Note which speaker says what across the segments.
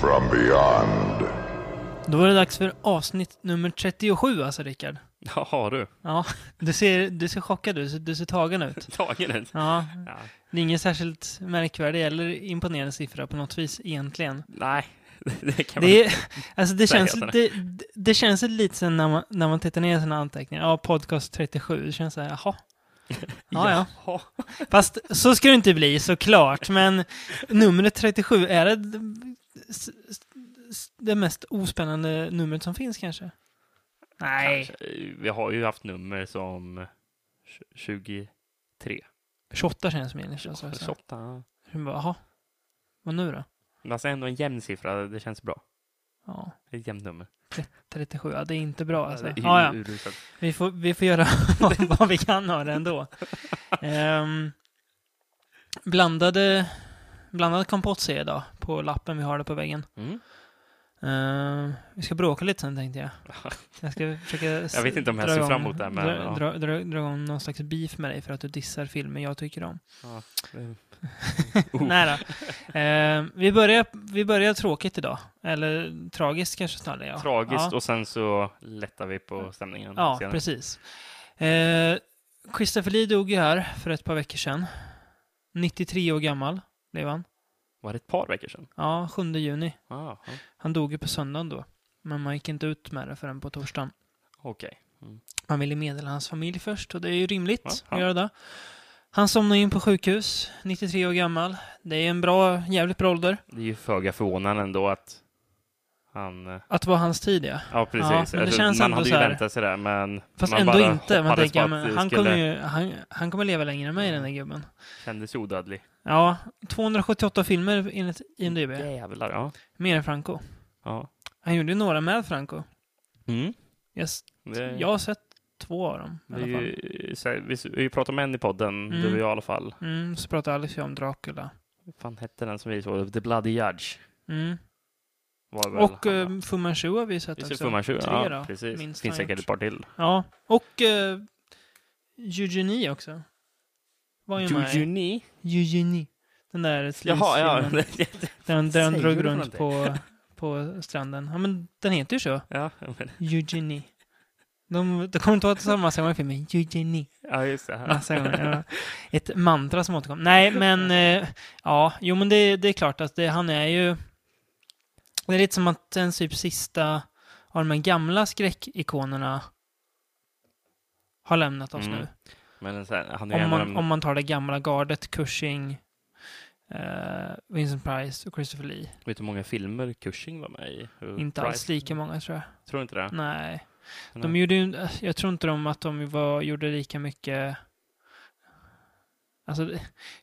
Speaker 1: from beyond.
Speaker 2: Då var det dags för avsnitt nummer 37 alltså, Rickard.
Speaker 3: Ja, har du.
Speaker 2: Ja, du ser, du ser chockad ut, du ser- du ser tagen ut.
Speaker 3: Tagen ut.
Speaker 2: Ja,
Speaker 3: Ja.
Speaker 2: det är ingen särskilt märkvärdig eller imponerande siffra på något vis egentligen.
Speaker 3: Nej, det kan man
Speaker 2: Det, är, alltså det,
Speaker 3: säga
Speaker 2: känns,
Speaker 3: att
Speaker 2: det, det känns lite sen när man, när man tittar ner i sina anteckningar. Ja, podcast 37. Det känns så här, jaha. Ja, ja.
Speaker 3: Jaha.
Speaker 2: Fast så ska det inte bli såklart. Men numret 37 är det, d- s- s- s- det mest ospännande numret som finns kanske? Nej,
Speaker 3: Kanske. Vi har ju haft nummer som tj- 23.
Speaker 2: 28 känns meningslöst. alltså.
Speaker 3: 28. ja.
Speaker 2: Jag bara, Jaha, vad nu då?
Speaker 3: Men alltså ändå en jämn siffra, det känns bra.
Speaker 2: Ja,
Speaker 3: Ett jämnt nummer.
Speaker 2: 37, ja, det är inte bra alltså.
Speaker 3: Det är
Speaker 2: Ja, ja.
Speaker 3: uruselt.
Speaker 2: Vi, får, vi får göra vad, vad vi kan av det ändå. Ehm, blandade, blandad kompott ser jag idag på lappen vi har där på väggen.
Speaker 3: Mm.
Speaker 2: Ehm, vi ska bråka lite sen tänkte jag. Jag ska försöka... s-
Speaker 3: Jag vet inte om jag
Speaker 2: dra
Speaker 3: ser
Speaker 2: igång-
Speaker 3: fram emot det här, men
Speaker 2: Dra,
Speaker 3: ja.
Speaker 2: dra, dra, dra igång någon slags beef med dig för att du dissar filmer jag tycker om.
Speaker 3: Oh.
Speaker 2: Nej då. Ehm, vi, börjar, vi börjar tråkigt idag. Eller tragiskt kanske snarare. Ja.
Speaker 3: Tragiskt
Speaker 2: Ja,
Speaker 3: och sen så lättar vi på stämningen.
Speaker 2: ja
Speaker 3: senare.
Speaker 2: precis. Ehm, Christopher Lee dog ju här för ett par veckor sedan. 93 år gammal blev han.
Speaker 3: Var det ett par veckor sedan?
Speaker 2: Ja, 7 juni.
Speaker 3: Ah, ja.
Speaker 2: Han dog ju på söndagen då. Men man gick inte ut med det förrän på torsdagen.
Speaker 3: Okej.
Speaker 2: Man ville meddela hans familj först och det är ju rimligt
Speaker 3: Ja,
Speaker 2: att
Speaker 3: ja.
Speaker 2: göra det. Han somnade in på sjukhus, 93 år gammal. Det är en bra, jävligt bra ålder.
Speaker 3: Det är ju föga förvånande ändå att han... eh,
Speaker 2: Att vara hans tid, ja.
Speaker 3: Ja, precis.
Speaker 2: men det
Speaker 3: Alltså,
Speaker 2: känns
Speaker 3: man
Speaker 2: ändå
Speaker 3: hade
Speaker 2: så
Speaker 3: ju
Speaker 2: här-
Speaker 3: väntat sig det, men...
Speaker 2: Fast
Speaker 3: man
Speaker 2: ändå
Speaker 3: bara
Speaker 2: inte. Man
Speaker 3: hoppades
Speaker 2: tänker,
Speaker 3: på
Speaker 2: ja,
Speaker 3: att
Speaker 2: men
Speaker 3: det
Speaker 2: han
Speaker 3: skulle- Mm.
Speaker 2: kommer ju, han, han kommer leva längre än mig, den där gubben.
Speaker 3: Kändes odödlig.
Speaker 2: Ja, 278 filmer enligt IMDB.
Speaker 3: Jävlar, ja.
Speaker 2: Mer än Franco.
Speaker 3: ja.
Speaker 2: Han gjorde ju några med Franco.
Speaker 3: Mm.
Speaker 2: Jag, s-
Speaker 3: Det,
Speaker 2: jag har sett två av dem i
Speaker 3: Eh. det är
Speaker 2: alla fall.
Speaker 3: ju, så här, vi, s- vi pratade med en i podden,
Speaker 2: Mm.
Speaker 3: du och jag i alla fall.
Speaker 2: Mm, så pratade Alice ju om Dracula.
Speaker 3: Vad fan hette den som vi såg? The Bloody Judge.
Speaker 2: Mm.
Speaker 3: Var väl
Speaker 2: Och
Speaker 3: han, va?
Speaker 2: eh, Fu Manchu har vi sett
Speaker 3: Just det,
Speaker 2: också.
Speaker 3: Fu Manchu.
Speaker 2: Tre
Speaker 3: Ja,
Speaker 2: då,
Speaker 3: precis.
Speaker 2: minst
Speaker 3: Finns
Speaker 2: han gjort.
Speaker 3: säkert ett par till.
Speaker 2: Ja, och eh, Eugenie också. Var ju med.
Speaker 3: Jujuni?
Speaker 2: Eugenie. Den där
Speaker 3: Jaha, ja.
Speaker 2: slisfilmen där hon- där hon
Speaker 3: Säger
Speaker 2: drog
Speaker 3: du
Speaker 2: runt på, på stranden. Ja, men den heter ju så.
Speaker 3: ja, men,
Speaker 2: Eugenie. De, de kommer inte ihåg att det sa massa gånger i filmen. Eugenie.
Speaker 3: ja, just det. Alltså, Ja.
Speaker 2: Massa gånger. Ja. Ett mantra som återkom. Nej, men eh, ja, jo, men det, det är klart att det, han är ju... Det är lite som att den typ sista av de här gamla skräckikonerna har lämnat oss
Speaker 3: Mm.
Speaker 2: nu.
Speaker 3: Men så här, han är ju
Speaker 2: Om
Speaker 3: en av
Speaker 2: man, om
Speaker 3: de...
Speaker 2: man tar det gamla gardet, Cushing, eh, Vincent Price och Christopher Lee.
Speaker 3: Vet du hur många filmer Cushing var med i? Hur-
Speaker 2: Inte alls
Speaker 3: Price?
Speaker 2: lika många tror jag.
Speaker 3: Tror du inte det?
Speaker 2: Nej. De
Speaker 3: Nej.
Speaker 2: gjorde ju, jag tror inte de att de var, gjorde lika mycket... Alltså,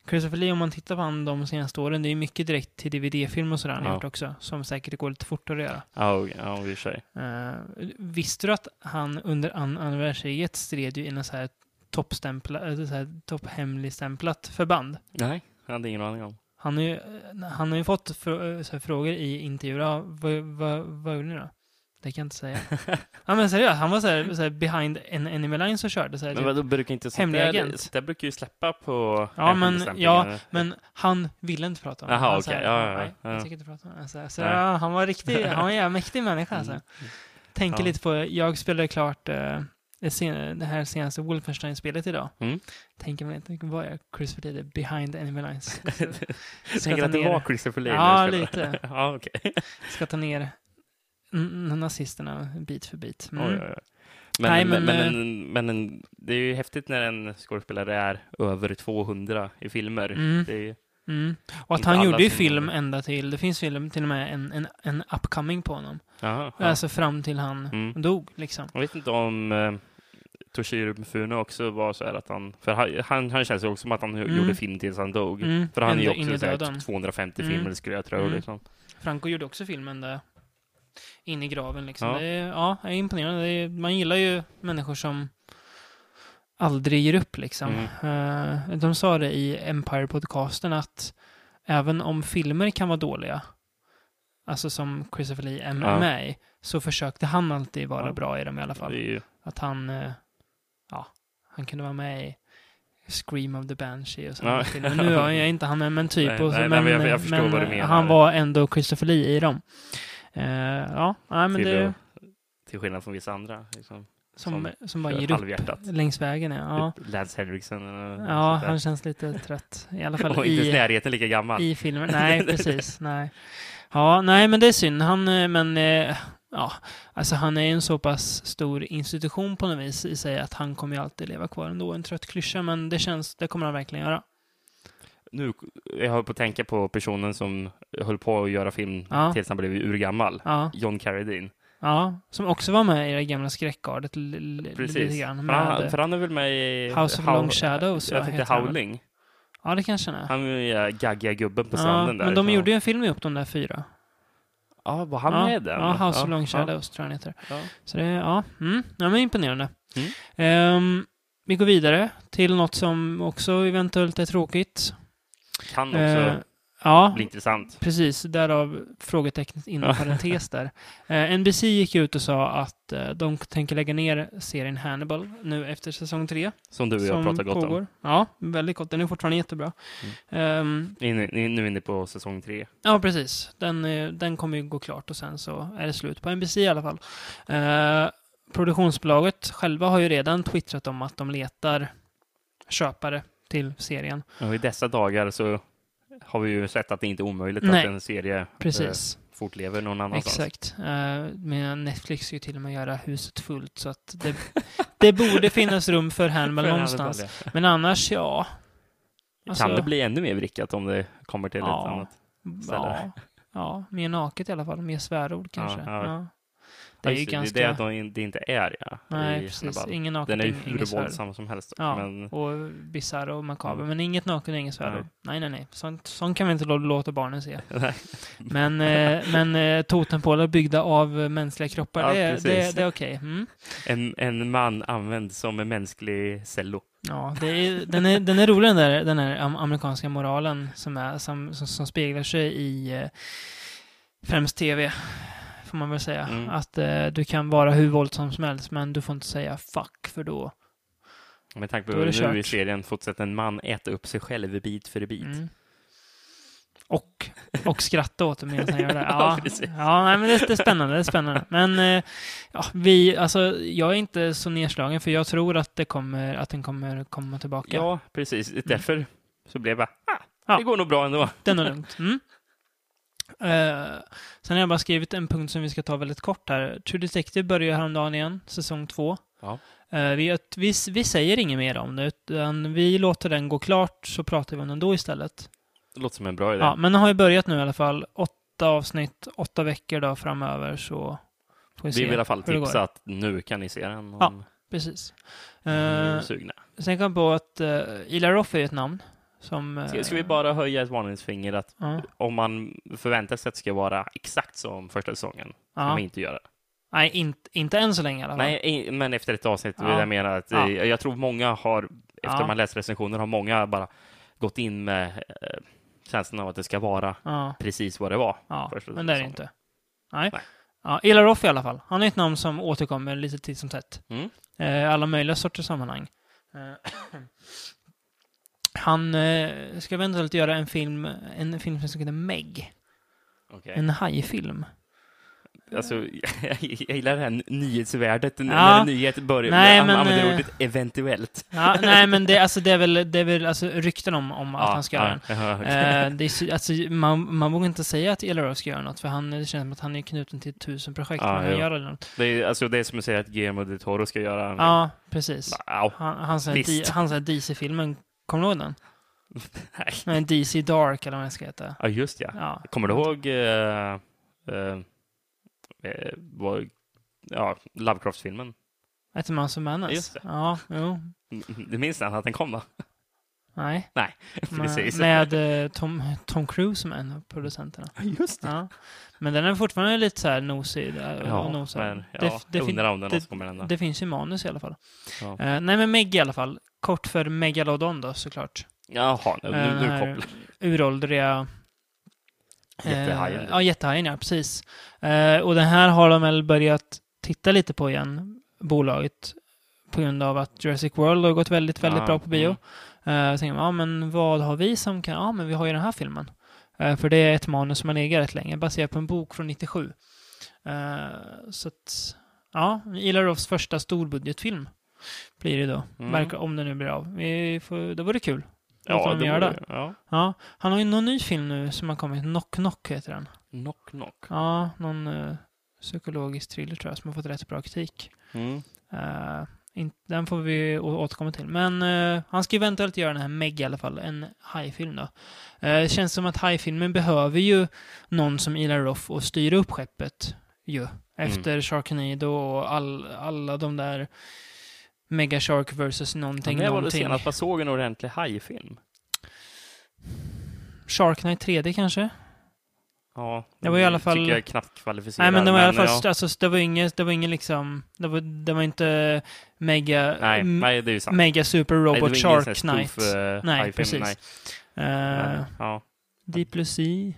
Speaker 2: Christopher Lee, om man tittar på han de senaste åren, det är ju mycket direkt till DVD-film och sådär han har
Speaker 3: Ja.
Speaker 2: gjort också, som säkert går lite fortare att göra.
Speaker 3: Ja, och- ja, och i och för sig.
Speaker 2: Eh, visste du att han under an- andra världskriget stred ju i något så här toppstämpla- eller så här topphemligstämplat förband?
Speaker 3: Nej, jag hade ingen aning om.
Speaker 2: Han har ju, eh, han har ju fått frå- eh, så här frågor i intervjuer. Ja, vad, vad, vad gjorde ni då? Det kan jag inte säga. ja, men seriöst, han var så här, så här behind en enemy lines och körde. Så här,
Speaker 3: Mm.
Speaker 2: typ.
Speaker 3: Men
Speaker 2: men,
Speaker 3: vadå, brukar inte sånt
Speaker 2: Hemlig
Speaker 3: där...
Speaker 2: agent.
Speaker 3: Sånt där brukar ju släppa på...
Speaker 2: Ja, men-
Speaker 3: hemligstämplingen.
Speaker 2: ja, men han ville inte prata om det.
Speaker 3: Jaha,
Speaker 2: Han så
Speaker 3: okej.
Speaker 2: här,
Speaker 3: Ja, ja, ja.
Speaker 2: "Nej, Jag
Speaker 3: Ja.
Speaker 2: tänker inte prata om det. Så, här, så
Speaker 3: Nej.
Speaker 2: ja, han var riktig, han var en jävla mäktig människa. Alltså.
Speaker 3: Mm.
Speaker 2: Tänker
Speaker 3: Ja.
Speaker 2: lite på, jag spelade klart eh, det, sen, det här senaste Wolfenstein-spelet idag.
Speaker 3: Mm.
Speaker 2: Tänker man inte, vad är Chris för det? Behind enemy lines. Så-
Speaker 3: Jag
Speaker 2: ska jag
Speaker 3: tänker
Speaker 2: ta
Speaker 3: att det
Speaker 2: ner
Speaker 3: var
Speaker 2: det?
Speaker 3: Christopher Lee
Speaker 2: Ja,
Speaker 3: när du spelade.
Speaker 2: lite.
Speaker 3: ja, okej.
Speaker 2: Ska ta ner n- n- nazisterna bit för bit. Mm.
Speaker 3: Oj, oj, oj. Men,
Speaker 2: Nej, men, eh,
Speaker 3: men, men, en, men en, det är ju häftigt när en skådespelare är över 200 i filmer.
Speaker 2: Mm.
Speaker 3: Det är ju,
Speaker 2: Mm. Och att
Speaker 3: Inte
Speaker 2: han
Speaker 3: alla
Speaker 2: gjorde ju
Speaker 3: som-
Speaker 2: film ända till, det finns film till och med en, en, en upcoming på honom.
Speaker 3: aha, ja.
Speaker 2: Alltså fram till han
Speaker 3: Mm.
Speaker 2: dog liksom.
Speaker 3: Jag vet inte om eh, Toshiro Mifune också var så här att han... För han, han, han känns ju också som att han
Speaker 2: Mm.
Speaker 3: gjorde film tills han dog.
Speaker 2: Mm.
Speaker 3: För han är ju
Speaker 2: Ända in i
Speaker 3: också så
Speaker 2: döden.
Speaker 3: här 250
Speaker 2: Mm.
Speaker 3: filmer skulle jag tro.
Speaker 2: Mm.
Speaker 3: Liksom.
Speaker 2: Franco gjorde också filmen där in i graven liksom.
Speaker 3: Ja.
Speaker 2: Det är, ja, det är imponerande. Det är, man gillar ju människor som aldrig ger upp liksom.
Speaker 3: Mm.
Speaker 2: Eh, de sa det i Empire-podcasten att även om filmer kan vara dåliga, alltså som Christopher Lee är
Speaker 3: Ja.
Speaker 2: med i, så försökte han alltid vara
Speaker 3: Ja.
Speaker 2: bra i dem i alla
Speaker 3: Det är
Speaker 2: fall.
Speaker 3: ju,
Speaker 2: Att han, eh, ja, han kunde vara med i Scream of the Banshee och
Speaker 3: Ja.
Speaker 2: sådana filmer. Nu har jag inte han med, men typ.
Speaker 3: Nej,
Speaker 2: och så,
Speaker 3: nej,
Speaker 2: men
Speaker 3: nej, men jag- jag förstår
Speaker 2: men
Speaker 3: vad du menar.
Speaker 2: han var ändå Christopher Lee i dem. Eh, ja, nej, men
Speaker 3: till,
Speaker 2: det är
Speaker 3: att- till skillnad från vissa andra. Liksom,
Speaker 2: som, som bara
Speaker 3: kör
Speaker 2: ger upp
Speaker 3: halvhjärtat.
Speaker 2: längs vägen. Ja,
Speaker 3: Typ Lance Henriksen eller
Speaker 2: ja
Speaker 3: sånt där.
Speaker 2: han känns lite trött. I alla fall
Speaker 3: Och inte ens
Speaker 2: i,
Speaker 3: närheten lika gammal.
Speaker 2: i filmen. Nej, precis. Nej. Ja, nej, men det är synd. Han, eh, men eh, ja, alltså han är ju en så pass stor institution på något vis i sig att han kommer ju alltid leva kvar ändå. En trött klyscha, men det känns, det kommer han verkligen göra.
Speaker 3: Nu, jag höll på att tänka på personen som höll på att göra film
Speaker 2: Ja.
Speaker 3: tills han blev urgammal.
Speaker 2: Ja,
Speaker 3: John Carradine.
Speaker 2: ja, som också var med i det gamla skräckgardet l- l- lite
Speaker 3: Precis.
Speaker 2: grann.
Speaker 3: För han,
Speaker 2: Med,
Speaker 3: för han är väl med i...
Speaker 2: House of
Speaker 3: Howl-
Speaker 2: Long Shadows,
Speaker 3: Jag
Speaker 2: va,
Speaker 3: tänkte
Speaker 2: heter han väl?
Speaker 3: Howling.
Speaker 2: ja, det kanske han är.
Speaker 3: Han är ju den gaggiga gubben på
Speaker 2: Ja,
Speaker 3: stranden där.
Speaker 2: men de
Speaker 3: Så-
Speaker 2: gjorde ju en film ihop, de där fyra.
Speaker 3: Ja, var han
Speaker 2: ja,
Speaker 3: med i den?
Speaker 2: Ja, House
Speaker 3: Ja,
Speaker 2: of Long
Speaker 3: ja,
Speaker 2: Shadows tror jag han heter.
Speaker 3: ja.
Speaker 2: Så det, ja, mm, ja men imponerande.
Speaker 3: Mm.
Speaker 2: Ehm, vi går vidare till något som också eventuellt är tråkigt.
Speaker 3: Kan också
Speaker 2: Eh, ja,
Speaker 3: bli intressant.
Speaker 2: precis. Därav frågetecknet inom parentes där. Eh, NBC gick ut och sa att eh, de tänker lägga ner serien Hannibal nu efter säsong tre.
Speaker 3: Som du och
Speaker 2: som
Speaker 3: jag pratar gott om. Mm.
Speaker 2: pågår. Ja, väldigt gott. Den är fortfarande jättebra. Ehm,
Speaker 3: In, in, nu inne på säsong tre.
Speaker 2: Ja, precis. Den, eh, den kommer ju gå klart och sen så är det slut på NBC i alla fall. Eh, produktionsbolaget själva har ju redan twittrat om att de letar köpare till serien.
Speaker 3: Och i dessa dagar så har vi ju sett att det inte är omöjligt
Speaker 2: Nej.
Speaker 3: att en serie
Speaker 2: Precis,
Speaker 3: eh, fortlever någon annanstans.
Speaker 2: exakt. Eh, men Netflix ska ju till och med göra huset fullt så att det, det borde finnas rum för Hannibal
Speaker 3: För en
Speaker 2: någonstans.
Speaker 3: annan fråga.
Speaker 2: Men annars, ja. Alltså,
Speaker 3: kan det bli ännu mer vrickat om det kommer till ett annat?
Speaker 2: Ja,
Speaker 3: ställe?
Speaker 2: ja, mer naket i alla fall. Mer svärord kanske.
Speaker 3: ja.
Speaker 2: Ja. Det är ju
Speaker 3: Just
Speaker 2: ganska...
Speaker 3: Alltså, Det är det att de in- det inte är, ja.
Speaker 2: Nej,
Speaker 3: i
Speaker 2: precis.
Speaker 3: Hannibal.
Speaker 2: Ingen naket,
Speaker 3: Den är ju
Speaker 2: ing- ingen
Speaker 3: hur
Speaker 2: svärd.
Speaker 3: våldsam som helst.
Speaker 2: Ja.
Speaker 3: Men
Speaker 2: och bisarr och makaber.
Speaker 3: Mm.
Speaker 2: Men inget naken och inget svärd.
Speaker 3: Nej.
Speaker 2: Nej, nej, nej. Sånt, sånt kan vi inte lå- låta barnen se. men eh, men eh, totempålar byggda av eh, mänskliga kroppar,
Speaker 3: Ja,
Speaker 2: det, är- det,
Speaker 3: precis.
Speaker 2: det är okej. Mm.
Speaker 3: en, en man använd som en mänsklig cello.
Speaker 2: Ja, det är, den, är, den är rolig den där, den där am- amerikanska moralen som, är, som, som, som speglar sig i eh, främst tv, får man väl säga.
Speaker 3: Mm.
Speaker 2: Att eh, du kan vara hur våldsam som helst, men du får inte säga fuck, för då...
Speaker 3: Med tanke på
Speaker 2: Då är
Speaker 3: hur
Speaker 2: det
Speaker 3: det nu i
Speaker 2: kört.
Speaker 3: serien fortsätter en man äta upp sig själv bit för bit.
Speaker 2: Mm. Och, och skratta åt det medan han gör det.
Speaker 3: Ja,
Speaker 2: Ja,
Speaker 3: precis.
Speaker 2: ja nej, men det, det är spännande. Det är spännande. Men eh, ja, vi, alltså, jag är inte så nedslagen för jag tror att, det kommer, att den kommer komma tillbaka.
Speaker 3: Ja, precis. Därför så blev jag ah,
Speaker 2: Mm. Ja.
Speaker 3: det går nog bra ändå.
Speaker 2: Det är nog lugnt. Mm. Eh, sen har jag bara skrivit en punkt som vi ska ta väldigt kort här. True Detective börjar häromdagen igen, säsong två.
Speaker 3: Ja.
Speaker 2: Eh, vi, vi, vi säger inget mer om det, utan vi låter den gå klart så pratar vi om den då istället.
Speaker 3: Det låter som en bra idé.
Speaker 2: Ja, men den har ju börjat nu i alla fall. Åtta avsnitt, åtta veckor då framöver så får vi se
Speaker 3: vi vill i alla fall
Speaker 2: hur det
Speaker 3: tipsa
Speaker 2: går.
Speaker 3: att nu kan ni se den
Speaker 2: Ja.
Speaker 3: om
Speaker 2: Precis.
Speaker 3: ni är
Speaker 2: Eh,
Speaker 3: sugna.
Speaker 2: sen kom jag på att uh, Ila Roth är ju ett namn som... eh,
Speaker 3: Ska, ska vi bara höja ett varningsfinger att
Speaker 2: Ja.
Speaker 3: om man förväntar sig att det ska vara exakt som första säsongen,
Speaker 2: ja.
Speaker 3: kan man inte göra det.
Speaker 2: Nej, inte, inte än så länge i alla fall.
Speaker 3: Nej, i- men efter ett avsnitt vill
Speaker 2: Ja.
Speaker 3: jag mena att
Speaker 2: Ja.
Speaker 3: eh, jag tror många har, efter
Speaker 2: Ja.
Speaker 3: man läst recensioner, har många bara gått in med eh, känslan av att det ska vara
Speaker 2: Ja,
Speaker 3: precis vad det var.
Speaker 2: ja.
Speaker 3: Första
Speaker 2: men det är det
Speaker 3: säsongen.
Speaker 2: inte. Nej.
Speaker 3: Nej.
Speaker 2: Ja, Ila Roth i alla fall. Han är ett namn som återkommer lite titt som tätt.
Speaker 3: Mm.
Speaker 2: Eh, alla möjliga sorters sammanhang. Eh, han eh, ska eventuellt göra en film, en film som heter Meg.
Speaker 3: Okej.
Speaker 2: En hajfilm?
Speaker 3: Mm. Alltså, jag gillar det här nyhetsvärdet, n-
Speaker 2: Ja.
Speaker 3: när en nyhet börjar, när
Speaker 2: Nej,
Speaker 3: man
Speaker 2: men,
Speaker 3: använder
Speaker 2: eh,
Speaker 3: ordet eventuellt.
Speaker 2: Ja, nej, men det, alltså, det är väl, det är väl alltså, rykten om, om att han ska göra den.
Speaker 3: ja, okej.
Speaker 2: Eh, det är, så- alltså, man, man vågar inte säga att Elarov ska göra något, för han, det känns som att han är knuten till tusen projekt.
Speaker 3: Ja,
Speaker 2: men han
Speaker 3: jo.
Speaker 2: gör aldrig något.
Speaker 3: Det är, alltså, det är som att säga att Guillermo del Toro ska göra en...
Speaker 2: Ja, precis.
Speaker 3: Wow.
Speaker 2: Han, han sa
Speaker 3: Mm. Visst.
Speaker 2: di- han sa DC-filmen, kommer du ihåg den?
Speaker 3: Nej.
Speaker 2: Nej, DC Dark eller vad den ska heta.
Speaker 3: Ja, just ja.
Speaker 2: Ja.
Speaker 3: Kommer du ihåg eh, eh, eh, vad, ja, Lovecraft-filmen?
Speaker 2: Ett Mouse of Menace.
Speaker 3: Just det.
Speaker 2: Ja, jo.
Speaker 3: Du minns den, att den kom va?
Speaker 2: Nej.
Speaker 3: Nej, precis.
Speaker 2: Med, med eh, Tom, Tom Cruise som en av producenterna.
Speaker 3: Just
Speaker 2: Ja. Men den är fortfarande lite så här nosig. där och
Speaker 3: Ja,
Speaker 2: nosar.
Speaker 3: men
Speaker 2: Det-
Speaker 3: ja,
Speaker 2: det
Speaker 3: jag
Speaker 2: fin-
Speaker 3: undrar om det är någon
Speaker 2: det-
Speaker 3: som kommer hända.
Speaker 2: Det finns ju manus i alla fall.
Speaker 3: Ja.
Speaker 2: Eh, nej, men Meg i alla fall. Kort för Megalodon då, såklart.
Speaker 3: Jaha, nu,
Speaker 2: Eh,
Speaker 3: nu,
Speaker 2: den
Speaker 3: nu
Speaker 2: här
Speaker 3: kopplar
Speaker 2: Uråldriga... eh,
Speaker 3: Jättehajen.
Speaker 2: Ja, jättehajen, ja. Precis. Eh, och den här har de väl börjat titta lite på igen, bolaget. På grund av att Jurassic World har gått väldigt, väldigt
Speaker 3: Ah,
Speaker 2: bra på bio. Eh, så tänker man, ja men vad har vi som kan, ja men vi har ju den här filmen. Eh, för det är ett manus som har legat rätt länge, baserat på en bok från 97. Eh, så att, ja, Ilarovs första storbudgetfilm blir det då.
Speaker 3: Mm.
Speaker 2: Verkar, om det nu blir av. Vi får, det vore kul. Då får
Speaker 3: Ja,
Speaker 2: de
Speaker 3: det
Speaker 2: göra
Speaker 3: borde
Speaker 2: det.
Speaker 3: Ja.
Speaker 2: Ja, han har ju någon ny film nu som har kommit, Knock Knock heter den.
Speaker 3: Knock knock.
Speaker 2: Ja, någon eh, psykologisk thriller tror jag som har fått rätt bra kritik.
Speaker 3: Mm.
Speaker 2: Eh, in, den får vi å- återkomma till. Men eh, han ska ju eventuellt göra den här Meg i alla fall, en hajfilm då. Eh, Det känns som att hajfilmen behöver ju någon som Ila Roth och styra upp skeppet ju.
Speaker 3: Mm.
Speaker 2: Efter Sharknado och all, alla de där Mega Shark versus
Speaker 3: Ja,
Speaker 2: någonting,
Speaker 3: Det var det
Speaker 2: någonting.
Speaker 3: senast man såg en ordentlig hajfilm.
Speaker 2: Sharknight 3D kanske?
Speaker 3: Ja,
Speaker 2: Det var i alla fall-
Speaker 3: tycker jag knappt kvalificerar.
Speaker 2: Nej men det var i alla fall,
Speaker 3: ja.
Speaker 2: alltså, det var inget, det var inget liksom, det var, det var inte Mega,
Speaker 3: Nej,
Speaker 2: m-
Speaker 3: nej, det är ju sant.
Speaker 2: Mega Super Robot
Speaker 3: nej, det var ingen
Speaker 2: Shark
Speaker 3: sån här
Speaker 2: Knight.
Speaker 3: spoof, eh,
Speaker 2: Nej,
Speaker 3: hajfilm,
Speaker 2: precis.
Speaker 3: Nej.
Speaker 2: Eh,
Speaker 3: Ja.
Speaker 2: Deep Blue Sea.
Speaker 3: ja,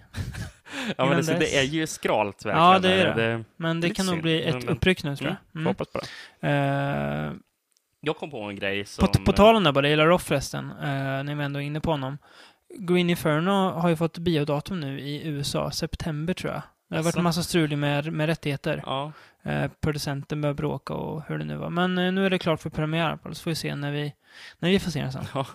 Speaker 3: men
Speaker 2: Innan
Speaker 3: det, så
Speaker 2: dess.
Speaker 3: det är ju skralt verkligen.
Speaker 2: Ja, det är det.
Speaker 3: det
Speaker 2: Men det
Speaker 3: Lite
Speaker 2: kan nog
Speaker 3: synd,
Speaker 2: bli ett
Speaker 3: men-
Speaker 2: uppryck nu tror jag.
Speaker 3: mm.
Speaker 2: Mm.
Speaker 3: Hoppas på det.
Speaker 2: Eh,
Speaker 3: Jag kom på en grej som... eh,
Speaker 2: på, på tal om det bara, jag gillar Roff förresten, eh, när vi ändå är inne på honom. Green Inferno har ju fått biodatum nu i USA, september tror jag. Det har varit
Speaker 3: Jaså?
Speaker 2: en massa strul med, med rättigheter.
Speaker 3: Ja.
Speaker 2: Eh, producenten började bråka och hur det nu var. Men eh, nu är det klart för premiär i alla fall, så får vi se när vi, när vi får se den sen.
Speaker 3: ja.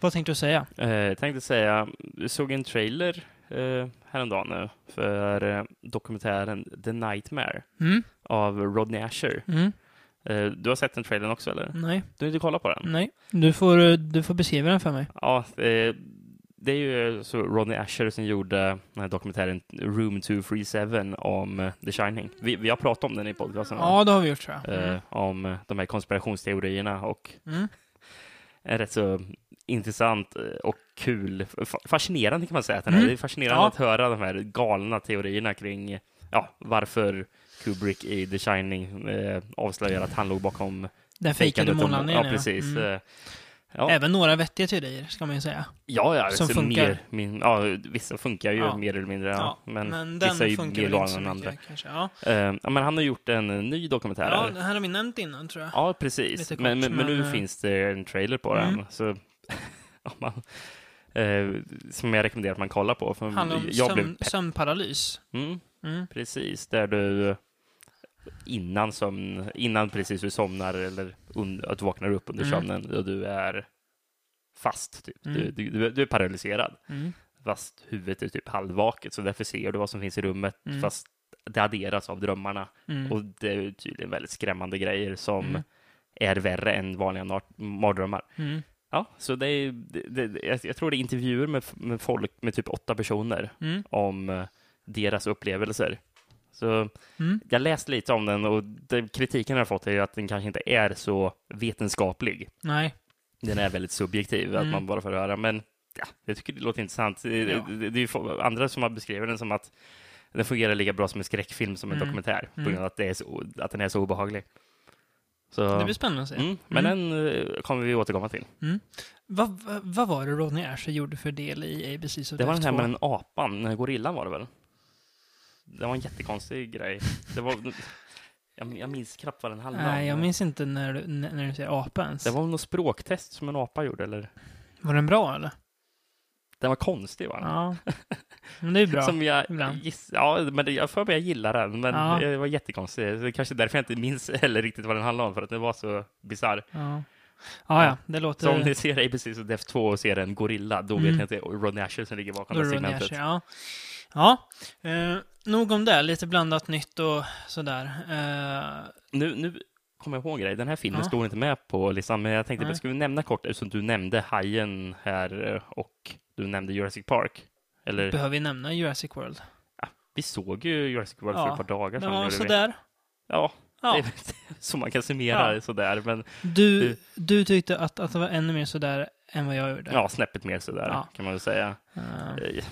Speaker 2: Vad tänkte du säga?
Speaker 3: Eh, jag tänkte säga, jag såg en trailer eh, häromdagen nu för eh, dokumentären The Nightmare
Speaker 2: Mm?
Speaker 3: av Rodney Asher.
Speaker 2: Mm?
Speaker 3: Eh, du har sett den trailern också eller?
Speaker 2: Nej?
Speaker 3: Du har inte kollat på den?
Speaker 2: Nej? Du får, eh, du får beskriva den för mig.
Speaker 3: Ja, eh, det är ju så Rodney Asher som gjorde den här dokumentären Room 237 om eh, The Shining. Vi, vi har pratat om den i podcasten. va?
Speaker 2: Ja, det har vi gjort tror jag.
Speaker 3: Eh,
Speaker 2: Mm.
Speaker 3: Om eh, de här konspirationsteorierna och
Speaker 2: Mm.
Speaker 3: en rätt så intressant eh, och kul, fa- fascinerande kan man säga att den är.
Speaker 2: Mm.
Speaker 3: Det är fascinerande
Speaker 2: Ja.
Speaker 3: att höra de här galna teorierna kring eh, ja, varför Kubrick i The Shining eh, avslöjar att han låg bakom
Speaker 2: Den fejkade
Speaker 3: fejkandet om-
Speaker 2: månlandningen.
Speaker 3: Ja, precis.
Speaker 2: Mm.
Speaker 3: Eh, Ja,
Speaker 2: Även några vettiga teorier, ska man ju säga.
Speaker 3: Ja, ja,
Speaker 2: Som
Speaker 3: alltså
Speaker 2: funkar.
Speaker 3: Mer, min, ja, vissa funkar ju
Speaker 2: Ja.
Speaker 3: mer eller mindre, ja. men,
Speaker 2: den
Speaker 3: vissa är ju mer
Speaker 2: funkar väl
Speaker 3: galna
Speaker 2: inte så
Speaker 3: än
Speaker 2: mycket,
Speaker 3: andra.
Speaker 2: kanske. Ja.
Speaker 3: Eh, ja, men han har gjort en eh, ny dokumentär.
Speaker 2: ja,
Speaker 3: Ja,
Speaker 2: det här har vi nämnt innan, tror jag.
Speaker 3: precis.
Speaker 2: Lite kort,
Speaker 3: men, men, men nu
Speaker 2: men, eh,
Speaker 3: finns det en trailer på
Speaker 2: Mm.
Speaker 3: den. Så, om man, eh, som jag rekommenderar att man kollar på. För
Speaker 2: Handlar om
Speaker 3: jag
Speaker 2: sömn,
Speaker 3: blev pepp.
Speaker 2: sömnparalys.
Speaker 3: Mm,
Speaker 2: Mm.
Speaker 3: precis, där du innan, sömn, innan precis du somnar eller un, att du vaknar upp under
Speaker 2: Mm.
Speaker 3: sömnen och du är fast. Typ. Du,
Speaker 2: Mm.
Speaker 3: du, du, du är paralyserad.
Speaker 2: Mm.
Speaker 3: fast huvudet är typ halvvaket, så därför ser du vad som finns i rummet,
Speaker 2: Mm.
Speaker 3: fast det adderas av drömmarna.
Speaker 2: Mm.
Speaker 3: Och det är tydligen väldigt skrämmande grejer som
Speaker 2: Mm.
Speaker 3: är värre än vanliga nar- mardrömmar.
Speaker 2: Mm.
Speaker 3: Ja, så det är, det, det, jag- jag tror det är intervjuer med, f- med folk, med typ åtta personer,
Speaker 2: Mm.
Speaker 3: om eh, deras upplevelser. Så
Speaker 2: Mm.
Speaker 3: jag läste lite om den och den kritiken jag har fått är ju att den kanske inte är så vetenskaplig.
Speaker 2: Nej.
Speaker 3: Den är väldigt subjektiv, att
Speaker 2: Mm.
Speaker 3: man bara får höra. Men ja, jag tycker det låter intressant. Det,
Speaker 2: Ja.
Speaker 3: det, det är ju få- andra som har beskrivit den som att den fungerar lika bra som en skräckfilm som en
Speaker 2: Mm.
Speaker 3: dokumentär, på
Speaker 2: Mm.
Speaker 3: grund av att, det är så, att den är så obehaglig. Så,
Speaker 2: Det blir spännande att se.
Speaker 3: mm, men den eh, kommer vi återkomma till.
Speaker 2: Vad vad- vad var det Rodney Asher gjorde för del i ABC's of
Speaker 3: Det var den här med
Speaker 2: Death 2?
Speaker 3: den apan, den här gorillan var det väl? Det var en jättekonstig grej. Det var, jag, jag minns knappt vad den handlade
Speaker 2: Nej, jag
Speaker 3: om.
Speaker 2: minns inte när du, när när du säger apa ens.
Speaker 3: Det
Speaker 2: Var...
Speaker 3: var väl något språktest som en apa gjorde, eller?
Speaker 2: den bra eller?
Speaker 3: Den var konstig, va?
Speaker 2: Ja. Men det är bra.
Speaker 3: Som jag
Speaker 2: ibland.
Speaker 3: giss, ja, men det, jag får mig jag gillar den, men
Speaker 2: Ja.
Speaker 3: det var jättekonstigt. Det kanske är därför jag inte minns heller riktigt vad den handlade om, för att den var så bisarr.
Speaker 2: Ja. ja, ja, det
Speaker 3: Så om
Speaker 2: låter...
Speaker 3: ni ser ABC och Def 2 och ser en gorilla, då
Speaker 2: Mm.
Speaker 3: vet ni att det är Ronny Asher som ligger bakom
Speaker 2: Då
Speaker 3: det
Speaker 2: rör ner
Speaker 3: segmentet.
Speaker 2: sig, ja. ja. Eh, nog om det, lite blandat nytt och sådär. Eh,
Speaker 3: Nu, nu kommer jag ihåg en grej, den här filmen
Speaker 2: Ja.
Speaker 3: står inte med på listan, men jag tänkte
Speaker 2: Nej.
Speaker 3: att jag skulle nämna kort, eftersom du nämnde Hajen här eh, och du nämnde Jurassic Park. Eller,
Speaker 2: behöver vi nämna Jurassic World?
Speaker 3: vi såg ju Jurassic World
Speaker 2: Ja.
Speaker 3: för ett par dagar
Speaker 2: Det
Speaker 3: sedan.
Speaker 2: var
Speaker 3: gjorde vi.
Speaker 2: sådär.
Speaker 3: Ja,
Speaker 2: Ja.
Speaker 3: så man kan summera
Speaker 2: Ja.
Speaker 3: det sådär, men
Speaker 2: Du,
Speaker 3: det-
Speaker 2: du tyckte att, att det var ännu mer sådär än vad jag gjorde.
Speaker 3: ja, snäppet mer sådär
Speaker 2: Ja.
Speaker 3: kan man väl säga.
Speaker 2: Eh,
Speaker 3: Eh,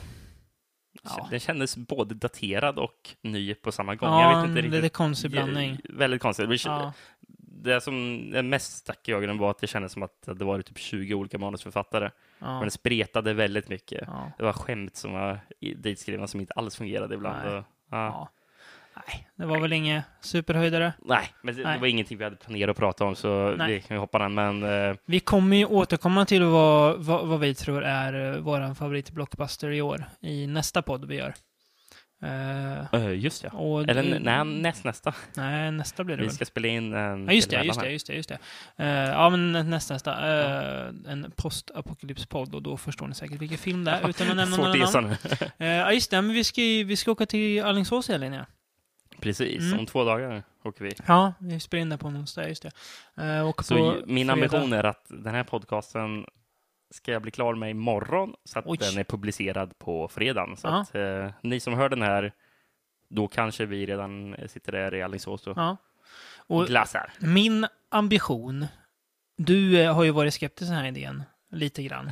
Speaker 2: Ja.
Speaker 3: Den kändes både daterad och ny på samma gång.
Speaker 2: ja,
Speaker 3: jag vet inte
Speaker 2: lite
Speaker 3: riktigt.
Speaker 2: konstig blandning.
Speaker 3: Eh, Väldigt konstigt. Det,
Speaker 2: Ja.
Speaker 3: det som mest stack i ögonen var att det kändes som att det var typ 20 olika manusförfattare. Men
Speaker 2: Ja.
Speaker 3: det spretade väldigt mycket.
Speaker 2: Ja.
Speaker 3: Det var skämt som var i- ditskrivna som inte alls fungerade ibland.
Speaker 2: Nej.
Speaker 3: Och, ja.
Speaker 2: Ja. Nej, det var väl inget superhöjdare.
Speaker 3: Nej, men det,
Speaker 2: Nej.
Speaker 3: det var ingenting vi hade planerat att prata om, så
Speaker 2: Nej.
Speaker 3: vi kan ju hoppa den. Men eh,
Speaker 2: Vi kommer ju återkomma till vad, vad, vad vi tror är eh, våran favoritblockbuster i år i nästa podd vi gör. Eh,
Speaker 3: eh, just ja.
Speaker 2: och
Speaker 3: Eller
Speaker 2: det-
Speaker 3: n- nej, näst, nästa.
Speaker 2: nej, nästa blir Mm. det
Speaker 3: Vi
Speaker 2: väl.
Speaker 3: ska spela in en...
Speaker 2: Ja, just det,
Speaker 3: till
Speaker 2: just det,
Speaker 3: mellan
Speaker 2: just det. Just det. Eh, ja, men nä- nästa, nästa. Eh, En postapokalypspodd och då förstår ni säkert vilken film det är utan att
Speaker 3: här.
Speaker 2: nämna
Speaker 3: Svårt
Speaker 2: några
Speaker 3: att gissa
Speaker 2: namn.
Speaker 3: nu.
Speaker 2: Eh, Ja, just det, men vi ska, ju- vi ska åka till Alingsås i helgen, ja.
Speaker 3: Precis,
Speaker 2: Mm.
Speaker 3: om två dagar åker vi.
Speaker 2: Ja, vi spelar in det på en onsdag, just det. Eh, och
Speaker 3: Så
Speaker 2: på
Speaker 3: ju- min
Speaker 2: fredag-
Speaker 3: ambition är att den här podcasten ska jag bli klar med imorgon så att
Speaker 2: Oj.
Speaker 3: den är publicerad på fredagen. Så
Speaker 2: Ja.
Speaker 3: att, eh, ni som hör den här, då kanske vi redan sitter där i Alingsås och
Speaker 2: Ja. Och
Speaker 3: glassar.
Speaker 2: min ambition, du eh, har ju varit skeptisk till den här idén, lite grann.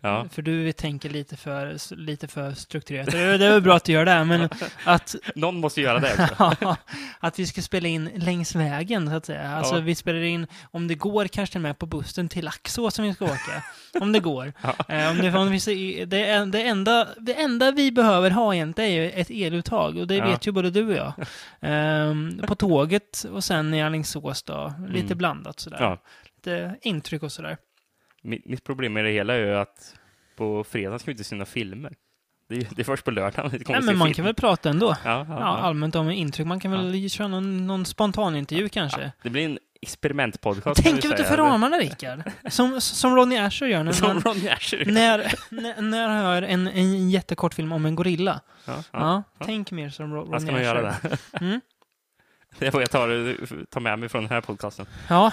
Speaker 3: Ja.
Speaker 2: För du tänker lite för, s- lite för strukturerat. Det är det är väl bra att du gör det, men att,
Speaker 3: Någon måste göra det också.
Speaker 2: att vi ska spela in längs vägen, så att säga. Alltså,
Speaker 3: Ja.
Speaker 2: vi spelar in, om det går, kanske till och med på bussen till Laxå som vi ska åka. om det går. Eh, om det, om vi, ser- det, är- det, enda, det enda vi behöver ha egentligen är ju ett eluttag, och det
Speaker 3: Ja.
Speaker 2: vet ju både du och jag. Ehm, på tåget och sen i Alingsås då, lite
Speaker 3: Mm.
Speaker 2: blandat sådär.
Speaker 3: Ja.
Speaker 2: Lite intryck och sådär.
Speaker 3: Mi- Mitt problem med det hela är ju att på fredagen ska vi inte se några filmer. Det är, det är först på lördagen vi kommer
Speaker 2: Nej,
Speaker 3: att se
Speaker 2: men man
Speaker 3: film.
Speaker 2: kan väl prata ändå.
Speaker 3: Ja, ja,
Speaker 2: Ja,
Speaker 3: ja.
Speaker 2: allmänt om intryck. Man kan väl köra någon, någon spontan intervju kanske.
Speaker 3: Det blir en experimentpodcast. kan vi
Speaker 2: Tänker du inte
Speaker 3: säga.
Speaker 2: för ramarna, Rickard? Som, som Ronny Asher gör när,
Speaker 3: Som
Speaker 2: man-
Speaker 3: Ronny Asher.
Speaker 2: när, när, när han hör en, en jättekort film om en gorilla.
Speaker 3: Ja,
Speaker 2: Ja,
Speaker 3: ja.
Speaker 2: Tänk mer som Ro- Ronny
Speaker 3: Vad ska man
Speaker 2: Asher.
Speaker 3: göra där?
Speaker 2: Mm.
Speaker 3: Det får jag ta, ta med mig från den här podcasten.
Speaker 2: Ja,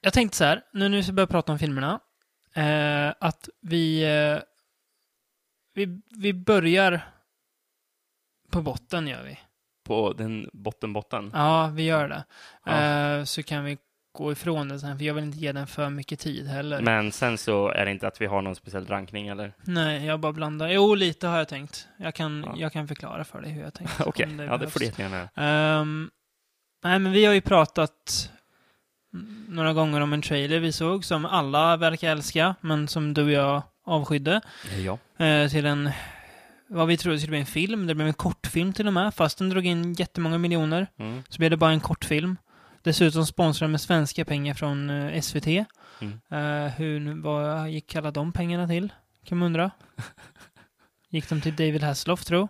Speaker 2: jag tänkte så här, nu när vi börjar prata om filmerna, eh, att vi, eh, vi, vi börjar på botten gör
Speaker 3: Mm.
Speaker 2: vi.
Speaker 3: På den botten, botten.
Speaker 2: Ja, vi gör det.
Speaker 3: Ja.
Speaker 2: Eh, så kan vi gå ifrån det sen, för jag vill inte ge den för mycket tid heller.
Speaker 3: Men sen så är det inte att vi har någon speciell rankning eller?
Speaker 2: Nej, jag bara blandar. Jo, lite har jag tänkt. Jag kan,
Speaker 3: Ja.
Speaker 2: jag kan förklara för dig hur jag tänkt.
Speaker 3: Okej,
Speaker 2: om
Speaker 3: ja det
Speaker 2: behövs.
Speaker 3: får du jättegärna göra.
Speaker 2: Ehm, nej, men vi har ju pratat några gånger om en trailer vi såg som alla verkar älska, men som du och jag avskydde.
Speaker 3: Ja.
Speaker 2: Eh, till en, vad vi trodde skulle bli en film. Det blev en kortfilm till och med, fast den drog in jättemånga miljoner.
Speaker 3: Mm.
Speaker 2: Så blev det bara en kortfilm. Dessutom sponsrade med svenska pengar från eh, SVT.
Speaker 3: Mm.
Speaker 2: Eh, hur, nu- vad gick alla de pengarna till? Kan man undra. Gick de till David Hasselhoff, tro?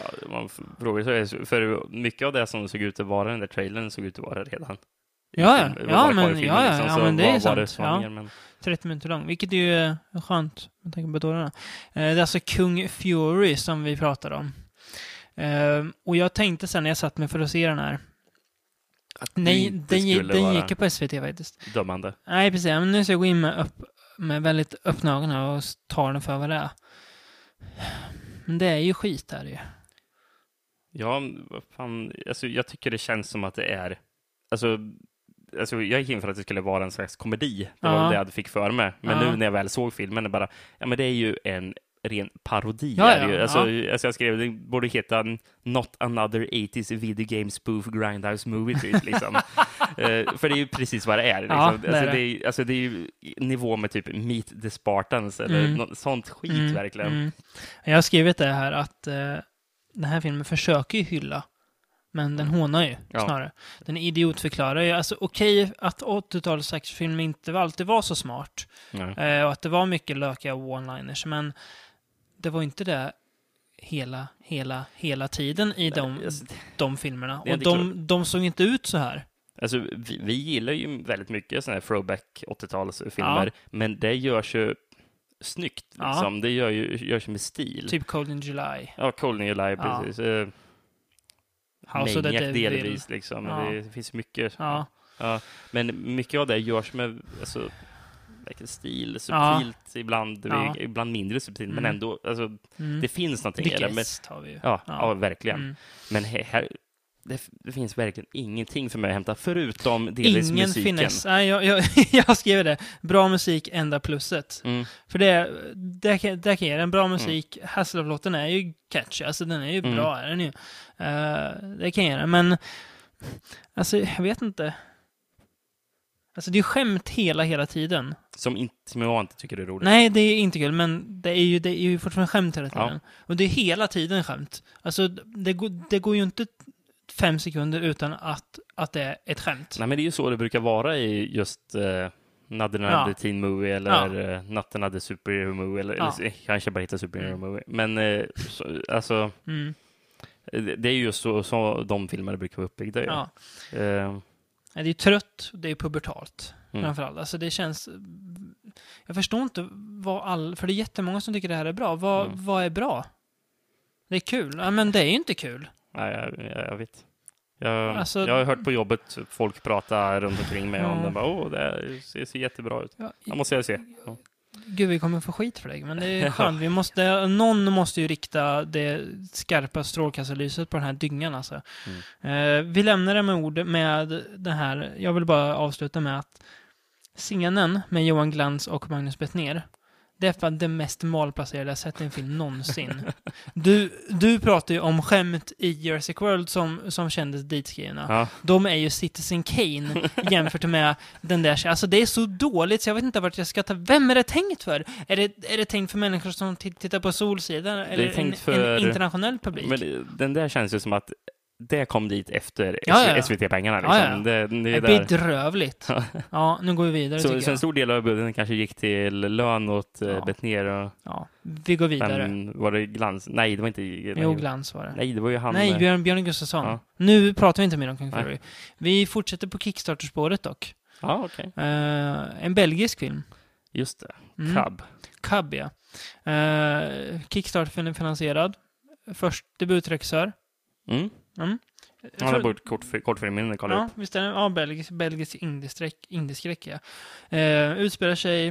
Speaker 3: Ja, man f- frågar sig, för mycket av det som såg ut att vara den där trailern såg ut att vara redan. i
Speaker 2: Ja, ja.
Speaker 3: filmen. Det
Speaker 2: Ja,
Speaker 3: var kvar i
Speaker 2: men-
Speaker 3: filmen
Speaker 2: ja, ja, ja,
Speaker 3: så
Speaker 2: men det
Speaker 3: vad var
Speaker 2: är sant.
Speaker 3: som
Speaker 2: Ja.
Speaker 3: var mer, men,
Speaker 2: 30 minuter lång, vilket är ju eh, skönt med tanke på dårarna. Eh, det är alltså Kung Fury som vi pratar om. Eh, och jag tänkte sen när jag satt mig för att se den här.
Speaker 3: att det
Speaker 2: Nej,
Speaker 3: inte
Speaker 2: den, gi-
Speaker 3: skulle
Speaker 2: den
Speaker 3: vara
Speaker 2: gick ju på SVT faktiskt.
Speaker 3: dömande.
Speaker 2: Nej, precis. Men nu ska jag gå in med, upp, med väldigt öppna ögon här och ta den för vad det är. Men det är ju skit här ju.
Speaker 3: Ja, men vad fan, alltså, jag tycker det känns som att det är, alltså, alltså jag gick in för att det skulle vara en slags komedi, det
Speaker 2: Ja.
Speaker 3: var det jag fick för mig, men
Speaker 2: Ja.
Speaker 3: nu när jag väl såg filmen, det bara, ja men det är ju en ren parodi.
Speaker 2: Ja,
Speaker 3: är det
Speaker 2: ja,
Speaker 3: ju. Alltså, alltså jag skrev, det borde heta Not another 80s video game spoof grindhouse movie typ, liksom. Eh, för det är ju precis vad det är. Liksom.
Speaker 2: Ja, det
Speaker 3: alltså,
Speaker 2: är det.
Speaker 3: det är, alltså det är ju i nivå med typ Meet the Spartans eller
Speaker 2: Mm.
Speaker 3: något sånt skit
Speaker 2: Mm,
Speaker 3: verkligen.
Speaker 2: mm. Jag har skrivit det här att eh, den här filmen försöker ju hylla, men den hånar ju
Speaker 3: Mm. Ja.
Speaker 2: snarare. Den idiotförklarar ju. Alltså okej att 80-talets actionfilm inte alltid var så smart
Speaker 3: Ja.
Speaker 2: eh, och att det var mycket lökiga one-liners, men det var ju inte det hela, hela, hela tiden i de,
Speaker 3: Alltså,
Speaker 2: de filmerna.
Speaker 3: Det är
Speaker 2: Och
Speaker 3: inte
Speaker 2: de, de såg inte ut så här.
Speaker 3: Alltså, vi, vi gillar ju väldigt mycket sådana här throwback 80-talsfilmer, men det görs ju snyggt.
Speaker 2: Ja.
Speaker 3: Liksom. Det gör ju, görs ju med stil.
Speaker 2: Typ Cold in July.
Speaker 3: Ja, Cold New Life,
Speaker 2: Ja.
Speaker 3: precis. Eh,
Speaker 2: House of the
Speaker 3: Maniac
Speaker 2: Devil.
Speaker 3: delvis, liksom. Men
Speaker 2: Ja.
Speaker 3: Det, det finns mycket.
Speaker 2: Ja.
Speaker 3: Men mycket av det görs med alltså, verkligen stil,
Speaker 2: Ja.
Speaker 3: subtilt ibland,
Speaker 2: Ja.
Speaker 3: ibland mindre subtilt, men
Speaker 2: Mm.
Speaker 3: ändå, alltså,
Speaker 2: Mm.
Speaker 3: det finns någonting
Speaker 2: The
Speaker 3: i det. Men,
Speaker 2: Guest har vi ju.
Speaker 3: ja,
Speaker 2: Ja.
Speaker 3: ja. verkligen.
Speaker 2: Mm.
Speaker 3: Men he- här, det, f- det finns verkligen ingenting för mig att hämta, förutom delvis
Speaker 2: Ingen
Speaker 3: musiken.
Speaker 2: finess. Nej, jag, jag, jag skriver det. Bra musik, enda plusset.
Speaker 3: Mm.
Speaker 2: För det, det, kan- det kan ge den. Bra musik. Hasselhoff-låten är ju catchy. Alltså den är ju
Speaker 3: Mm.
Speaker 2: bra, är den ju. Eh, det kan ge den. Men, alltså jag vet inte. Alltså det är ju skämt hela, hela tiden.
Speaker 3: Som, inte, som jag inte tycker är roligt.
Speaker 2: Nej, det är inte kul, men det är ju, det är ju fortfarande skämt hela tiden. Och det är hela tiden skämt. Alltså, det, går- det går ju inte fem sekunder utan att, att det är ett skämt.
Speaker 3: Nej, men det är ju så det brukar vara i just eh, Natten
Speaker 2: Ja.
Speaker 3: hade teen movie eller eh, Natten hade superhero movie eller,
Speaker 2: Ja.
Speaker 3: eller kanske bara hitta superhero
Speaker 2: Mm.
Speaker 3: movie. Men eh, så, alltså,
Speaker 2: Mm,
Speaker 3: eh, det det är ju just så, så de filmerna brukar vara uppbyggda. ju.
Speaker 2: ja.
Speaker 3: Eh,
Speaker 2: Nej, Det är trött, det är pubertalt
Speaker 3: Mm.
Speaker 2: framförallt. Alltså det känns... Jag förstår inte vad all... För det är jättemånga som tycker det här är bra. Vad,
Speaker 3: Mm.
Speaker 2: vad är bra? Det är kul. Ja, men det är ju inte kul.
Speaker 3: nej, jag, jag, jag vet. Jag,
Speaker 2: Alltså- Mm.
Speaker 3: jag har hört på jobbet folk prata runt omkring mig om
Speaker 2: Ja.
Speaker 3: den. Bara, Åh, det här ser, ser jättebra ut.
Speaker 2: Ja,
Speaker 3: Jag måste jag se. Ja.
Speaker 2: Gud, vi kommer få skit för det. Men det är
Speaker 3: Ja.
Speaker 2: skönt. Vi måste, någon måste ju rikta det skarpa strålkastarlyset på den här dyngan. Alltså.
Speaker 3: Mm.
Speaker 2: Eh, vi lämnar det med ord med det här. Jag vill bara avsluta med att scenen med Johan Glans och Magnus Bettner det är fan det mest malplacerade jag sett i en film någonsin. Du, du pratar ju om skämt i Jurassic World som, som kändes ditskrivna.
Speaker 3: Ja.
Speaker 2: De är ju Citizen Kane jämfört med den där. Alltså det är så dåligt så jag vet inte vart jag ska ta... Vem är det tänkt för? Är det, är det tänkt för människor som t- tittar på Solsidan? Eller en,
Speaker 3: tänkt för-
Speaker 2: en internationell publik?
Speaker 3: Men det- den där känns ju som att det kom dit efter
Speaker 2: Ja, ja, ja.
Speaker 3: SVT-pengarna. Liksom.
Speaker 2: Ja, ja, ja.
Speaker 3: Det, det
Speaker 2: det
Speaker 3: är
Speaker 2: är
Speaker 3: där.
Speaker 2: bedrövligt. ja, nu går vi vidare
Speaker 3: Så,
Speaker 2: tycker
Speaker 3: så en
Speaker 2: jag.
Speaker 3: stor del av budgeten kanske gick till lön åt
Speaker 2: Ja.
Speaker 3: ja. Betnér och
Speaker 2: Ja, vi går vidare.
Speaker 3: vem var det Glans? Nej, det var inte
Speaker 2: Jo, Glans var det. Nej,
Speaker 3: Nej, det var ju han. eh,
Speaker 2: Björn, Björn Gustafsson.
Speaker 3: Ja.
Speaker 2: Nu pratar vi inte mer om Kung
Speaker 3: Nej.
Speaker 2: Fury. Vi fortsätter på Kickstarter-spåret dock.
Speaker 3: Ja, okej.
Speaker 2: Eh, en belgisk film.
Speaker 3: Just det.
Speaker 2: Mm.
Speaker 3: Cub.
Speaker 2: Cub, ja. Eh, Kickstarter-finansierad. Först debutregissör.
Speaker 3: Mm.
Speaker 2: Mm.
Speaker 3: Han har bort kort, kortfilmen kolla
Speaker 2: ja,
Speaker 3: upp.
Speaker 2: visst är det. Ja, belgisk, belgisk indieskräck, indieskräck ja. Eh, utspelar sig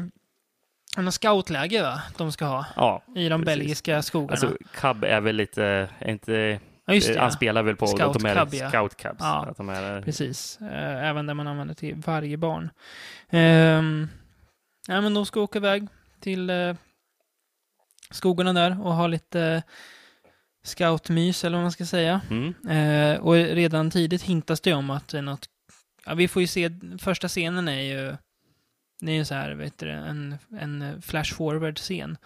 Speaker 2: i något scoutläger, va? De ska ha
Speaker 3: Ja.
Speaker 2: i de
Speaker 3: Precis.
Speaker 2: belgiska skogarna.
Speaker 3: Alltså, eh, Cub är väl lite, är inte,
Speaker 2: ja, just det.
Speaker 3: han
Speaker 2: Ja.
Speaker 3: spelar väl på
Speaker 2: Scout
Speaker 3: att de är
Speaker 2: Cub, ja.
Speaker 3: Scout Cubs.
Speaker 2: Ja.
Speaker 3: Att de är,
Speaker 2: Precis. Eh, även där man använder till varje barn. Ehm, ja, men de ska åka iväg till eh, skogarna där och ha lite eh, scoutmys, eller vad man ska säga.
Speaker 3: mm.
Speaker 2: Eh, och redan tidigt hintas det om att det är något... Ja, vi får ju se, första scenen är ju... Det är ju så här, vet du, en, en flash forward-scen.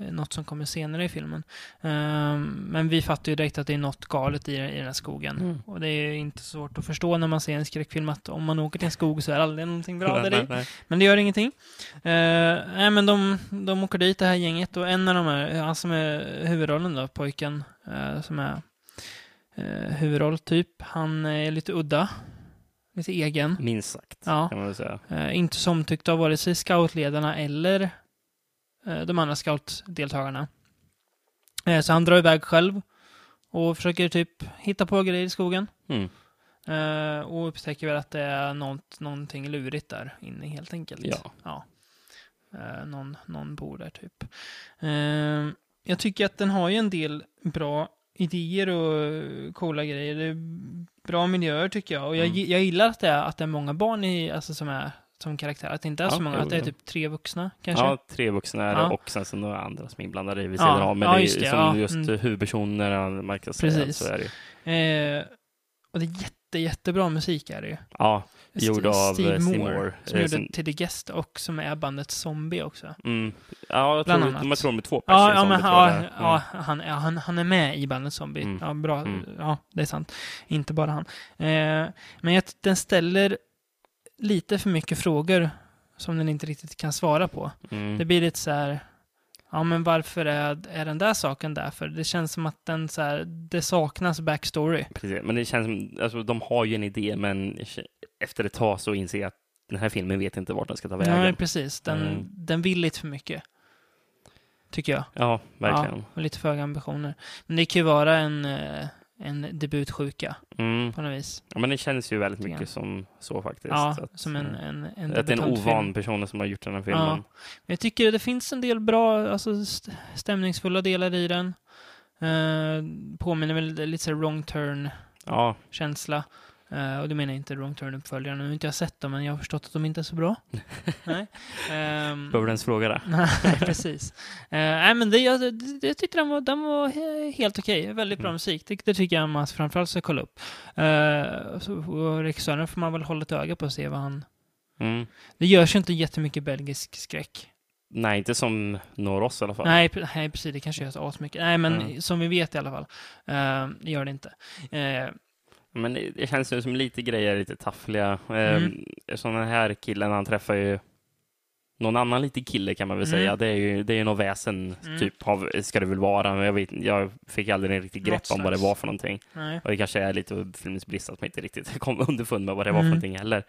Speaker 2: Eh, Något som kommer senare i filmen. Eh, men vi fattar ju direkt att det är något galet i, i den här skogen.
Speaker 3: Mm.
Speaker 2: Och det är ju inte svårt att förstå när man ser en skräckfilm att om man åker till en skog så är det aldrig någonting bra där
Speaker 3: Nej,
Speaker 2: i.
Speaker 3: nej, nej.
Speaker 2: Men det gör ingenting. Eh, nej, men de, de åker dit, det här gänget, och en av de här, han som är huvudrollen då, pojken, eh, som är eh, huvudroll typ, han är lite udda. Lite egen.
Speaker 3: Minst sagt,
Speaker 2: Ja.
Speaker 3: kan man väl säga.
Speaker 2: Eh, inte som tyckte av vare sig scoutledarna eller eh, de andra scoutdeltagarna. Eh, så han drar iväg själv och försöker typ hitta på grejer i skogen.
Speaker 3: Mm.
Speaker 2: Eh, och upptäcker väl att det är något, någonting lurigt där inne helt enkelt.
Speaker 3: Ja.
Speaker 2: Eh, någon, någon bor där typ. Eh, jag tycker att den har ju en del bra idéer och eh, coola grejer. Det är bra miljöer tycker jag. Och jag,
Speaker 3: Mm.
Speaker 2: gi- jag gillar att det, är, att det är många barn i, alltså, som är som karaktär. Att det inte är så
Speaker 3: Ja,
Speaker 2: många,
Speaker 3: jo,
Speaker 2: att det är
Speaker 3: jo.
Speaker 2: typ tre vuxna kanske.
Speaker 3: ja, tre vuxna är det
Speaker 2: Ja.
Speaker 3: och sen så några andra som är inblandade i vid
Speaker 2: Ja,
Speaker 3: sidan av. Men
Speaker 2: ja,
Speaker 3: det är
Speaker 2: just
Speaker 3: just
Speaker 2: det,
Speaker 3: som
Speaker 2: ja,
Speaker 3: just
Speaker 2: mm.
Speaker 3: huvudpersonerna, man kan säga.
Speaker 2: Precis.
Speaker 3: Så är det ju.
Speaker 2: Eh, och det är jätte, jättebra musik är det ju.
Speaker 3: Ja, gjord
Speaker 2: St-
Speaker 3: av eh, Steve Moore.
Speaker 2: Som
Speaker 3: eh,
Speaker 2: gjorde
Speaker 3: som-
Speaker 2: till The Guest och som är bandet Zombie också.
Speaker 3: Mm. Ja, jag
Speaker 2: Bland
Speaker 3: tror,
Speaker 2: annat.
Speaker 3: jag tror de är två personer
Speaker 2: Ja, ja,
Speaker 3: som
Speaker 2: men,
Speaker 3: betyder
Speaker 2: ja,
Speaker 3: det. Mm.
Speaker 2: ja han, ja, han, han är med i bandet Zombie.
Speaker 3: Mm.
Speaker 2: Ja, bra.
Speaker 3: Mm.
Speaker 2: Ja, det är sant. Inte bara han. Eh, men jag, den ställer lite för mycket frågor som den inte riktigt kan svara på.
Speaker 3: Mm.
Speaker 2: Det blir lite så här, ja men varför är, är den där saken där? För det känns som att den så här, det saknas backstory.
Speaker 3: Precis. Men det känns som, alltså, de har ju en idé, men efter ett tag så inser jag att den här filmen vet inte vart den ska ta vägen.
Speaker 2: Nej, precis. Den,
Speaker 3: Mm.
Speaker 2: den vill lite för mycket. Tycker jag.
Speaker 3: Ja, verkligen.
Speaker 2: Ja, och lite för höga ambitioner. Men det kan ju vara en, eh, en debutsjuka
Speaker 3: Mm.
Speaker 2: på något vis.
Speaker 3: Ja, men det känns ju väldigt
Speaker 2: Lite
Speaker 3: mycket som så faktiskt.
Speaker 2: Ja,
Speaker 3: att,
Speaker 2: som en,
Speaker 3: eh,
Speaker 2: en, en
Speaker 3: att det är en
Speaker 2: debutantfilm.
Speaker 3: ovan person som har gjort den här filmen.
Speaker 2: Ja. Men jag tycker det finns en del bra, alltså st- stämningsfulla delar i den. Eh, påminner väl lite så här wrong turn-känsla.
Speaker 3: Ja,
Speaker 2: Eh, och det menar jag inte wrong turn-uppföljaren. Nu har inte jag sett dem, men jag har förstått att de inte är så bra. Nej. Ehm,
Speaker 3: behöver du ens fråga det?
Speaker 2: Nej, precis. Eh, nej, men det, jag, det, jag tyckte den var, den var he- helt okej. Väldigt bra
Speaker 3: Mm.
Speaker 2: musik. Det, det tycker jag man framförallt ska kolla upp. Eh, så- och regissören får man väl hålla ett öga på och se vad han...
Speaker 3: Mm.
Speaker 2: Det görs ju inte jättemycket belgisk skräck.
Speaker 3: Nej, inte som når oss i alla fall.
Speaker 2: Nej, pre- nej, precis. Det kanske görs asmycket. Nej, men
Speaker 3: Mm.
Speaker 2: som vi vet i alla fall. Eh, det gör det inte. Eh,
Speaker 3: Men det det känns ju som lite grejer, lite taffliga. Ehm,
Speaker 2: Mm.
Speaker 3: Sådana här killen, han träffar ju någon annan liten kille kan man väl
Speaker 2: Mm.
Speaker 3: säga. Det är ju det är ju något väsen,
Speaker 2: Mm.
Speaker 3: typ, av, ska det väl vara. Men jag, vet, jag fick aldrig en riktig
Speaker 2: Något
Speaker 3: grepp om vad det
Speaker 2: slags.
Speaker 3: var för någonting.
Speaker 2: Nej.
Speaker 3: Och det kanske är lite filmens brist att man inte riktigt kom underfund med vad det var för
Speaker 2: Mm.
Speaker 3: någonting heller.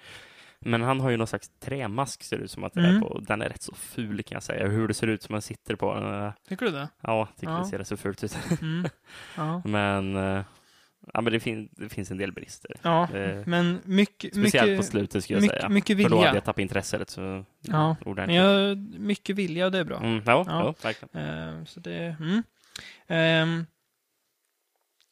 Speaker 3: Men han har ju någon slags trämask ser det ut som att det är
Speaker 2: Mm.
Speaker 3: på. Den är rätt så ful kan jag säga. Hur det ser ut som man sitter på den. eh,
Speaker 2: Tycker du det?
Speaker 3: Ja, jag tycker
Speaker 2: Ja.
Speaker 3: det ser rätt så fult ut.
Speaker 2: Mm. Ja.
Speaker 3: Men, eh, ja, men det, fin- det finns en del brister.
Speaker 2: ja.
Speaker 3: Eh,
Speaker 2: Men mycket...
Speaker 3: Speciellt
Speaker 2: mycket,
Speaker 3: på slutet skulle jag säga.
Speaker 2: mycket, mycket
Speaker 3: För då hade
Speaker 2: vilja.
Speaker 3: jag tappat intresset så
Speaker 2: Ja, Men
Speaker 3: ordentligt.
Speaker 2: jag, mycket vilja och det är bra.
Speaker 3: Mm, ja,
Speaker 2: Ja.
Speaker 3: ja, verkligen.
Speaker 2: Ehm, så det... Mm. Ehm,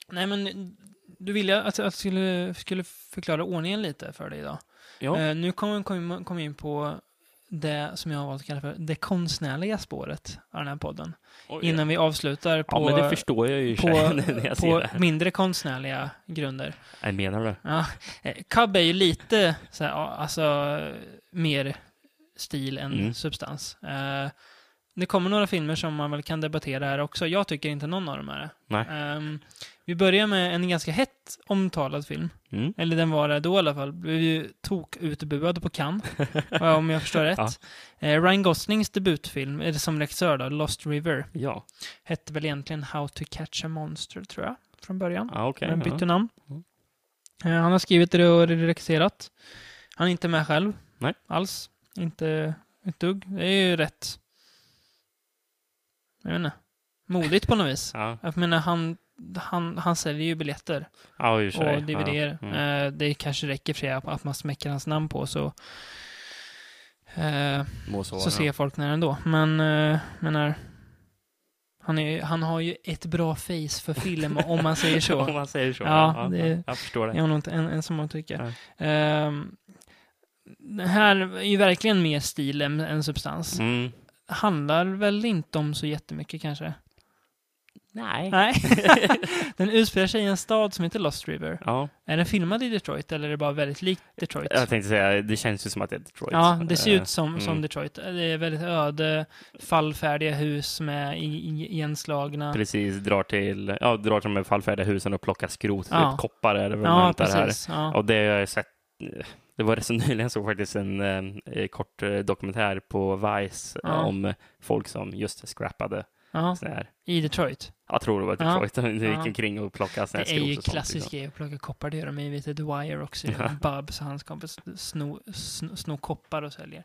Speaker 2: nej, men du ville att att jag skulle, skulle förklara ordningen lite för dig idag.
Speaker 3: Ja.
Speaker 2: Ehm, nu kommer kom, kom in på det som jag har valt att kalla för det konstnärliga spåret av den här podden.
Speaker 3: Oj,
Speaker 2: Innan vi avslutar
Speaker 3: ja,
Speaker 2: på,
Speaker 3: men det förstår jag ju i och för sig
Speaker 2: på,
Speaker 3: när jag ser det
Speaker 2: på
Speaker 3: här.
Speaker 2: mindre konstnärliga grunder.
Speaker 3: Nej, menar du?
Speaker 2: Ja, eh, Cub är ju lite så här, ja, alltså eh, mer stil än
Speaker 3: Mm.
Speaker 2: substans. Eh, det kommer några filmer som man väl kan debattera här också. Jag tycker inte någon av dem är det.
Speaker 3: Nej.
Speaker 2: Ehm, vi börjar med en ganska hett omtalad film.
Speaker 3: Mm.
Speaker 2: Eller den var det då i alla fall. Blev ju tokutbuad på Cannes, eh, om jag förstår rätt.
Speaker 3: Ja.
Speaker 2: Eh, Ryan Goslings debutfilm, eller som regissör då, Lost River,
Speaker 3: Ja,
Speaker 2: hette väl egentligen How to Catch a Monster, tror jag, från början.
Speaker 3: ah, okej.
Speaker 2: Men bytte
Speaker 3: ja.
Speaker 2: namn.
Speaker 3: Mm.
Speaker 2: Eh, Han har skrivit det och regisserat. Han är inte med själv.
Speaker 3: Nej.
Speaker 2: Alls. Inte ett dugg. Det är ju rätt... Jag vet inte. Modigt på något vis.
Speaker 3: Ja,
Speaker 2: Jag menar, han, han, han säljer ju biljetter
Speaker 3: ja i och för sig.
Speaker 2: och DVDer.
Speaker 3: Ja. Mm.
Speaker 2: Eh, Det kanske räcker för sig att att man smäcker hans namn på så... eh,
Speaker 3: Må så,
Speaker 2: så
Speaker 3: vara.
Speaker 2: ser folk när ändå. Men, eh, menar... Han, är, ju- han har ju ett bra face för film, om man säger så.
Speaker 3: Om man säger så.
Speaker 2: Ja,
Speaker 3: Ja,
Speaker 2: det-
Speaker 3: ja, jag förstår det.
Speaker 2: Jag har nog inte en, ensam att tycka.
Speaker 3: Nej.
Speaker 2: Ehm, det här är ju verkligen mer stil än, än substans.
Speaker 3: Mm.
Speaker 2: Handlar väl inte om så jättemycket kanske?
Speaker 3: Nej.
Speaker 2: Nej. Den utspelar sig i en stad som heter Lost River.
Speaker 3: Ja,
Speaker 2: Är den filmad i Detroit eller är det bara väldigt likt Detroit?
Speaker 3: jag tänkte säga, det känns ju som att det är Detroit.
Speaker 2: Ja, det ser
Speaker 3: Eh,
Speaker 2: ut som, som
Speaker 3: mm.
Speaker 2: Detroit. Det är väldigt öde, fallfärdiga hus med i- i- igenslagna.
Speaker 3: Precis, drar till, ja, drar till de här fallfärdiga husen och plockar skrot.
Speaker 2: Ja.
Speaker 3: Typ koppar är det väl man
Speaker 2: Ja,
Speaker 3: hämtar här.
Speaker 2: precis. Ja.
Speaker 3: Och det har jag sett. Det var rätt så nyligen jag såg faktiskt en eh, kort eh, dokumentär på Vice eh,
Speaker 2: Ja.
Speaker 3: om folk som just scrappade
Speaker 2: Ja.
Speaker 3: sån här.
Speaker 2: I Detroit.
Speaker 3: Jag tror det var
Speaker 2: Ja.
Speaker 3: Detroit. De gick
Speaker 2: Ja.
Speaker 3: omkring och plockade sån här
Speaker 2: Det är
Speaker 3: skrot
Speaker 2: ju
Speaker 3: och sånt,
Speaker 2: klassisk
Speaker 3: liksom.
Speaker 2: grej att plocka koppar. Det gör de ju vid The Wire också.
Speaker 3: Ja.
Speaker 2: Bob och hans kompis snor sno, sno koppar och säljer.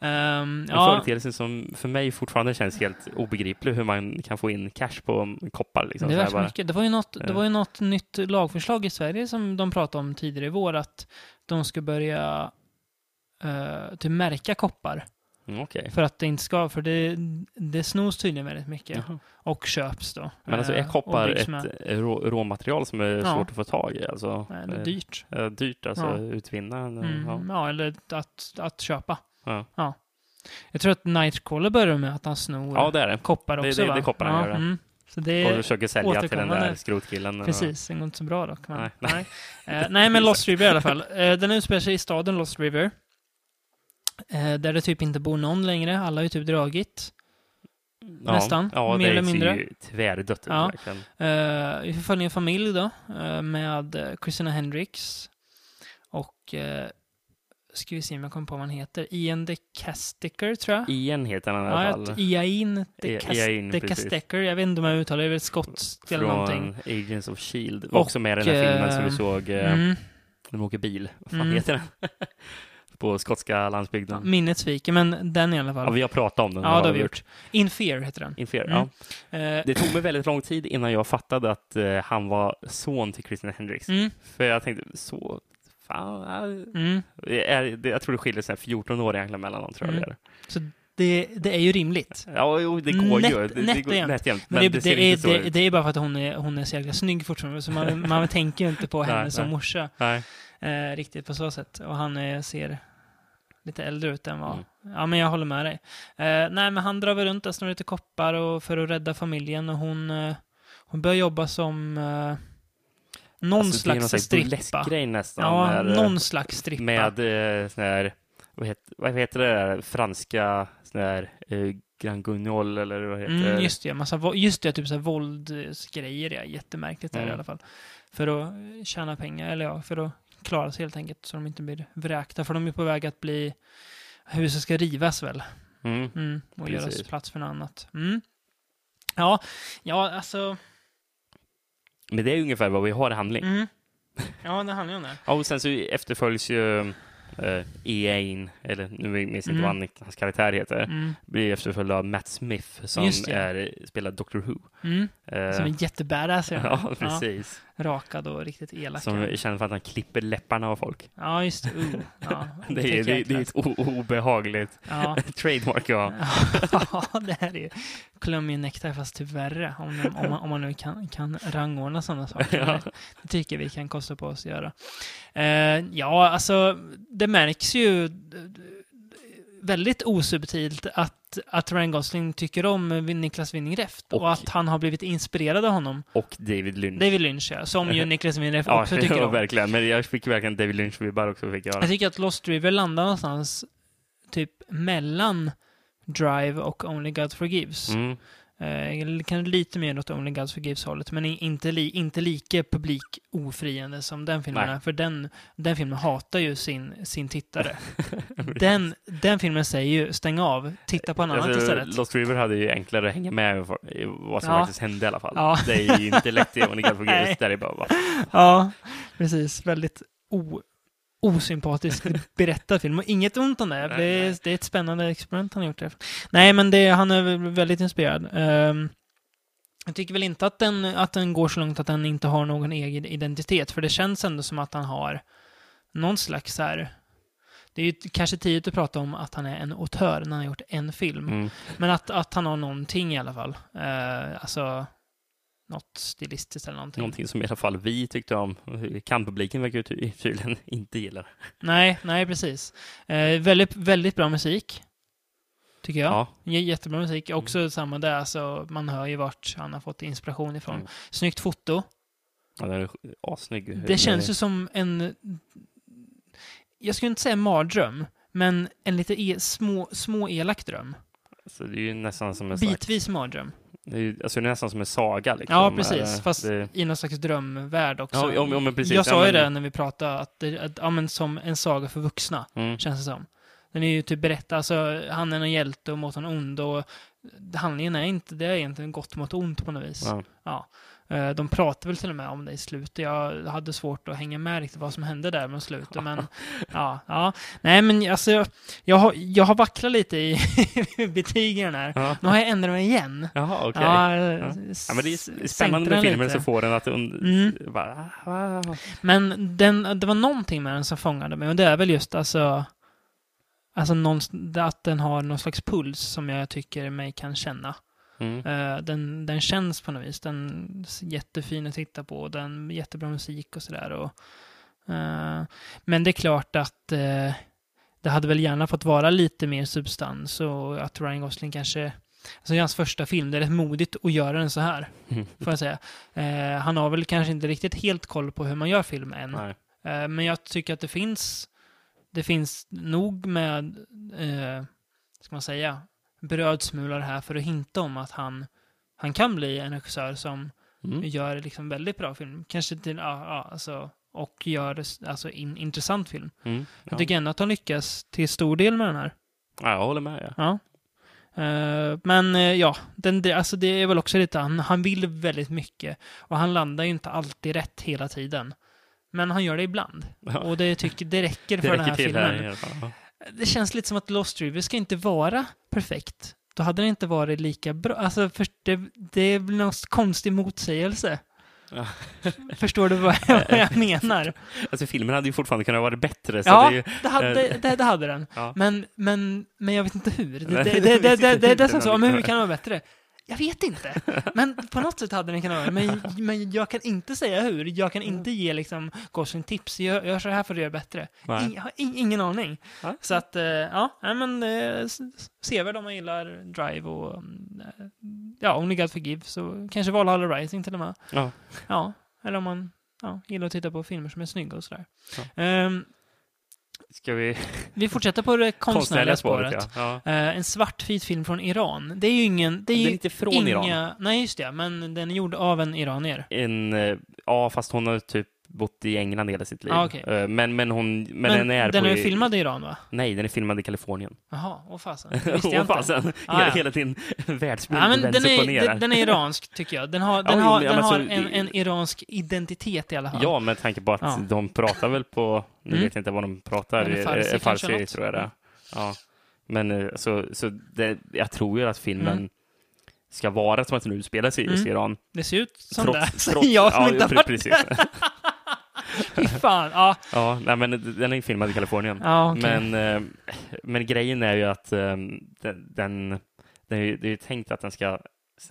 Speaker 2: Ehm,
Speaker 3: En
Speaker 2: ja,
Speaker 3: företeelse som för mig fortfarande känns helt obegriplig hur man kan få in cash på koppar. Liksom,
Speaker 2: det
Speaker 3: så
Speaker 2: är
Speaker 3: här
Speaker 2: värt
Speaker 3: bara.
Speaker 2: mycket. Det var, ju något, det
Speaker 3: Ja.
Speaker 2: var ju något nytt lagförslag i Sverige som de pratade om tidigare i vår. Att de ska börja uh, typ märka koppar.
Speaker 3: Mm, Okej.
Speaker 2: För att det inte ska, för det, det snos tydligen väldigt mycket.
Speaker 3: Jaha.
Speaker 2: Och köps då.
Speaker 3: Men alltså
Speaker 2: eh,
Speaker 3: är
Speaker 2: och
Speaker 3: koppar
Speaker 2: byggs
Speaker 3: ett
Speaker 2: med.
Speaker 3: eh, rå, råmaterial som är
Speaker 2: Ja.
Speaker 3: svårt att få tag i? Alltså,
Speaker 2: Nej, det är
Speaker 3: Eh,
Speaker 2: dyrt.
Speaker 3: eh, dyrt alltså,
Speaker 2: Ja.
Speaker 3: utvinna. eh,
Speaker 2: Mm,
Speaker 3: Ja.
Speaker 2: ja. eller att, att köpa.
Speaker 3: Ja.
Speaker 2: Jag tror att Nightcrawler börjar med att han snor
Speaker 3: ja, det är det.
Speaker 2: koppar
Speaker 3: Det-
Speaker 2: också
Speaker 3: det-
Speaker 2: va?
Speaker 3: det är koppar han gör det.
Speaker 2: Mm. Så det
Speaker 3: Och
Speaker 2: är,
Speaker 3: försöker sälja till den där
Speaker 2: återkommande.
Speaker 3: skrotkillen. eh,
Speaker 2: precis, det går inte så bra dock. Men,
Speaker 3: Nej,
Speaker 2: nej,
Speaker 3: nej.
Speaker 2: nej. Eh, nej, men Lost River i alla fall. Eh, den utspelar sig i staden Lost River. Eh, där det typ inte bor någon längre. Alla har ju typ dragit.
Speaker 3: Ja.
Speaker 2: Nästan,
Speaker 3: Ja,
Speaker 2: mer
Speaker 3: det
Speaker 2: eller mindre.
Speaker 3: ser ju tvärdött ut
Speaker 2: Ja.
Speaker 3: verkligen.
Speaker 2: Eh, vi får följa en familj då, eh, med eh, Christina Hendricks och eh, ska vi se om jag kommer på vad han heter. Ian de Casticker, tror jag.
Speaker 3: Ian heter han i
Speaker 2: Ja,
Speaker 3: alla
Speaker 2: jag tror-
Speaker 3: fall.
Speaker 2: Iain
Speaker 3: I-
Speaker 2: de, Cas-
Speaker 3: Iain,
Speaker 2: de
Speaker 3: precis.
Speaker 2: Casticker. Jag vet inte om jag uttalar det, det är väl skotskt eller någonting.
Speaker 3: Från Agents of Shield. Var också med i E den här
Speaker 2: Och,
Speaker 3: filmen som vi
Speaker 2: eh,
Speaker 3: såg. eh,
Speaker 2: Mm.
Speaker 3: De åker bil. Vad fan
Speaker 2: Mm.
Speaker 3: heter den? På skotska
Speaker 2: Ja,
Speaker 3: landsbygden.
Speaker 2: Minnet sviker, men den i alla fall.
Speaker 3: Ja, vi har pratat om den.
Speaker 2: Ja, det har vi gjort. In Fear heter den.
Speaker 3: Inför,
Speaker 2: Mm.
Speaker 3: ja.
Speaker 2: Eh,
Speaker 3: Det tog mig väldigt lång tid innan jag fattade att eh, han var son till Christina Hendricks.
Speaker 2: mm,
Speaker 3: För jag tänkte, så... Fan,
Speaker 2: mm.
Speaker 3: eh, är, det, jag tror det skiljer sig 14 år egentligen mellan dem, tror jag
Speaker 2: Mm.
Speaker 3: det är.
Speaker 2: Det, det är ju rimligt.
Speaker 3: Ja, jo, det går
Speaker 2: Nätt-
Speaker 3: ju. Det, det
Speaker 2: nätt
Speaker 3: går
Speaker 2: jämnt.
Speaker 3: nätt jämnt.
Speaker 2: Men, det, det,
Speaker 3: ser
Speaker 2: är,
Speaker 3: inte så
Speaker 2: det,
Speaker 3: ut.
Speaker 2: det är bara för att hon är, hon är så jäkla snygg fortfarande, så man, man tänker ju inte på henne
Speaker 3: Nej,
Speaker 2: som
Speaker 3: nej.
Speaker 2: morsa
Speaker 3: Nej.
Speaker 2: eh, riktigt på så sätt. Och han eh, ser lite äldre ut än vad...
Speaker 3: Mm.
Speaker 2: Ja, men jag håller med dig. Eh, nej, men han drar väl runt och snurrar lite koppar och, för att rädda familjen och hon, eh, hon börjar jobba som eh, någon
Speaker 3: Alltså, det är
Speaker 2: slags strippa.
Speaker 3: burleskgrej nästan.
Speaker 2: Ja,
Speaker 3: när, eh,
Speaker 2: någon slags strippa.
Speaker 3: Med eh, sån här, vad heter, vad heter det där franska sån här eh, Grand Guignol eller vad heter
Speaker 2: Mm,
Speaker 3: det?
Speaker 2: just det, massa, vå- just det, typ så här våldsgrejer. Ja, jättemärkligt där i
Speaker 3: Mm.
Speaker 2: alla fall. För att eh, tjäna pengar, eller ja, för att klara sig helt enkelt så de inte blir vräkta. För de är på väg att bli... Huset ska rivas väl?
Speaker 3: Mm.
Speaker 2: Mm, och göras
Speaker 3: Precis.
Speaker 2: plats för något annat. Mm. Ja, ja, alltså...
Speaker 3: Men det är ungefär vad vi har i handling.
Speaker 2: Mm. Ja, det handlar ju om det.
Speaker 3: Ja, och sen så efterföljs ju eh, Iain, eller nu minns jag inte
Speaker 2: Mm.
Speaker 3: vad han- hans karaktär heter,
Speaker 2: Mm.
Speaker 3: blir efterföljd av Matt Smith som
Speaker 2: Just det.
Speaker 3: är, spelar Doctor Who.
Speaker 2: Mm.
Speaker 3: Eh,
Speaker 2: Som är jättebadass. är han.
Speaker 3: ja, precis.
Speaker 2: Rakad och riktigt elak.
Speaker 3: Som är känd för att han klipper läpparna av folk.
Speaker 2: Ja, just det. Uh, ja,
Speaker 3: Det är, det, det är ett o- obehagligt
Speaker 2: Ja.
Speaker 3: trademark jag har.
Speaker 2: ja, det här är ju Columbia-nektar fast typ värre. Om, om, man, om man nu kan, kan rangordna sådana saker.
Speaker 3: Ja.
Speaker 2: Det tycker vi kan kosta på oss att göra. Eh, ja, alltså det märks ju d- d- väldigt osubtilt att, att Ryan Gosling tycker om Niklas Winning Refn och,
Speaker 3: Och-
Speaker 2: att han har blivit inspirerad av honom.
Speaker 3: Och David Lynch.
Speaker 2: David Lynch, ja, som ju Niklas Winning Refn
Speaker 3: ja,
Speaker 2: också tycker om.
Speaker 3: verkligen. Men jag fick verkligen David Lynch-vibbar också. Fick jag.
Speaker 2: Jag tycker att Lost River landar någonstans typ mellan Drive och Only God Forgives.
Speaker 3: Mm.
Speaker 2: Eh, kanske lite mer åt Only God Forgives-hållet, men i- inte, li, inte lika publikofriande som den filmen
Speaker 3: Nej.
Speaker 2: är. För den, den filmen hatar ju sin, sin tittare. den, den filmen säger ju stäng av, titta på en annan
Speaker 3: Alltså,
Speaker 2: istället.
Speaker 3: Lost River hade ju enklare att hänga med i vad- i vad som
Speaker 2: Ja.
Speaker 3: faktiskt hände i alla fall.
Speaker 2: Ja.
Speaker 3: Det är ju inte lätt i Only God
Speaker 2: Nej.
Speaker 3: Forgives, där det är bara va?
Speaker 2: Ja, precis. Väldigt o, osympatisk berättad film. Och inget ont om det.
Speaker 3: Nej,
Speaker 2: Det är,
Speaker 3: nej.
Speaker 2: det är ett spännande experiment han har gjort. Där. Nej, men det, han är väl väldigt inspirerad. Ehm, jag tycker väl inte att den, att den går så långt att den inte har någon egen identitet, för det känns ändå som att han har någon slags så här... Det är ju t- kanske tidigt att prata om att han är en autör när han har gjort en film,
Speaker 3: Mm.
Speaker 2: men att, att han har någonting i alla fall. Uh, alltså, något stilistiskt eller någonting.
Speaker 3: Någonting som i alla fall vi tyckte om. Kan-publiken verkar ju ty- tydligen inte gilla det.
Speaker 2: Nej, nej precis. Eh, väldigt, väldigt bra musik. Tycker jag.
Speaker 3: Ja. Mm.
Speaker 2: J- Jättebra musik. Också samma där, alltså, man hör ju vart han har fått inspiration ifrån.
Speaker 3: Mm.
Speaker 2: Snyggt foto.
Speaker 3: ja, den är assnygg.
Speaker 2: Det känns ju som en... Jag skulle inte säga mardröm, men en lite e- små, små elak dröm.
Speaker 3: Alltså, det är ju nästan som en, slags,
Speaker 2: Bitvis mardröm.
Speaker 3: det är ju, alltså, det är nästan som en saga. Liksom.
Speaker 2: Ja, precis.
Speaker 3: Eh,
Speaker 2: Fast
Speaker 3: det-
Speaker 2: i någon slags drömvärld också.
Speaker 3: Ja, ja, ja, men precis.
Speaker 2: Jag
Speaker 3: Ja,
Speaker 2: sa ju
Speaker 3: men-
Speaker 2: det när vi pratade, att, det, att ja, men som en saga för vuxna.
Speaker 3: Mm.
Speaker 2: känns det som. Den är ju typ berättad, alltså han är en hjälte och mot en ond och handlingen är inte, det är egentligen gott mot ont på något vis.
Speaker 3: Ja.
Speaker 2: Eh, De pratar väl till och med om det i slutet. Jag hade svårt att hänga med riktigt vad som hände där mot slutet. Men, ja, ja. Nej, men alltså, jag- jag har, jag har vacklat lite i betygen här.
Speaker 3: Ja.
Speaker 2: Nu har jag ändrat mig igen.
Speaker 3: Jaha, okej.
Speaker 2: Ja,
Speaker 3: Ja, men det
Speaker 2: s-
Speaker 3: är
Speaker 2: sänkte
Speaker 3: spännande
Speaker 2: den
Speaker 3: med filmer
Speaker 2: lite.
Speaker 3: som får den att... und-
Speaker 2: Mm.
Speaker 3: Bara, ah, ah, ah.
Speaker 2: Men den, det var någonting med den som fångade mig och det är väl just alltså, alltså någon, att den har någon slags puls som jag tycker mig kan känna.
Speaker 3: Mm.
Speaker 2: Eh, den, den känns på något vis. Den är jättefin att titta på och den jättebra musik och sådär. och, eh, men det är klart att eh, det hade väl gärna fått vara lite mer substans och att Ryan Gosling kanske Alltså i hans första film, det är rätt modigt att göra den så här,
Speaker 3: Mm.
Speaker 2: får jag säga. Eh, han har väl kanske inte riktigt helt koll på hur man gör film än.
Speaker 3: Nej.
Speaker 2: Eh, Men jag tycker att det finns, det finns nog med, eh, ska man säga, brödsmulor här för att hinta om att han, han kan bli en regissör som
Speaker 3: Mm.
Speaker 2: gör liksom väldigt bra film. Kanske till, ja, ja, alltså, och gör alltså, in, intressant film.
Speaker 3: Mm. Ja.
Speaker 2: Jag tycker ändå att han lyckas till stor del med den här.
Speaker 3: Ja, jag håller med. Ja.
Speaker 2: Ja. Eh, men eh, ja, den, det, alltså det är väl också lite, han, han vill väldigt mycket och han landar ju inte alltid rätt hela tiden. Men han gör det ibland.
Speaker 3: Ja.
Speaker 2: Och det, tycker, det räcker för
Speaker 3: Det
Speaker 2: den
Speaker 3: räcker
Speaker 2: här
Speaker 3: till
Speaker 2: filmen.
Speaker 3: här i alla fall. Ja.
Speaker 2: Det känns lite som att Lost River ska inte vara perfekt. Då hade det inte varit lika bra. Alltså, för det, det blir någon konstig motsägelse.
Speaker 3: Ja.
Speaker 2: Förstår du vad jag, vad jag menar?
Speaker 3: Alltså filmen hade ju fortfarande kunnat vara bättre. Så
Speaker 2: Ja,
Speaker 3: det är ju, eh,
Speaker 2: det hade, det, det hade den.
Speaker 3: Ja.
Speaker 2: Men, men, men jag vet inte hur. Det,
Speaker 3: Nej,
Speaker 2: det, det, det, det, det, det,
Speaker 3: inte
Speaker 2: är som så,
Speaker 3: någon-
Speaker 2: men hur kan det vara bättre? Jag vet inte. Men på något sätt hade den kunnat vara men, men jag kan inte säga hur. Jag kan inte ge liksom Gosling tips. Gör, gör så här för att göra bättre.
Speaker 3: Nej.
Speaker 2: In, jag har in, ingen aning.
Speaker 3: Nej.
Speaker 2: Så att, eh, ja, nej, men eh, s- s- sevärd om man gillar Drive och mm, eh, ja, Only God Forgive så kanske Valhalla Rising till och med.
Speaker 3: ja.
Speaker 2: Ja, eller om man ja, gillar att titta på filmer som är snygga och sådär.
Speaker 3: Ja.
Speaker 2: Ehm,
Speaker 3: Ska vi...
Speaker 2: Vi fortsätter på det konstnärliga spåret.
Speaker 3: ja. ja.
Speaker 2: Eh, en svartvit film från Iran. Det är ju ingen... Det är
Speaker 3: Den är
Speaker 2: ju
Speaker 3: inte från
Speaker 2: inga...
Speaker 3: Iran.
Speaker 2: Nej, just det. Men den är gjord av en iranier.
Speaker 3: En, eh, ja, fast hon har typ bott i England hela sitt liv.
Speaker 2: Ah, okej.
Speaker 3: Eh, men, men, hon, men, den är
Speaker 2: den
Speaker 3: på...
Speaker 2: är filmad i Iran, va?
Speaker 3: Nej, den är filmad i Kalifornien.
Speaker 2: Jaha, åh fasen. Det Visste jag
Speaker 3: Åh,
Speaker 2: inte.
Speaker 3: fasen.
Speaker 2: Ah, ja.
Speaker 3: hela, hela din världsbild
Speaker 2: Ja, men den,
Speaker 3: vänds upp och
Speaker 2: är,
Speaker 3: ner.
Speaker 2: den, den är iransk, tycker jag. Den har, den
Speaker 3: jo,
Speaker 2: har,
Speaker 3: men
Speaker 2: den har
Speaker 3: alltså,
Speaker 2: en,
Speaker 3: det-
Speaker 2: en iransk identitet i alla fall.
Speaker 3: Ja, med tanke på att
Speaker 2: Ja.
Speaker 3: de pratar väl på, nu
Speaker 2: Mm.
Speaker 3: vet jag inte vad de pratar,
Speaker 2: Men
Speaker 3: men
Speaker 2: farsi
Speaker 3: farsi,
Speaker 2: kanske
Speaker 3: farsi
Speaker 2: något. Mm.
Speaker 3: tror jag det är. Ja. Men eh, så, så det, jag tror ju att filmen
Speaker 2: Mm.
Speaker 3: ska vara som att den utspelar sig i
Speaker 2: Mm.
Speaker 3: Iran.
Speaker 2: Det ser ut som det,
Speaker 3: Trots-
Speaker 2: säger
Speaker 3: trots-
Speaker 2: jag som
Speaker 3: ja,
Speaker 2: inte har
Speaker 3: pre-
Speaker 2: varit
Speaker 3: precis.
Speaker 2: där. Fy fan. Ja,
Speaker 3: Ja, nej, men den är filmad i Kalifornien.
Speaker 2: ja okej.
Speaker 3: men, eh, men grejen är ju att eh, den, den, den är ju, det är ju tänkt att den ska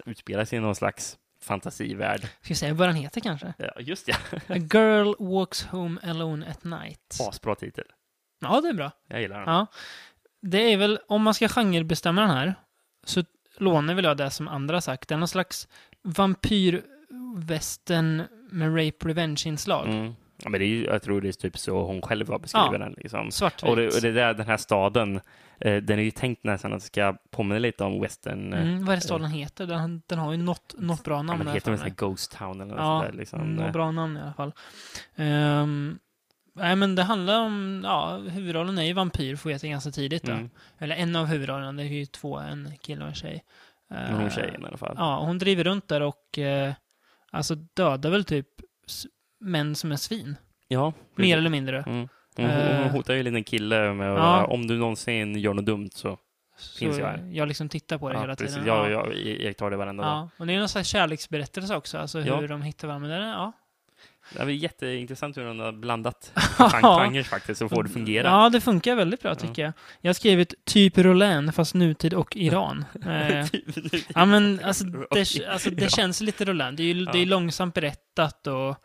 Speaker 3: utspela sig i någon slags fantasivärld.
Speaker 2: Ska vi säga vad den heter kanske?
Speaker 3: Ja, just det,
Speaker 2: A girl walks home alone at night.
Speaker 3: asbra titel.
Speaker 2: Ja, det är bra.
Speaker 3: Jag gillar den.
Speaker 2: Ja. Det är väl, om man ska genrebestämma den här, så lånar väl jag det som andra har sagt. Det är någon slags vampyrvästen med rape revenge-inslag.
Speaker 3: Mm. Ja, men det är ju, jag tror det är typ så hon själv har beskrivit
Speaker 2: Ja.
Speaker 3: den. Liksom.
Speaker 2: Svartvit.
Speaker 3: Och det, och det där, den här staden, eh, den är ju tänkt nästan att ska påminna lite om western. eh,
Speaker 2: Mm, vad är det staden heter? Den, den har ju något, något bra
Speaker 3: ja,
Speaker 2: namn.
Speaker 3: men
Speaker 2: här
Speaker 3: heter den sån
Speaker 2: för
Speaker 3: här
Speaker 2: mig.
Speaker 3: Ghost Town eller något
Speaker 2: Ja, mm,
Speaker 3: sånt där? Liksom.
Speaker 2: något
Speaker 3: Eh,
Speaker 2: bra namn i alla fall. Ehm, nej, men det handlar om, ja, huvudrollen är ju vampyr, får vi veta ganska tidigt då.
Speaker 3: Mm.
Speaker 2: Eller en av huvudrollerna, det är ju två, en kille och en tjej.
Speaker 3: Men hon
Speaker 2: Eh,
Speaker 3: är tjejen i alla fall.
Speaker 2: Ja, hon driver runt där och eh, alltså dödar väl typ s- män som är svin.
Speaker 3: Ja, precis.
Speaker 2: Mer eller mindre.
Speaker 3: Mm. Hon,
Speaker 2: Eh.
Speaker 3: hon hotar ju en liten kille med att
Speaker 2: Ja.
Speaker 3: om du någonsin gör något dumt så...
Speaker 2: Så
Speaker 3: Finns ju här.
Speaker 2: Jag liksom tittar på det hela
Speaker 3: precis.
Speaker 2: tiden.
Speaker 3: Jag,
Speaker 2: ja.
Speaker 3: jag, jag tar det varenda dag.
Speaker 2: Ja, och det är någon slags kärleksberättelse också, alltså hur
Speaker 3: Ja.
Speaker 2: de hittar varandra. Men det är- Ja.
Speaker 3: Det är jätteintressant hur hon har blandat
Speaker 2: Ja.
Speaker 3: genrer faktiskt och får det fungera.
Speaker 2: Ja, det funkar väldigt bra
Speaker 3: Ja.
Speaker 2: tycker jag. Jag har skrivit typ Roland, fast nutid och Iran. Eh,
Speaker 3: Typ.
Speaker 2: ja, men alltså det, alltså, det
Speaker 3: Ja.
Speaker 2: känns lite Roland. Det är ju det är
Speaker 3: Ja.
Speaker 2: långsamt berättat och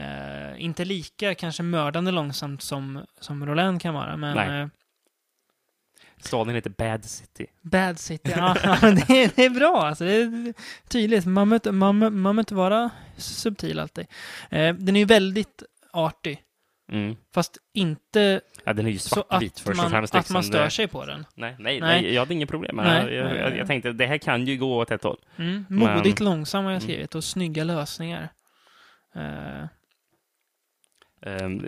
Speaker 2: eh, inte lika kanske mördande långsamt som, som Roland kan vara. Men
Speaker 3: Nej.
Speaker 2: eh,
Speaker 3: Staden heter Bad City.
Speaker 2: Bad City, ja, ja, men det, är, det är bra alltså. Det är tydligt. Mammut, mammut, mammut vara subtil alltid. Eh, den är ju väldigt artig,
Speaker 3: Mm.
Speaker 2: fast inte
Speaker 3: Ja, den är ju
Speaker 2: så
Speaker 3: svartvit
Speaker 2: att
Speaker 3: först och
Speaker 2: man,
Speaker 3: främst.
Speaker 2: att man
Speaker 3: liksom.
Speaker 2: stör
Speaker 3: Det-
Speaker 2: sig på den.
Speaker 3: Nej, nej,
Speaker 2: Nej.
Speaker 3: nej. jag hade inget problem med
Speaker 2: Nej.
Speaker 3: det. Jag, jag, jag tänkte det här kan ju gå åt ett håll.
Speaker 2: Mm.
Speaker 3: Men-
Speaker 2: Modigt långsam har jag
Speaker 3: Mm.
Speaker 2: skrivit och snygga lösningar. Eh,
Speaker 3: Um,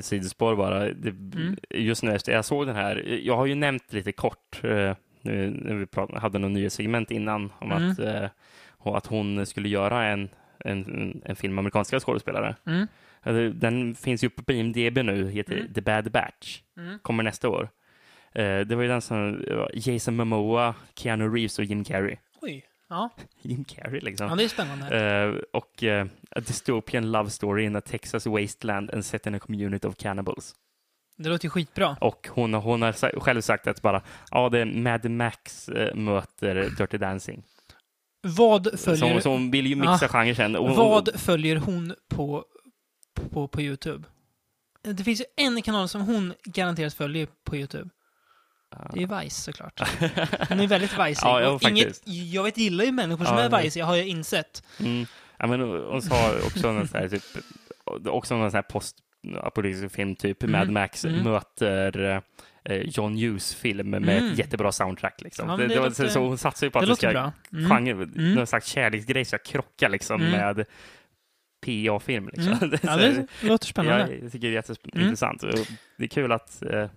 Speaker 3: sidospår bara. Det,
Speaker 2: Mm.
Speaker 3: Just nu, efter jag såg den här, jag har ju nämnt lite kort, eh, nu när vi pratade, hade något nyhetssegment innan, om
Speaker 2: Mm.
Speaker 3: att, eh, och att hon skulle göra en, en, en film med amerikanska skådespelare.
Speaker 2: mm.
Speaker 3: Alltså, Den finns ju uppe på IMDB nu, heter
Speaker 2: Mm.
Speaker 3: The Bad Batch,
Speaker 2: Mm.
Speaker 3: kommer nästa år. Eh, Det var ju den som det var Jason Momoa, Keanu Reeves och Jim Carrey.
Speaker 2: Oj. Ja.
Speaker 3: Jim Carrey liksom.
Speaker 2: ja, det är spännande.
Speaker 3: Eh, och eh, A Dystopian Love Story in a Texas Wasteland and Set in a Community of Cannibals.
Speaker 2: Det låter ju skitbra.
Speaker 3: Och hon, hon har sa- själv sagt att bara, ja det är Mad Max eh, möter Dirty Dancing.
Speaker 2: Vad
Speaker 3: Så
Speaker 2: följer,
Speaker 3: hon, så hon vill ju mixa
Speaker 2: Ah.
Speaker 3: genrer sen. Och Hon,
Speaker 2: vad följer hon på, på, på YouTube? Det finns ju en kanal som hon garanterat följer på YouTube. Det är ju Vice såklart. Hon är väldigt vice
Speaker 3: Ja, ja,
Speaker 2: Inget,
Speaker 3: faktiskt.
Speaker 2: Jag vet, gillar ju människor som
Speaker 3: Ja,
Speaker 2: är
Speaker 3: ja.
Speaker 2: vice, jag har ju insett.
Speaker 3: Mm. Ja, men hon hon sa också någon sån här, typ, också någon sån här postapokalyptisk film, typ
Speaker 2: Mm.
Speaker 3: Mad Max
Speaker 2: Mm.
Speaker 3: möter eh, John Hughes film med
Speaker 2: Mm.
Speaker 3: ett jättebra soundtrack. Liksom.
Speaker 2: Ja, men
Speaker 3: det,
Speaker 2: det
Speaker 3: det var,
Speaker 2: låter-
Speaker 3: så, så hon satsar ju på
Speaker 2: det
Speaker 3: att det ska
Speaker 2: låter bra. Mm.
Speaker 3: genre,
Speaker 2: Mm.
Speaker 3: någon slags kärleksgrej ska krocka liksom
Speaker 2: Mm.
Speaker 3: med PA-film. Liksom.
Speaker 2: Mm.
Speaker 3: Det är
Speaker 2: Ja,
Speaker 3: så-
Speaker 2: det låter spännande. Mm.
Speaker 3: Jag tycker det är jätteintressant. Och Det är kul att, eh,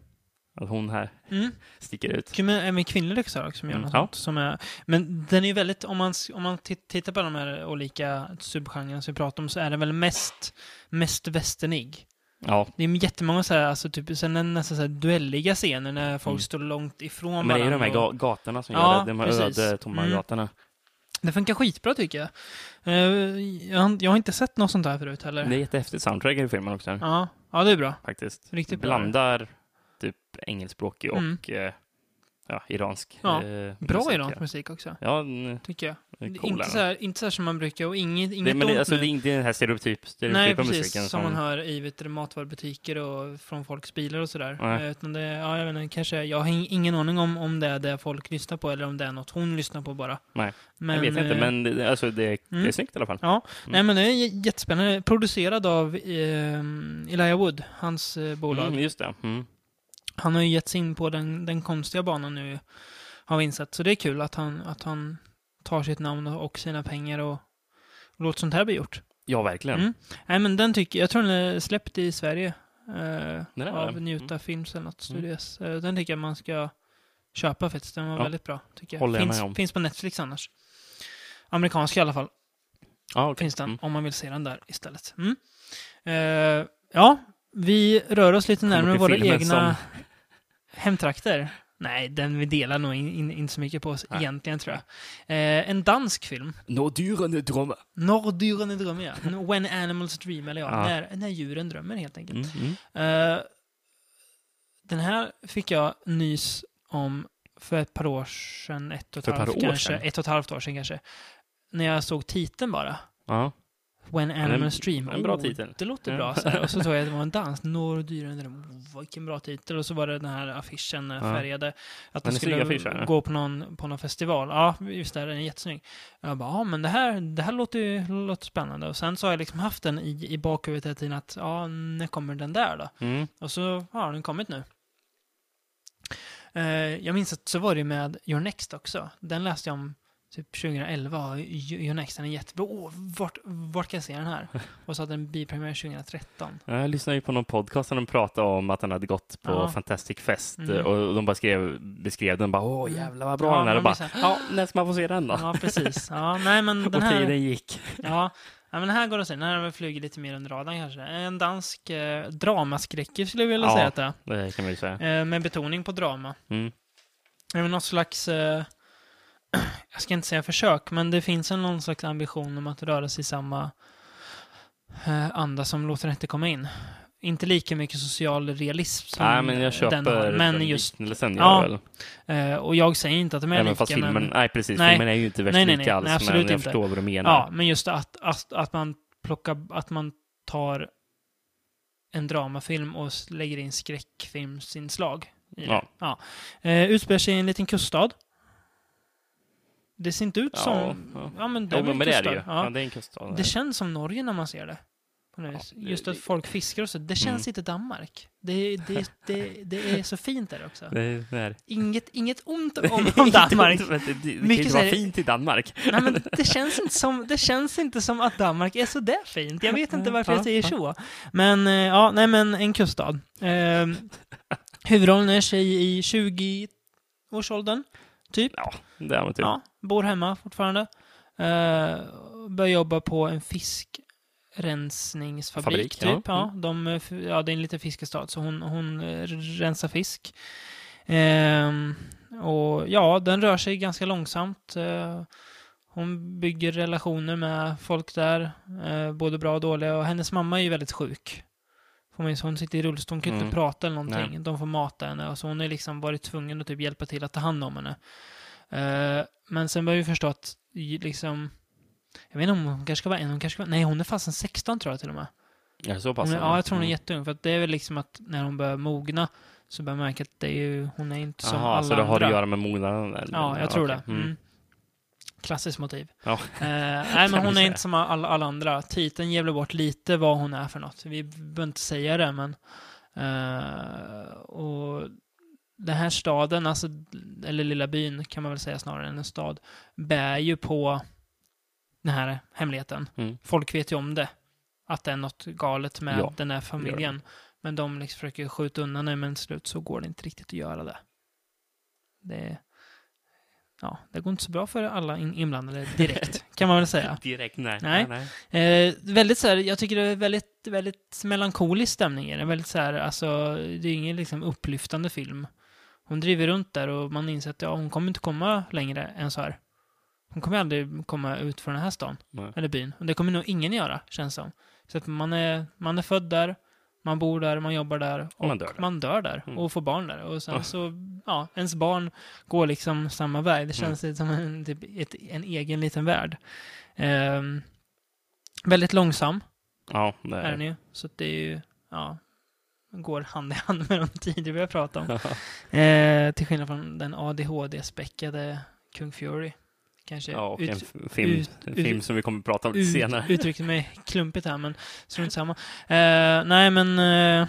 Speaker 3: att hon här
Speaker 2: Mm.
Speaker 3: sticker ut.
Speaker 2: Kul med, även kvinnlig regissör som gör
Speaker 3: Mm,
Speaker 2: något
Speaker 3: ja.
Speaker 2: sånt. Som är, men den är ju väldigt, om man, s- om man ti- tittar på de här olika subgenrerna som vi pratar om så är den väl mest, mest västernig.
Speaker 3: Ja,
Speaker 2: Det är jättemånga så här, alltså typ, sen är det nästan så här duelliga scener när folk
Speaker 3: Mm.
Speaker 2: står långt ifrån
Speaker 3: men det är ju
Speaker 2: varandra.
Speaker 3: de här
Speaker 2: och-
Speaker 3: ga- gatorna som
Speaker 2: Ja,
Speaker 3: gör det. De här
Speaker 2: precis.
Speaker 3: öde, tomma
Speaker 2: Mm.
Speaker 3: gatorna.
Speaker 2: Det funkar skitbra tycker jag. Eh, jag, har- jag har inte sett något sånt här förut heller.
Speaker 3: Det är jättehäftigt soundtrack i filmen också.
Speaker 2: Ja, ja, det är bra.
Speaker 3: Faktiskt.
Speaker 2: Riktigt bra.
Speaker 3: Blandar typ engelskspråkig och
Speaker 2: Mm.
Speaker 3: eh, ja, iransk.
Speaker 2: Ja,
Speaker 3: eh,
Speaker 2: Bra
Speaker 3: musik,
Speaker 2: iransk
Speaker 3: ja.
Speaker 2: musik också,
Speaker 3: Ja, n-
Speaker 2: tycker jag.
Speaker 3: Det är
Speaker 2: Inte
Speaker 3: coolare.
Speaker 2: så, här, inte så här som man brukar och inget, inget
Speaker 3: det, men det,
Speaker 2: ont
Speaker 3: alltså,
Speaker 2: nu.
Speaker 3: det är inte den här stereotyp,
Speaker 2: Nej,
Speaker 3: stereotypa
Speaker 2: precis.
Speaker 3: musiken.
Speaker 2: Som, man hör i vet du, matvarubutiker och från folks bilar och sådär.
Speaker 3: Nej.
Speaker 2: Eh, Utan det, ja, jag, vet inte, kanske, jag har in- ingen aning om, om det är det folk lyssnar på eller om det är något hon lyssnar på bara.
Speaker 3: Nej,
Speaker 2: men,
Speaker 3: jag vet
Speaker 2: eh,
Speaker 3: inte, men det, alltså, det, det är
Speaker 2: Mm.
Speaker 3: snyggt i alla fall.
Speaker 2: Ja, nej men det är j- jättespännande. Producerad av eh, Elijah Wood, hans eh, bolag.
Speaker 3: Mm, just det. Mm.
Speaker 2: Han har ju gett sig in på den, den konstiga banan nu, har vi insett. Så det är kul att han, att han tar sitt namn och och sina pengar och låter sånt här bli gjort.
Speaker 3: Ja, verkligen.
Speaker 2: Mm. Nej, men den tycker jag, jag tror den är släppt i Sverige eh,
Speaker 3: Den är
Speaker 2: av
Speaker 3: det. Mm.
Speaker 2: Njuta Films eller något studios. Eh, den tycker jag man ska köpa faktiskt. Den var
Speaker 3: Ja.
Speaker 2: väldigt bra. Tycker jag.
Speaker 3: Håller jag
Speaker 2: Finns,
Speaker 3: med om.
Speaker 2: finns på Netflix annars. Amerikanska i alla fall
Speaker 3: Ja, okej.
Speaker 2: finns den,
Speaker 3: Mm.
Speaker 2: om man vill se den där istället. Mm. Eh, ja, vi rör oss lite närmare
Speaker 3: till
Speaker 2: våra
Speaker 3: filmen
Speaker 2: egna hemtrakter. Nej, den vi delar nog in, in, inte så mycket på oss
Speaker 3: Nej.
Speaker 2: egentligen tror jag. Eh, en dansk film.
Speaker 3: Nådyrande drömmar.
Speaker 2: Norr dyrene drömmer ja. When animals dream, eller ja,
Speaker 3: Ja.
Speaker 2: När, när djuren drömmer helt enkelt.
Speaker 3: Mm, mm.
Speaker 2: Eh, den här fick jag nys om för ett par år sedan, ett och ett,
Speaker 3: För ett par
Speaker 2: halvt,
Speaker 3: år
Speaker 2: kanske,
Speaker 3: sedan?
Speaker 2: ett och ett halvt år sedan kanske. När jag såg titeln bara.
Speaker 3: Ja.
Speaker 2: When Animals Dream.
Speaker 3: en bra
Speaker 2: oh,
Speaker 3: titel.
Speaker 2: Det låter
Speaker 3: Ja.
Speaker 2: bra. Så här. Och så såg jag att det var en dans. Norr dyrare än dröm. Oh, vilken bra titel. Och så var det den här affischen, den
Speaker 3: Ja.
Speaker 2: färgade.
Speaker 3: Den
Speaker 2: Att den
Speaker 3: är snygg
Speaker 2: skulle
Speaker 3: affisch, ja.
Speaker 2: gå på någon, på någon festival. Ja, just det. Den är jättesnygg. Jag bara, ja men det här, det här låter ju låter spännande. Och sen så har jag liksom haft den i, i bakhuvudet hela tiden att, ja, när kommer den där då?
Speaker 3: Mm.
Speaker 2: Och så har den kommit nu. Eh, jag minns att så var det med Your Next också. Den läste jag om typ 2011. Your Next, den är jättebra. Åh, vart, vart kan jag se den här? Och så hade den biopremiär 2013.
Speaker 3: Ja, Jag lyssnade ju på någon podcast där de pratade om att han hade gått på
Speaker 2: Ja.
Speaker 3: Fantastic Fest
Speaker 2: Mm.
Speaker 3: och de bara skrev, beskrev den bara åh jävlar vad bra
Speaker 2: Ja,
Speaker 3: den är och
Speaker 2: man
Speaker 3: bara
Speaker 2: blir så
Speaker 3: ja, när ska man få se den då?
Speaker 2: Ja, precis. Ja, nej, men den
Speaker 3: och
Speaker 2: här,
Speaker 3: tiden gick.
Speaker 2: ja, ja, men den här går att se. Den här har väl flugit lite mer under radarn kanske. En dansk eh, dramaskräckis skulle jag vilja
Speaker 3: Ja.
Speaker 2: säga att det
Speaker 3: Det kan man ju säga.
Speaker 2: är. Eh, med betoning på drama.
Speaker 3: Mm.
Speaker 2: Även något slags, eh, jag ska inte säga försök, men det finns en någon slags ambition om att röra sig i samma eh, anda som låter inte komma in. Inte lika mycket social realism som
Speaker 3: Nej, men jag
Speaker 2: den har,
Speaker 3: köper
Speaker 2: men just,
Speaker 3: liknelsen.
Speaker 2: Ja,
Speaker 3: Ja, väl.
Speaker 2: eh, och jag säger inte att de är
Speaker 3: Även
Speaker 2: lika,
Speaker 3: fast filmen,
Speaker 2: men,
Speaker 3: nej precis,
Speaker 2: Nej.
Speaker 3: filmen är ju inte värst
Speaker 2: Nej, nej,
Speaker 3: lik
Speaker 2: nej.
Speaker 3: alls,
Speaker 2: Nej,
Speaker 3: men
Speaker 2: absolut
Speaker 3: jag
Speaker 2: inte.
Speaker 3: förstår vad du menar.
Speaker 2: ja, men just att, att, att man plockar, att man tar en dramafilm och s- lägger in skräckfilmsinslag i det.
Speaker 3: Ja.
Speaker 2: Eh, utspelar sig i en liten kuststad. Det ser inte ut
Speaker 3: Ja,
Speaker 2: som...
Speaker 3: ja.
Speaker 2: Ja, men det
Speaker 3: Jo,
Speaker 2: är väl
Speaker 3: men det är det
Speaker 2: kuststad.
Speaker 3: ju.
Speaker 2: Ja.
Speaker 3: Ja, det är en kuststad.
Speaker 2: Det känns som Norge när man ser det. På något vis.
Speaker 3: det- Mm.
Speaker 2: Just att folk fiskar och så. Det känns inte Danmark. Det, det, det, det är så fint där också.
Speaker 3: Det, det är.
Speaker 2: Inget, inget ont om, om Danmark.
Speaker 3: det, det, det kan ju
Speaker 2: Mycket
Speaker 3: inte
Speaker 2: så
Speaker 3: vara
Speaker 2: här-
Speaker 3: fint i Danmark.
Speaker 2: Nej, men det, känns inte som, det känns inte som att Danmark är så där fint. Jag vet inte varför
Speaker 3: Mm. Ja,
Speaker 2: jag säger
Speaker 3: ja.
Speaker 2: så. Men, eh, ja, nej, men en kuststad. Eh, huvudrollen är en tjej i 20-årsåldern, typ.
Speaker 3: Ja, det är man typ.
Speaker 2: Ja, bor hemma fortfarande. Uh, börjar jobba på en fiskrensningsfabrik,
Speaker 3: Fabrik,
Speaker 2: typ. Ja.
Speaker 3: ja. Mm.
Speaker 2: de, eh, f- ja, det är en liten fiskestad, så hon, hon eh, rensar fisk. Ehm, och ja, den rör sig ganska långsamt. Eh, hon bygger relationer med folk där, eh, både bra och dåliga. Och hennes mamma är ju väldigt sjuk. Får man ju- så Hon sitter i rullstol, hon kan ju
Speaker 3: Mm.
Speaker 2: inte prata eller någonting. De får mata henne. Och så hon har ju liksom varit tvungen att typ hjälpa till att ta hand om henne. Eh, men sen börjar vi förstå att i- liksom... Jag vet inte om hon kanske ska vara en, hon kanske ska vara, Nej, hon är fasen 16 tror jag till och med.
Speaker 3: Är det så pass?
Speaker 2: Hon är,
Speaker 3: eller?
Speaker 2: ja, jag tror hon är
Speaker 3: Mm.
Speaker 2: jätteung. För att det är väl liksom att när hon börjar mogna så börjar man märka att det är ju, hon är inte som
Speaker 3: Aha,
Speaker 2: alla
Speaker 3: så det har
Speaker 2: andra.
Speaker 3: att göra med mognaden? eller?
Speaker 2: Ja, jag tror
Speaker 3: okej.
Speaker 2: det. Mm. Klassiskt motiv.
Speaker 3: Ja.
Speaker 2: Eh, nej, men
Speaker 3: vi
Speaker 2: hon är
Speaker 3: säga.
Speaker 2: inte som alla, alla andra. Titeln ger väl bort lite vad hon är för något. Vi behöver inte säga det, men... eh, och den här staden, alltså, eller lilla byn kan man väl säga snarare än en stad, bär ju på den här hemligheten.
Speaker 3: Mm.
Speaker 2: Folk vet ju om det, att det är något galet med
Speaker 3: Ja,
Speaker 2: den här familjen. Men de liksom försöker skjuta undan det, men till slut så går det inte riktigt att göra det. Det, ja, det går inte så bra för alla in, inblandade direkt, kan man väl säga.
Speaker 3: Direkt nej.
Speaker 2: Nej. Eh, väldigt så här, jag tycker det är väldigt, väldigt melankolisk stämning i den. Väldigt så här, alltså, det är ingen liksom upplyftande film. Hon driver runt där och man inser att ja, hon kommer inte komma längre än så här. Hon kommer aldrig komma ut från den här stan,
Speaker 3: Nej.
Speaker 2: eller byn. Och det kommer nog ingen göra, känns som. Så att man är, man är född där, Man bor där, man jobbar där och man dör där,
Speaker 3: Mm.
Speaker 2: och får barn där. Och sen
Speaker 3: Ja.
Speaker 2: så, ja, ens barn går liksom samma väg. Det känns lite som en, typ, ett, en egen liten värld. Ehm, väldigt långsam
Speaker 3: Ja, det
Speaker 2: är den ju, så att det är ju, ja, går hand i hand med de tidigare vi har pratat om. Eh, till skillnad från den ADHD-späckade Kung Fury. Kanske
Speaker 3: ja, och en
Speaker 2: ut,
Speaker 3: f- film,
Speaker 2: ut-
Speaker 3: en film som vi kommer att prata om lite
Speaker 2: ut,
Speaker 3: senare.
Speaker 2: uttryckte mig klumpigt här, men strunt samma. Eh, nej, men... Eh,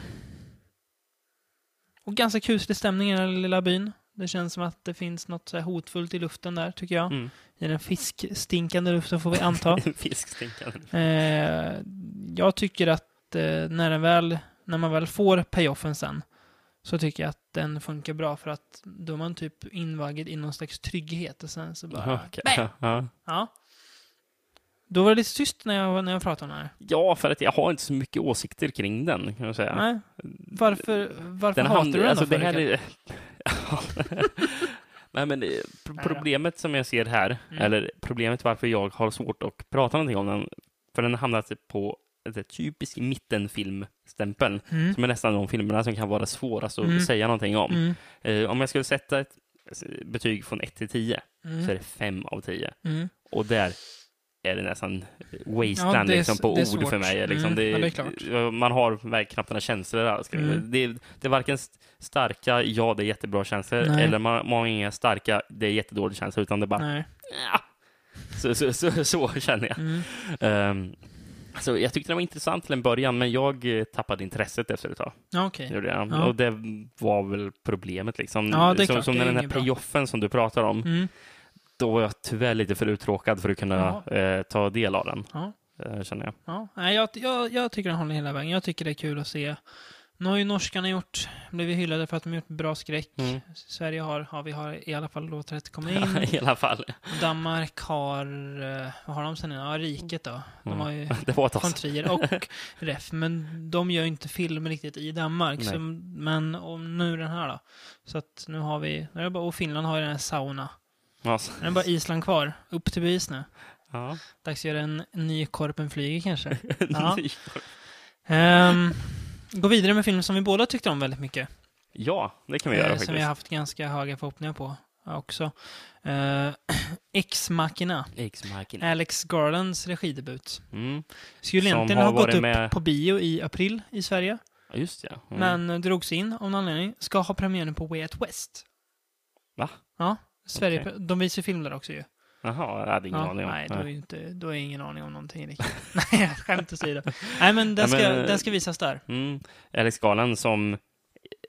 Speaker 2: och ganska kuslig stämning i den här lilla byn. Det känns som att det finns något så här hotfullt i luften där, tycker jag.
Speaker 3: Mm.
Speaker 2: I den fiskstinkande luften, får vi anta.
Speaker 3: Fiskstinkande.
Speaker 2: Eh, jag tycker att eh, när, den väl, när man väl får payoffen sen så tycker jag att den funkar bra för att då är man typ invaggad i någon slags trygghet och sen så bara...
Speaker 3: Aha, okej.
Speaker 2: Bäh!
Speaker 3: Ja.
Speaker 2: Ja. Då var det lite tyst när jag, när jag pratade om den här.
Speaker 3: Ja, för att jag har inte så mycket åsikter kring den, kan jag säga.
Speaker 2: Nej. Varför, varför
Speaker 3: den
Speaker 2: hatar
Speaker 3: handlar-
Speaker 2: du den
Speaker 3: alltså,
Speaker 2: då?
Speaker 3: det här
Speaker 2: Rickard?
Speaker 3: är... Nej, men eh, pro-
Speaker 2: Nej då.
Speaker 3: problemet som jag ser här,
Speaker 2: Mm.
Speaker 3: eller problemet varför jag har svårt att prata någonting om den, för den hamnar typ på ett typiskt mittenfilmstämpeln,
Speaker 2: Mm.
Speaker 3: som är nästan de filmerna som kan vara svårast att
Speaker 2: Mm.
Speaker 3: säga någonting om.
Speaker 2: Mm.
Speaker 3: Eh, om jag skulle sätta ett betyg från 1 till 10 så är
Speaker 2: Mm.
Speaker 3: det 5 av 10.
Speaker 2: Mm.
Speaker 3: Och där är det nästan
Speaker 2: Ja,
Speaker 3: wasteland
Speaker 2: det är
Speaker 3: liksom,
Speaker 2: s-
Speaker 3: på
Speaker 2: det är
Speaker 3: ord
Speaker 2: svårt.
Speaker 3: för mig. Liksom.
Speaker 2: Mm,
Speaker 3: Det,
Speaker 2: ja, det är klart.
Speaker 3: det- Man har verkligen knappt några känslor alls. kring det.
Speaker 2: Mm.
Speaker 3: Det, är- det är varken st- starka, ja det är jättebra känslor,
Speaker 2: Nej.
Speaker 3: eller man, man har inga starka, det är jättedåliga känslor, utan det är bara
Speaker 2: Nej.
Speaker 3: "Ah." så, så, så, så känner jag.
Speaker 2: Mm.
Speaker 3: Ehm, alltså, jag tyckte det var intressant till en början, men jag eh, tappade intresset efter ett tag.
Speaker 2: Ja, okej.
Speaker 3: Gjorde jag.
Speaker 2: Ja.
Speaker 3: Och det var väl problemet liksom.
Speaker 2: Ja, det är
Speaker 3: som,
Speaker 2: klart,
Speaker 3: som
Speaker 2: det är
Speaker 3: den här
Speaker 2: inget bra.
Speaker 3: payoffen som du pratar om,
Speaker 2: Mm.
Speaker 3: då var jag tyvärr lite för uttråkad för att kunna eh, ta del av den,
Speaker 2: Ja.
Speaker 3: eh, känner jag.
Speaker 2: Ja, nej, jag, jag, jag tycker den håller hela vägen. Jag tycker det är kul att se. Nu har ju norskarna gjort, blivit hyllade för att de gjort bra skräck.
Speaker 3: Mm.
Speaker 2: Sverige har, har, vi har i alla fall låtit det komma
Speaker 3: Ja,
Speaker 2: in.
Speaker 3: I alla fall.
Speaker 2: Danmark har, eh, vad har de sen innan? Ja, Riket då. De
Speaker 3: Mm.
Speaker 2: har ju
Speaker 3: Det var ett tag
Speaker 2: von
Speaker 3: sedan.
Speaker 2: Trier och Ref, men de gör ju inte film riktigt i Danmark.
Speaker 3: Nej.
Speaker 2: Så, men och nu den här då. Så att nu har vi, nu är det bara, och Finland har ju den här sauna.
Speaker 3: Ja, så-
Speaker 2: Nu är det bara Island kvar. Upp till bevis nu.
Speaker 3: Alltså. Ja.
Speaker 2: Dags att göra en ny Korpen flyger kanske. Ja.
Speaker 3: Ja.
Speaker 2: Ehm, gå vidare med film som vi båda tyckte om väldigt mycket.
Speaker 3: det kan vi göra
Speaker 2: eh, som vi
Speaker 3: faktiskt.
Speaker 2: har haft ganska höga förhoppningar på ja, också. Eh, ex Machina,
Speaker 3: X-Marken.
Speaker 2: Alex Garlands regidebut.
Speaker 3: Mm.
Speaker 2: Skulle
Speaker 3: Som
Speaker 2: egentligen
Speaker 3: har
Speaker 2: ha gått
Speaker 3: varit
Speaker 2: upp
Speaker 3: med-
Speaker 2: på bio i april i Sverige,
Speaker 3: Ja, Just ja. Mm.
Speaker 2: men eh, drogs in av någon anledning. Ska ha premiären på Way Out West.
Speaker 3: Va?
Speaker 2: Ja, Sverige,
Speaker 3: Okej.
Speaker 2: de visar film där också ju.
Speaker 3: Jaha, jag hade ingen
Speaker 2: Ja,
Speaker 3: aning om.
Speaker 2: nej, då är, ju inte, då är ingen aning om någonting riktigt. nej, skämt åsido. Nej, men den
Speaker 3: Ja,
Speaker 2: ska,
Speaker 3: men, eh,
Speaker 2: den ska visas där.
Speaker 3: Mm. Alex Garland som,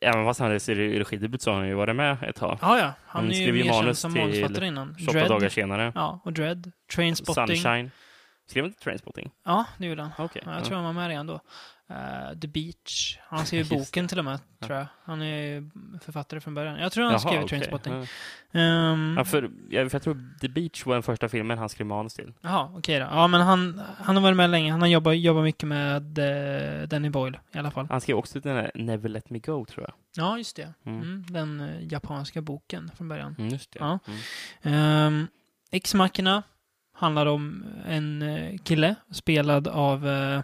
Speaker 3: även fast han är i regidebut så har han ju varit med ett tag.
Speaker 2: Ja, ja. Han
Speaker 3: Mm,
Speaker 2: är ju
Speaker 3: skrev ju
Speaker 2: mer känd
Speaker 3: manus
Speaker 2: som
Speaker 3: till
Speaker 2: manusfattare innan.
Speaker 3: 28
Speaker 2: Dread.
Speaker 3: dagar senare.
Speaker 2: Ja, och Dread. Trainspotting.
Speaker 3: Sunshine. Skrev han inte Trainspotting?
Speaker 2: Ja, det gjorde han.
Speaker 3: Okej.
Speaker 2: Ja, jag tror han var med redan då. Eh, The Beach. Han skrev
Speaker 3: Just det.
Speaker 2: ju boken till och med, tror jag. Han är ju författare från början. Jag tror han skrev
Speaker 3: okej.
Speaker 2: Trainspotting.
Speaker 3: Ja.
Speaker 2: Ehm,
Speaker 3: Ja, för, jag, för jag tror The Beach var den första filmen han skrev manus till.
Speaker 2: Jaha, okej då. Ja, men han, han har varit med länge. Han har jobbat, jobbat mycket med eh, Danny Boyle i alla fall.
Speaker 3: Han skrev också den där Never Let Me Go, tror jag.
Speaker 2: Ja, just det.
Speaker 3: Mm.
Speaker 2: Mm, den eh, japanska boken från början.
Speaker 3: Mm, just det.
Speaker 2: Ja.
Speaker 3: Mm.
Speaker 2: Um, ex machina handlar om en eh, kille spelad av... eh,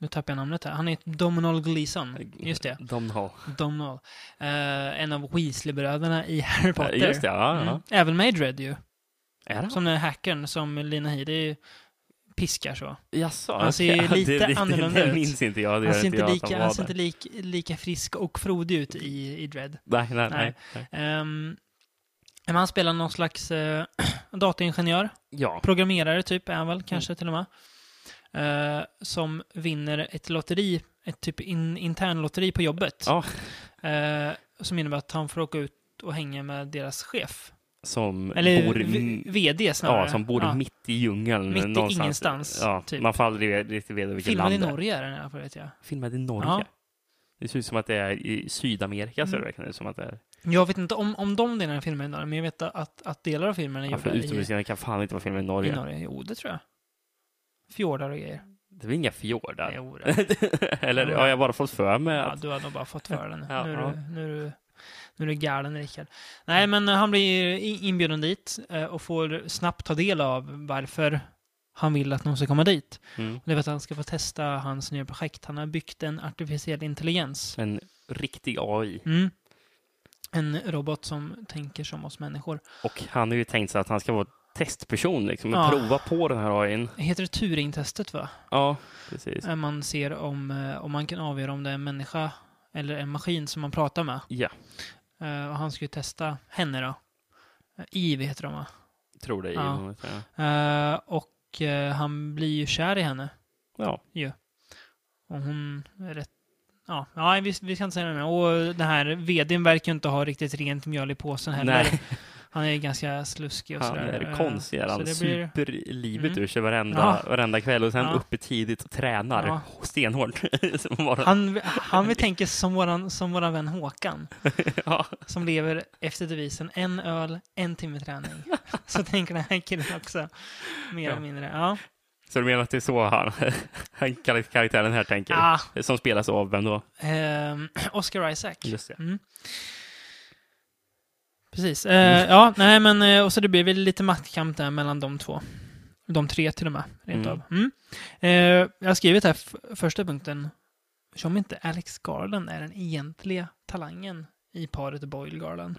Speaker 2: nu tappar jag namnet här. Han heter Domhnall Gleeson. Just det.
Speaker 3: De har.
Speaker 2: Domhnall. Eh, en av Weasley-bröderna i Harry Potter.
Speaker 3: Ja, Just det, ja.
Speaker 2: Mm.
Speaker 3: ja.
Speaker 2: Även med i Dredd ju.
Speaker 3: Är han?
Speaker 2: Som den här hackern som Lina Headey piskar så.
Speaker 3: Jaså,
Speaker 2: Han ser ju
Speaker 3: okej.
Speaker 2: lite
Speaker 3: det, det, det,
Speaker 2: annorlunda ut.
Speaker 3: det minns inte jag. Det
Speaker 2: Han
Speaker 3: gör
Speaker 2: ser inte,
Speaker 3: jag att
Speaker 2: lika,
Speaker 3: var
Speaker 2: han ser inte
Speaker 3: där.
Speaker 2: lik, lika frisk och frodig ut i, i Dredd.
Speaker 3: Nej, nej, nej. nej.
Speaker 2: Um, men han spelar någon slags eh, dataingenjör.
Speaker 3: Ja.
Speaker 2: programmerare typ är han
Speaker 3: Mm.
Speaker 2: väl kanske till och med. Eh, som vinner ett lotteri, ett typ in, intern lotteri på jobbet.
Speaker 3: Ja.
Speaker 2: Eh, som innebär att han får åka ut och hänga med deras chef.
Speaker 3: Som
Speaker 2: Eller
Speaker 3: bor...
Speaker 2: v- vd snarare.
Speaker 3: Ja, som bor mitt i djungeln.
Speaker 2: Mitt i
Speaker 3: någonstans.
Speaker 2: ingenstans,
Speaker 3: Ja,
Speaker 2: typ.
Speaker 3: Man får aldrig riktigt veta vilket
Speaker 2: Filmad i
Speaker 3: land det är.
Speaker 2: Norge är den i alla fall vet jag.
Speaker 3: Filmad i Norge?
Speaker 2: Ja.
Speaker 3: Det ser ut som att det är i Sydamerika, ser det
Speaker 2: Mm.
Speaker 3: verkligen ut som att det är.
Speaker 2: Jag vet inte om, om de delarna av filmen är i Norge, men jag vet att, att delar av filmen är
Speaker 3: Ja, för
Speaker 2: gjorda i,
Speaker 3: utomhusgrenar kan fan inte vara filmad i
Speaker 2: i
Speaker 3: Norge.
Speaker 2: Norge. Jo, det tror jag. Fjordar och grejer.
Speaker 3: Det är väl inga fjordar?
Speaker 2: Jo, då.
Speaker 3: Eller
Speaker 2: Jo.
Speaker 3: har jag bara fått för mig
Speaker 2: Ja,
Speaker 3: att...
Speaker 2: du har nog bara fått för den.
Speaker 3: Ja,
Speaker 2: nu, är
Speaker 3: ja.
Speaker 2: du, nu, är du, nu är du galen, Rickard. Nej, men eh, han blir i- inbjuden dit eh, och får snabbt ta del av varför han vill att någon ska komma dit.
Speaker 3: Mm.
Speaker 2: Det är för att han ska få testa hans nya projekt. Han har byggt en artificiell intelligens.
Speaker 3: En riktig AI.
Speaker 2: Mm. En robot som tänker som oss människor.
Speaker 3: Och han har ju tänkt sig att han ska vara testperson liksom, och
Speaker 2: Ja.
Speaker 3: prova på den här AIn.
Speaker 2: Heter det Turing-testet va?
Speaker 3: Ja, precis.
Speaker 2: Där man ser om, eh, om man kan avgöra om det är en människa eller en maskin som man pratar med.
Speaker 3: Ja,
Speaker 2: Eh, Och han ska ju testa henne då. Eh, Eve heter de va?
Speaker 3: tror det. i
Speaker 2: Ja.
Speaker 3: något, Ja.
Speaker 2: Eh, Och eh, han blir ju kär i henne.
Speaker 3: ja.
Speaker 2: Och hon är rätt... Ja, nej, vi, vi ska inte säga det mer. Och den här vdn verkar ju inte ha riktigt rent mjöl i påsen heller.
Speaker 3: Nej,
Speaker 2: Han är ju ganska sluskig och
Speaker 3: han
Speaker 2: sådär.
Speaker 3: är
Speaker 2: Eh,
Speaker 3: konstig.
Speaker 2: så
Speaker 3: Han
Speaker 2: det blir-
Speaker 3: super livet
Speaker 2: Mm.
Speaker 3: ur sig varenda,
Speaker 2: Ja.
Speaker 3: varenda kväll och sen
Speaker 2: Ja.
Speaker 3: uppe tidigt och tränar
Speaker 2: Ja.
Speaker 3: stenhårt. Som bara-
Speaker 2: Han, han vill tänka som våran, som våran vän Håkan,
Speaker 3: ja.
Speaker 2: som lever efter devisen en öl, en timme träning. Så tänker den här killen också, mer eller
Speaker 3: Ja.
Speaker 2: mindre. Ja,
Speaker 3: Så du menar att det är så han, han kar- karaktären här tänker?
Speaker 2: ja
Speaker 3: Som spelas av vem då?
Speaker 2: Ah, ehm, Oscar Isaac.
Speaker 3: Just det.
Speaker 2: Mm. Precis. Eh,
Speaker 3: Mm.
Speaker 2: ja, nej men eh, och så det blir väl lite maktkamp där mellan de två. De tre till och med, rent
Speaker 3: Mm.
Speaker 2: av. Mm. Eh, jag har skrivit här f- första punkten, som inte Alex Garland är den egentliga talangen i paret Boyle Garland.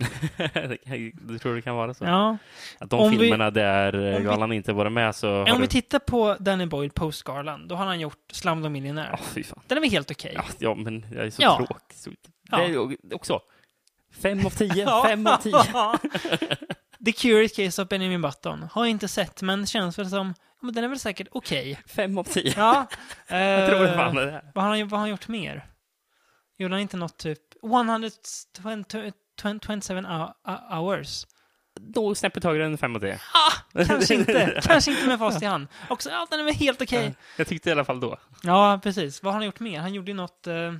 Speaker 3: du tror det kan vara så?
Speaker 2: Ja,
Speaker 3: Att de
Speaker 2: Om vi-
Speaker 3: filmerna där eh,
Speaker 2: vi-
Speaker 3: Galan inte varit med så... har
Speaker 2: Ja, Om
Speaker 3: du-
Speaker 2: vi tittar på Danny Boyle post Garland, då har han gjort Slumdog Millionaire.
Speaker 3: Ja, fy fan.
Speaker 2: Den är väl helt okej?
Speaker 3: Ja, ja, men jag är så
Speaker 2: Ja.
Speaker 3: tråkig. Så...
Speaker 2: Ja.
Speaker 3: Det är ju också... Fem av tio, fem av tio.
Speaker 2: The Curious Case of Benjamin Button. Har jag inte sett, men känns väl som... Ja, men den är väl säkert okej.
Speaker 3: Fem av tio.
Speaker 2: Ja.
Speaker 3: Jag tror det
Speaker 2: eh,
Speaker 3: fan är det här.
Speaker 2: Vad har, han, vad har han gjort mer? Gjorde han inte något typ 127 hou- hours?
Speaker 3: Då snäppet högre än fem av tio.
Speaker 2: Kanske inte. Kanske inte med fast i hand. Också, ja, den är väl helt okej.
Speaker 3: Jag tyckte i alla fall då.
Speaker 2: Ja, precis. Vad har han gjort mer? Han gjorde ju något... Eh,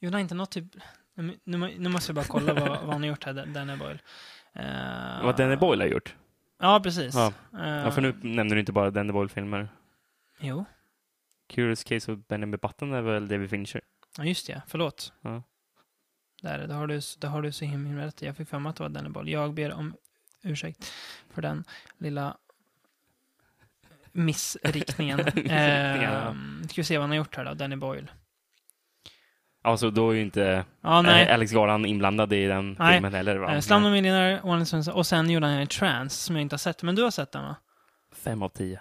Speaker 2: gjorde han inte något typ... Nu, nu, nu måste jag bara kolla vad, vad han har gjort här, Dan- Danny Boyle. Eh,
Speaker 3: Vad Danny Boyle har gjort.
Speaker 2: Ja, precis.
Speaker 3: Ja.
Speaker 2: Eh,
Speaker 3: Ja, för nu nämner du inte bara Danny Boyle-filmer.
Speaker 2: Jo,
Speaker 3: Curious Case of Benjamin Button är väl David Fincher?
Speaker 2: ja, just det. Förlåt.
Speaker 3: Ja.
Speaker 2: Där, det har du, det har du så himla rätt i. Jag fick för mig att det var Danny Boyle. Jag ber om ursäkt för den lilla missriktningen.
Speaker 3: Missriktningen, ja.
Speaker 2: eh, ska vi se vad han har gjort här då, Danny Boyle.
Speaker 3: Alltså, då är ju inte
Speaker 2: Ja, Ah, nej.
Speaker 3: eh, Alex Garland inblandad i den
Speaker 2: Nej.
Speaker 3: filmen heller. Va?
Speaker 2: Eh,
Speaker 3: Men
Speaker 2: Slumdog Millionaire, One and Sons- och sen gjorde han en trans som jag inte har sett, men du har sett den va?
Speaker 3: Fem av tio.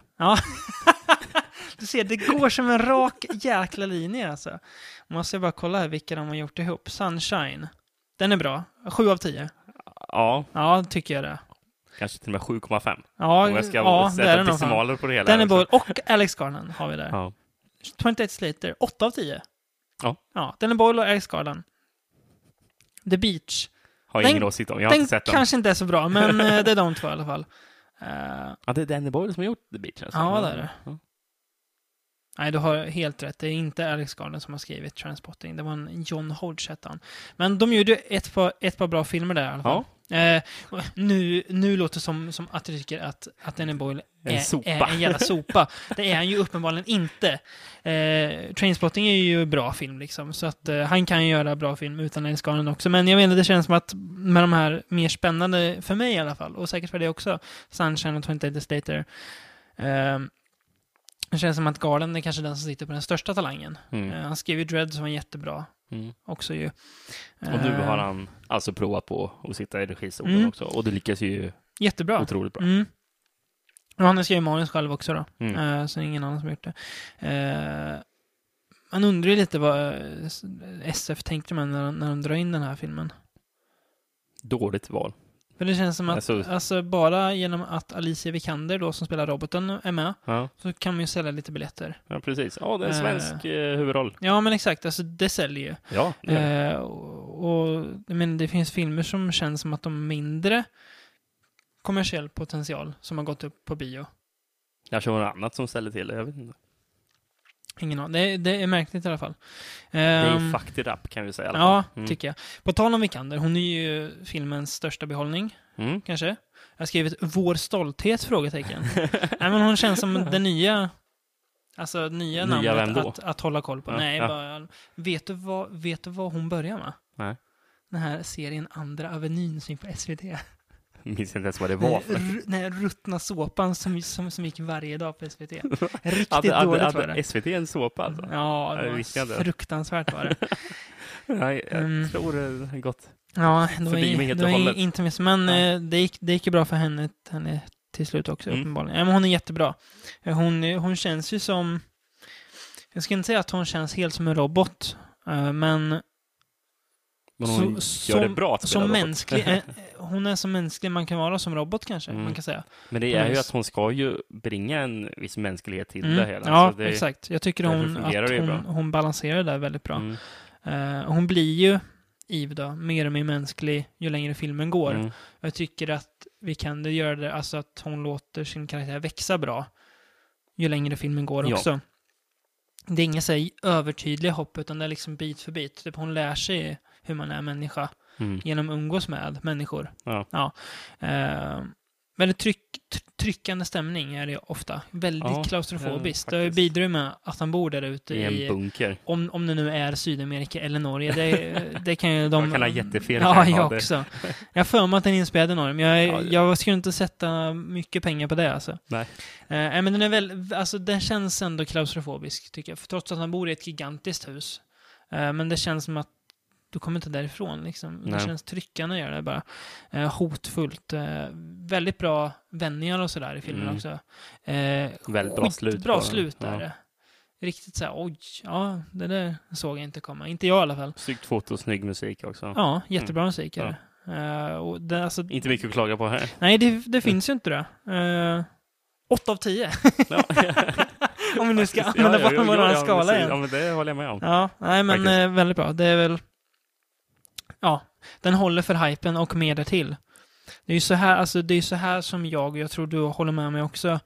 Speaker 2: Du ser, det går som en rak jäkla linje alltså. Måste jag bara kolla här vilka de har gjort ihop. Sunshine. Den är bra. Sju av tio.
Speaker 3: Ja,
Speaker 2: Ja, tycker jag det.
Speaker 3: kanske till och med 7,5.
Speaker 2: Ja,
Speaker 3: Om jag ska
Speaker 2: ja det är
Speaker 3: sätta
Speaker 2: den nog fan.
Speaker 3: decimaler på det hela.
Speaker 2: Den är
Speaker 3: här, så-
Speaker 2: både, och Alex Garland har vi där.
Speaker 3: Ja.
Speaker 2: 28 Slater, 8 av 10.
Speaker 3: Ja.
Speaker 2: ja den är Boyle och Alex Garland. The Beach.
Speaker 3: Har
Speaker 2: Den-
Speaker 3: ingen åsikt om. Jag har
Speaker 2: den
Speaker 3: inte sett den.
Speaker 2: kanske inte är så bra, men eh, det är de två i alla fall. Eh,
Speaker 3: Ja, det är Danny Boyle som har gjort The Beach. Alltså.
Speaker 2: Ja, det är det.
Speaker 3: Ja.
Speaker 2: Nej, du har helt rätt. Det är inte Alex Garland som har skrivit Transporting. Det var en John Hodge hette han. Men de gjorde ju ett par, ett par bra filmer där i alla fall. Eh, och nu, nu låter det som, som att du tycker att, att Danny Boyle
Speaker 3: En
Speaker 2: är,
Speaker 3: sopa.
Speaker 2: är en jävla sopa. Det är han ju uppenbarligen inte. Eh, Trainspotting är ju en bra film liksom, så att eh, han kan ju göra bra film utan Alex Garland också. Men jag menar, det känns som att med de här mer spännande, för mig i alla fall, och säkert för dig också, Sunshine och 28 Days Later, Ehm, det känns som att Garland är kanske den som sitter på den största talangen.
Speaker 3: Mm.
Speaker 2: Eh, han skrev ju Dread som var jättebra
Speaker 3: Mm.
Speaker 2: också ju.
Speaker 3: Och nu har
Speaker 2: Eh,
Speaker 3: han alltså provat på att sitta i registolen
Speaker 2: Mm.
Speaker 3: också. Och det lyckas ju
Speaker 2: Jättebra.
Speaker 3: otroligt bra.
Speaker 2: Mm. Och han skrev ju manus själv också då.
Speaker 3: Mm.
Speaker 2: Eh, så det är ingen annan som har gjort det. Eh, man undrar ju lite vad eh, s- SF tänkte med när, de- när de drar in den här filmen.
Speaker 3: Dåligt val.
Speaker 2: För det känns som att
Speaker 3: Alltså-
Speaker 2: alltså, bara genom att Alicia Vikander då, som spelar roboten, är med,
Speaker 3: Ja,
Speaker 2: så kan man ju sälja lite biljetter.
Speaker 3: ja precis. Ja, det är en svensk eh, huvudroll.
Speaker 2: Ja, men exakt. Alltså, det säljer ju.
Speaker 3: Ja, det är det.
Speaker 2: Eh, och, och, men det finns filmer som känns som att de har mindre kommersiell potential som har gått upp på bio.
Speaker 3: kanske var något annat som ställde till det. Jag vet inte.
Speaker 2: Ingen aning. Det, det är märkligt i alla fall.
Speaker 3: Det är
Speaker 2: Ehm,
Speaker 3: ju fucked it up kan vi säga i alla fall.
Speaker 2: Ja,
Speaker 3: Mm.
Speaker 2: tycker jag. På tal om Vikander, hon är ju filmens största behållning,
Speaker 3: Mm.
Speaker 2: kanske. Jag har skrivit “Vår stolthet?” frågetecken. Nej, men hon känns som den nya... Alltså
Speaker 3: Nya
Speaker 2: nya, namnet
Speaker 3: vem då?
Speaker 2: att, att hålla koll på.
Speaker 3: Ja,
Speaker 2: Nej,
Speaker 3: ja.
Speaker 2: bara... Vet du, vad, vet du vad hon börjar med?
Speaker 3: Nej.
Speaker 2: Den här serien Andra Avenyn som gick på SVT.
Speaker 3: minns inte ens vad det var för.
Speaker 2: Den, den här ruttna såpan som, som, som gick varje dag på SVT. Riktigt
Speaker 3: Hade, hade,
Speaker 2: dåligt var
Speaker 3: hade
Speaker 2: det. Mm.
Speaker 3: SVT en såpa alltså?
Speaker 2: Ja,
Speaker 3: Ja,
Speaker 2: det
Speaker 3: det visste jag
Speaker 2: var
Speaker 3: inte.
Speaker 2: fruktansvärt var det.
Speaker 3: Nej, jag
Speaker 2: Mm.
Speaker 3: tror det har gått.
Speaker 2: Ja, det var,
Speaker 3: Förbi mig
Speaker 2: i-
Speaker 3: helt
Speaker 2: det var
Speaker 3: och
Speaker 2: i-
Speaker 3: hållet.
Speaker 2: inte miss. Men
Speaker 3: Nej.
Speaker 2: eh, det, gick, det gick ju bra för henne, henne till slut också
Speaker 3: Mm.
Speaker 2: uppenbarligen. Ja, men hon är jättebra. Eh, Hon, eh, hon känns ju som... Jag ska inte säga att hon känns helt som en robot, eh, men
Speaker 3: Men hon
Speaker 2: Så-
Speaker 3: gör det
Speaker 2: som-
Speaker 3: bra att spela
Speaker 2: som
Speaker 3: robot.
Speaker 2: mänsklig. eh, eh, hon är så mänsklig man kan vara som robot kanske,
Speaker 3: Mm.
Speaker 2: man kan säga.
Speaker 3: Men det
Speaker 2: på
Speaker 3: är ju
Speaker 2: något
Speaker 3: att hon ska ju bringa en viss mänsklighet till det hela.
Speaker 2: Mm. Ja,
Speaker 3: så det,
Speaker 2: exakt. Jag tycker
Speaker 3: därför
Speaker 2: hon,
Speaker 3: fungerar
Speaker 2: att
Speaker 3: det ju
Speaker 2: hon,
Speaker 3: bra.
Speaker 2: hon balanserar det där väldigt bra.
Speaker 3: Mm,
Speaker 2: Eh, hon blir ju, Eve då, mer och mer mänsklig ju längre filmen går.
Speaker 3: mm,
Speaker 2: Jag tycker att vi kan det göra det, alltså att hon låter sin karaktär växa bra ju längre filmen går
Speaker 3: Ja.
Speaker 2: också. Det är inga så här övertydliga hopp, utan det är liksom bit för bit. Typ hon lär sig hur man är människa
Speaker 3: mm.
Speaker 2: genom att umgås med människor.
Speaker 3: Ja.
Speaker 2: Eh, väldigt tryck, tr- tryckande stämning är det ofta. Väldigt
Speaker 3: Ja,
Speaker 2: klaustrofobiskt.
Speaker 3: eh,
Speaker 2: det
Speaker 3: faktiskt.
Speaker 2: bidrar ju med att han bor där ute
Speaker 3: I en
Speaker 2: i...
Speaker 3: bunker.
Speaker 2: Om, om det nu är Sydamerika eller Norge, det, det kan ju de...
Speaker 3: Man kan ha jättefel. kan
Speaker 2: Ja,
Speaker 3: ha
Speaker 2: jag
Speaker 3: det.
Speaker 2: också. Jag har för mig att den är inspelad i Norge, men jag,
Speaker 3: Ja, det-
Speaker 2: jag skulle inte sätta mycket pengar på det alltså.
Speaker 3: Nej.
Speaker 2: Eh, nej, men den är väl, alltså den känns ändå klaustrofobisk tycker jag. För trots att han bor i ett gigantiskt hus. Eh, men det känns som att du kommer inte därifrån liksom. Det
Speaker 3: Nej.
Speaker 2: känns tryckande gör det bara. Eh, hotfullt. Eh, väldigt bra vändningar och sådär i filmen
Speaker 3: Mm.
Speaker 2: också. Eh,
Speaker 3: Väldigt bra slut på
Speaker 2: Bra
Speaker 3: den.
Speaker 2: slut är
Speaker 3: Ja.
Speaker 2: det. Riktigt såhär, oj, ja, det där såg jag inte komma. Inte jag i alla fall.
Speaker 3: Snyggt foto och snygg musik också.
Speaker 2: Ja, jättebra musik är det. Eh, och det, alltså,
Speaker 3: Mm. Inte mycket Mm. att klaga på här.
Speaker 2: Nej, det, det finns ju inte det. Uh, 8 av 10,
Speaker 3: Ja.
Speaker 2: om vi nu ska
Speaker 3: Ja,
Speaker 2: använda
Speaker 3: ja, ja,
Speaker 2: vår
Speaker 3: ja, ja,
Speaker 2: skala
Speaker 3: precis.
Speaker 2: igen.
Speaker 3: Ja, men det håller jag med om.
Speaker 2: Ja, nej men
Speaker 3: Faktiskt.
Speaker 2: eh, väldigt bra. Det är väl... Ja, den håller för hypen och mer därtill. Det är ju så här, alltså, det är så här som jag, och jag tror du håller med mig också,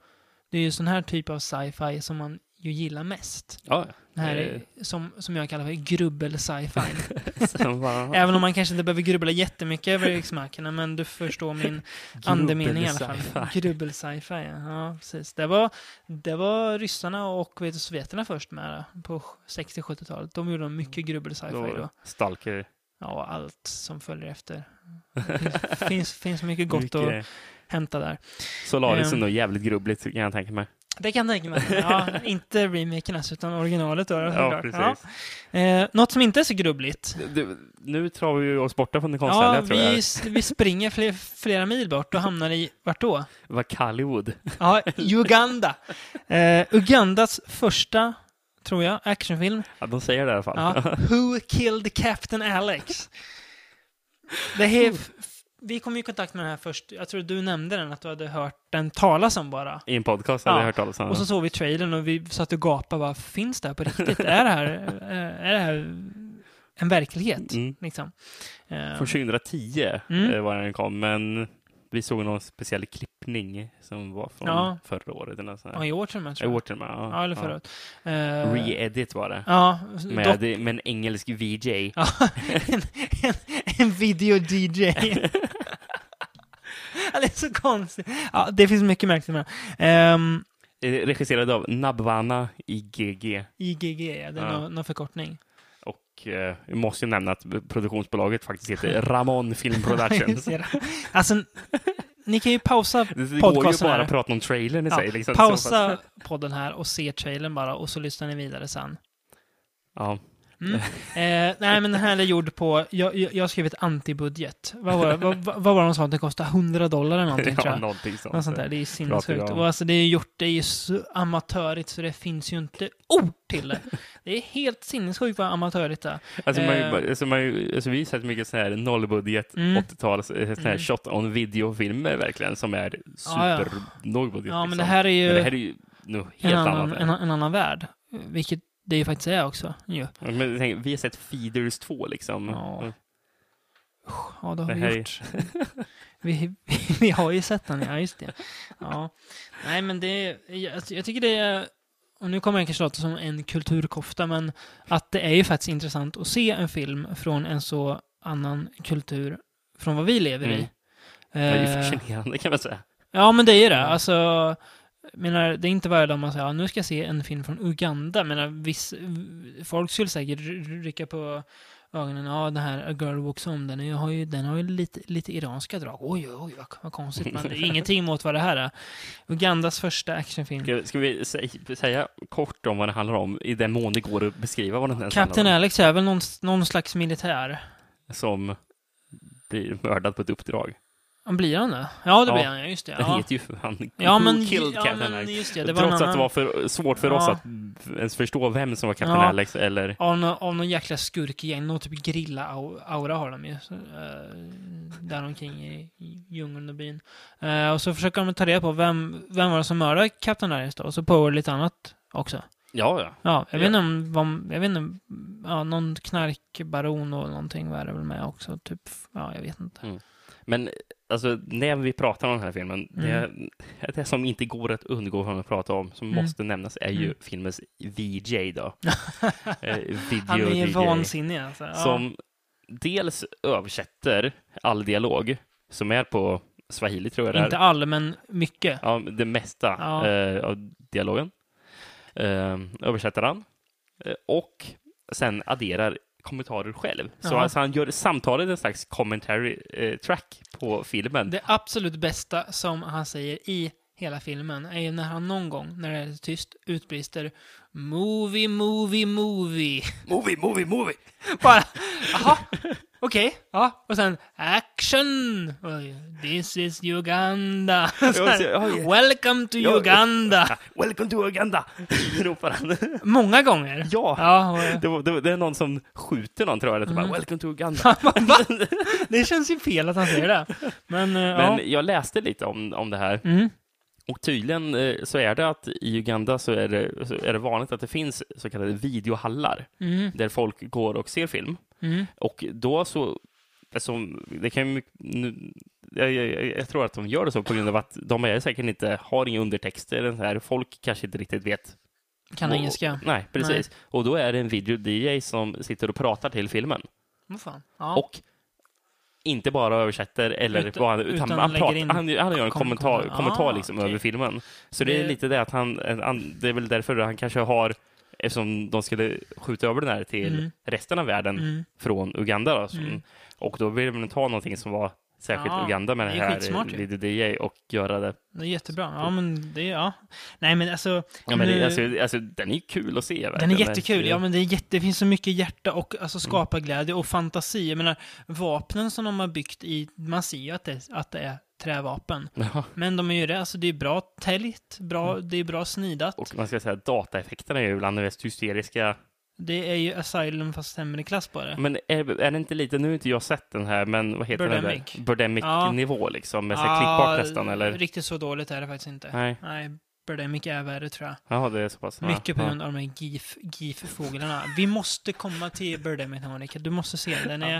Speaker 2: det är ju sån här typ av sci-fi som man ju gillar mest.
Speaker 3: Ja.
Speaker 2: Den här
Speaker 3: Eh.
Speaker 2: som, som jag kallar för grubbel-sci-fi.
Speaker 3: Sen bara-
Speaker 2: Även om man kanske inte behöver grubbla jättemycket över X-Markerna, men du förstår min andemening i alla fall.
Speaker 3: Grubbel-sci-fi.
Speaker 2: Grubbel sci-fi, ja. ja precis. Det var, det var ryssarna och vet, du, sovjeterna först med på 60-70-talet. De gjorde mycket grubbel sci-fi då.
Speaker 3: Mm. Då- Stalker.
Speaker 2: Ja, och allt som följer efter. Det finns, finns mycket gott att
Speaker 3: Mycket
Speaker 2: hämta där.
Speaker 3: Solaris är
Speaker 2: Ehm.
Speaker 3: nog jävligt grubbligt kan jag tänka mig.
Speaker 2: Det kan jag tänka mig. Ja, inte remaken alltså, utan originalet då.
Speaker 3: Ja,
Speaker 2: såklart.
Speaker 3: precis.
Speaker 2: Ja. Eh, något som inte är så grubbligt.
Speaker 3: Du, nu tar vi oss borta från det konstnärliga
Speaker 2: Ja,
Speaker 3: tror jag.
Speaker 2: vi, s- vi springer fler, flera mil bort och hamnar i, vart då?
Speaker 3: Vad Kallywood.
Speaker 2: Ja, Uganda. Eh, Ugandas första, tror jag, actionfilm.
Speaker 3: Ja, de säger det i alla fall.
Speaker 2: Ja, Who killed Captain Alex? Det här, f- f- vi kom ju i kontakt med den här först. Jag tror du nämnde den, att du hade hört den talas om bara.
Speaker 3: I en podcast hade
Speaker 2: Ja.
Speaker 3: jag hört talas om
Speaker 2: Och
Speaker 3: den.
Speaker 2: så såg vi trailern och vi satt och gapade. Bara, Finns det här på riktigt? Är det här, eh, är det här en verklighet?
Speaker 3: Mm.
Speaker 2: Liksom. Eh,
Speaker 3: Från 2010
Speaker 2: Mm.
Speaker 3: eh, var den kom, men vi såg någon speciell klippning som var från
Speaker 2: Ja.
Speaker 3: förra året. Eller något sånt
Speaker 2: ja,
Speaker 3: där.
Speaker 2: i år till och med,
Speaker 3: I
Speaker 2: tror
Speaker 3: år
Speaker 2: jag.
Speaker 3: till och med.
Speaker 2: Ja, eller förra året. Eh,
Speaker 3: Re-edit var det.
Speaker 2: Ja,
Speaker 3: Med,
Speaker 2: dock-
Speaker 3: med en engelsk VJ.
Speaker 2: Ja, en, en, en video-DJ. Han är så konstig. Ja, det finns mycket märkligt med det. Ehm,
Speaker 3: Eh, Regisserad av Nabwana IGG.
Speaker 2: IGG, ja, det är
Speaker 3: Ja.
Speaker 2: någon, någon förkortning.
Speaker 3: Och eh, vi måste ju nämna att produktionsbolaget faktiskt heter Ramon Film Productions.
Speaker 2: Ser du? alltså, ni kan ju pausa,
Speaker 3: Det går ju
Speaker 2: Podcasten
Speaker 3: bara
Speaker 2: här.
Speaker 3: att prata om trailern i
Speaker 2: ja,
Speaker 3: sig. Liksom, Så,
Speaker 2: pausa podden här och se trailern bara och så lyssnar ni vidare sen.
Speaker 3: ja.
Speaker 2: Mm. Eh, nej, men den här är gjord på, jag, jag jag har skrivit antibudget. Vad var det, vad, vad vad var det de sa att det kostade? 100 dollar eller någonting tror
Speaker 3: ja,
Speaker 2: jag.
Speaker 3: någonting sånt.
Speaker 2: Något sånt där. Det är
Speaker 3: Pratar
Speaker 2: sinnessjukt.
Speaker 3: vi om.
Speaker 2: Och alltså det är ju gjort, det är ju så amatörigt så det finns ju inte ord till det. Det är helt sinnessjukt vad amatörigt det är.
Speaker 3: Alltså, man,
Speaker 2: Eh.
Speaker 3: alltså, man, alltså, vi har sett mycket sån här nollbudget,
Speaker 2: Mm.
Speaker 3: 80-tals, eh, sån här
Speaker 2: Mm.
Speaker 3: shot on video-filmer verkligen, som är
Speaker 2: Ja, ja.
Speaker 3: super lågbudget.
Speaker 2: Ja, men
Speaker 3: liksom.
Speaker 2: det här är ju
Speaker 3: men det här är ju nog helt
Speaker 2: en,
Speaker 3: annat.
Speaker 2: annan, en, en annan värld. Vilket det ju faktiskt är också. ju.
Speaker 3: Men tänk, vi har sett Feeders 2 liksom.
Speaker 2: Ja. Ja, det
Speaker 3: Det
Speaker 2: har
Speaker 3: här
Speaker 2: vi
Speaker 3: är-
Speaker 2: gjort. Vi, vi har ju sett den, ja just det. Ja. Nej, men det jag, alltså, jag tycker det är, och nu kommer jag kanske låta som en kulturkofta, men att det är ju faktiskt intressant att se en film från en så annan kultur från vad vi lever i.
Speaker 3: Mm. Det är ju
Speaker 2: Eh,
Speaker 3: fascinerande kan man säga.
Speaker 2: Ja, men det är ju
Speaker 3: Mm.
Speaker 2: det. Alltså, jag menar, det är inte varje dag man säger ja, nu ska jag se en film från Uganda. Jag Menar, viss, folk skulle säkert ry- rycka på ögonen. Ja, den här A Girl Walks Home, den, är, har, ju, den har ju lite, lite iranska drag. Oj, oj, oj, vad, vad konstigt. Man, det är ingenting emot vad det här är. Ugandas första actionfilm.
Speaker 3: Ska, ska vi sä- säga kort om vad det handlar om, i den mån det går att beskriva vad den ens
Speaker 2: Captain
Speaker 3: handlar om?
Speaker 2: Alex är väl någon, någon slags militär?
Speaker 3: Som blir mördad på ett uppdrag.
Speaker 2: Blir han det? Ja, det
Speaker 3: Ja.
Speaker 2: blir han. ja, Just det.
Speaker 3: Den
Speaker 2: Ja,
Speaker 3: heter ju för fan
Speaker 2: ja
Speaker 3: Who
Speaker 2: men,
Speaker 3: Killed
Speaker 2: ja,
Speaker 3: Captain
Speaker 2: men
Speaker 3: Alex.
Speaker 2: just det. Det var en
Speaker 3: Trots att det
Speaker 2: annan...
Speaker 3: var för, svårt för oss
Speaker 2: Ja.
Speaker 3: att ens förstå vem som var Captain
Speaker 2: Ja.
Speaker 3: Alex eller...
Speaker 2: Av någon, av någon jäkla skurkgäng, någon typ grilla-aura har de ju. Så, eh, där omkring i i djungeln och byn. Eh, och så försöker de ta reda på vem, vem var det som mördade Captain Iris då? Och så pågår det lite annat också.
Speaker 3: Ja, ja.
Speaker 2: Ja, jag
Speaker 3: Ja.
Speaker 2: vet inte om, vad, jag vet inte, ja, någon knarkbaron och någonting var det väl med också. Typ, ja, jag vet inte.
Speaker 3: Men alltså, när vi pratar om den här filmen, det, det som inte går att undgå från att prata om, som
Speaker 2: Mm.
Speaker 3: måste nämnas, är ju
Speaker 2: Mm.
Speaker 3: filmens VJ då. eh, video
Speaker 2: Han är ju
Speaker 3: DJ.
Speaker 2: vansinnig alltså. Ja.
Speaker 3: Som dels översätter all dialog, som är på swahili tror jag det är.
Speaker 2: Inte all, men mycket.
Speaker 3: Ja, det mesta
Speaker 2: Ja.
Speaker 3: eh, av dialogen. Eh, översätter han. Eh, och sen adderar kommentarer själv. Så
Speaker 2: Ja.
Speaker 3: alltså, han gör samtalet en slags commentary eh, track på filmen.
Speaker 2: Det absolut bästa som han säger i hela filmen är ju när han någon gång, när det är tyst, utbrister “Movie, movie, movie”.
Speaker 3: Movie, movie, movie!
Speaker 2: Bara, jaha, okej, ja. Och sen “Action! This is Uganda!” Så här, “Welcome to
Speaker 3: Ja.
Speaker 2: Uganda!”
Speaker 3: Welcome to Uganda! ropar han.
Speaker 2: Många gånger.
Speaker 3: ja,
Speaker 2: Ja, och,
Speaker 3: Det, var, det, var- det är någon som skjuter någon tror jag. Det är
Speaker 2: Mm.
Speaker 3: bara, Welcome to Uganda!
Speaker 2: Va? det känns ju fel att han säger det. Men, eh,
Speaker 3: Men
Speaker 2: ja.
Speaker 3: jag läste lite om, om det här.
Speaker 2: Mm.
Speaker 3: Och tydligen eh, så är det att i Uganda så är det, så är det vanligt att det finns så kallade videohallar
Speaker 2: Mm.
Speaker 3: där folk går och ser film.
Speaker 2: Mm.
Speaker 3: Och då så, alltså, det kan ju, mycket- nu, jag, jag, jag- jag tror att de gör det så på grund av att de är säkert inte har inga undertexter. eller så här. Folk kanske inte riktigt vet.
Speaker 2: Kan
Speaker 3: Och-
Speaker 2: engelska.
Speaker 3: Nej, precis. Och då är det en video-DJ som sitter och pratar till filmen.
Speaker 2: Vad fan. Ja.
Speaker 3: Och inte bara översätter eller
Speaker 2: Utan-
Speaker 3: vad han, utan,
Speaker 2: utan
Speaker 3: han,
Speaker 2: lägger
Speaker 3: pratar,
Speaker 2: in
Speaker 3: han, han gör en
Speaker 2: kom-
Speaker 3: kommentar,
Speaker 2: kommentar.
Speaker 3: kommentar
Speaker 2: Ah,
Speaker 3: liksom
Speaker 2: okej.
Speaker 3: över filmen. Så det, är
Speaker 2: Det-
Speaker 3: lite det att han, han, det är väl därför han kanske har, eftersom de skulle skjuta över den här till
Speaker 2: Mm.
Speaker 3: resten av världen
Speaker 2: Mm.
Speaker 3: från Uganda. Då, som,
Speaker 2: Mm.
Speaker 3: Och då ville de ta någonting som var särskilt
Speaker 2: Ja,
Speaker 3: Uganda med
Speaker 2: det
Speaker 3: den
Speaker 2: är
Speaker 3: här
Speaker 2: skitsmart ju.
Speaker 3: Video DJ och göra det.
Speaker 2: Det är jättebra. Ja, men det, ja. Nej, men alltså.
Speaker 3: Ja, men
Speaker 2: nu-
Speaker 3: det alltså, alltså, den är ju kul att se.
Speaker 2: den är
Speaker 3: verkligen. Mm.
Speaker 2: jättekul. Ja, men det, är jätte, det finns så mycket hjärta och alltså, skaparglädje och fantasi. Jag menar, vapnen som de har byggt i, man ser ju att det, att det är trävapen.
Speaker 3: Ja,
Speaker 2: Men de är ju det, alltså det är bra täljt, bra,
Speaker 3: Mm.
Speaker 2: det är bra snidat.
Speaker 3: Och man ska säga att dataeffekterna är ju bland de mest hysteriska
Speaker 2: Det är ju Asylum fast sämre klass på det.
Speaker 3: Men är, är det inte lite, nu har inte jag sett den här, men vad heter
Speaker 2: Birdemic.
Speaker 3: den där? Birdemic
Speaker 2: Ja.
Speaker 3: nivå liksom, med ah, klippbart nästan eller?
Speaker 2: Riktigt så dåligt är det faktiskt inte.
Speaker 3: Nej,
Speaker 2: Nej, Birdemic är värre tror jag.
Speaker 3: jaha det är så pass.
Speaker 2: Mycket på
Speaker 3: ja,
Speaker 2: grund av de här GIF GIF-fåglarna. Vi måste komma till Birdemic någon gång, Rickard. Du måste se den. Den är,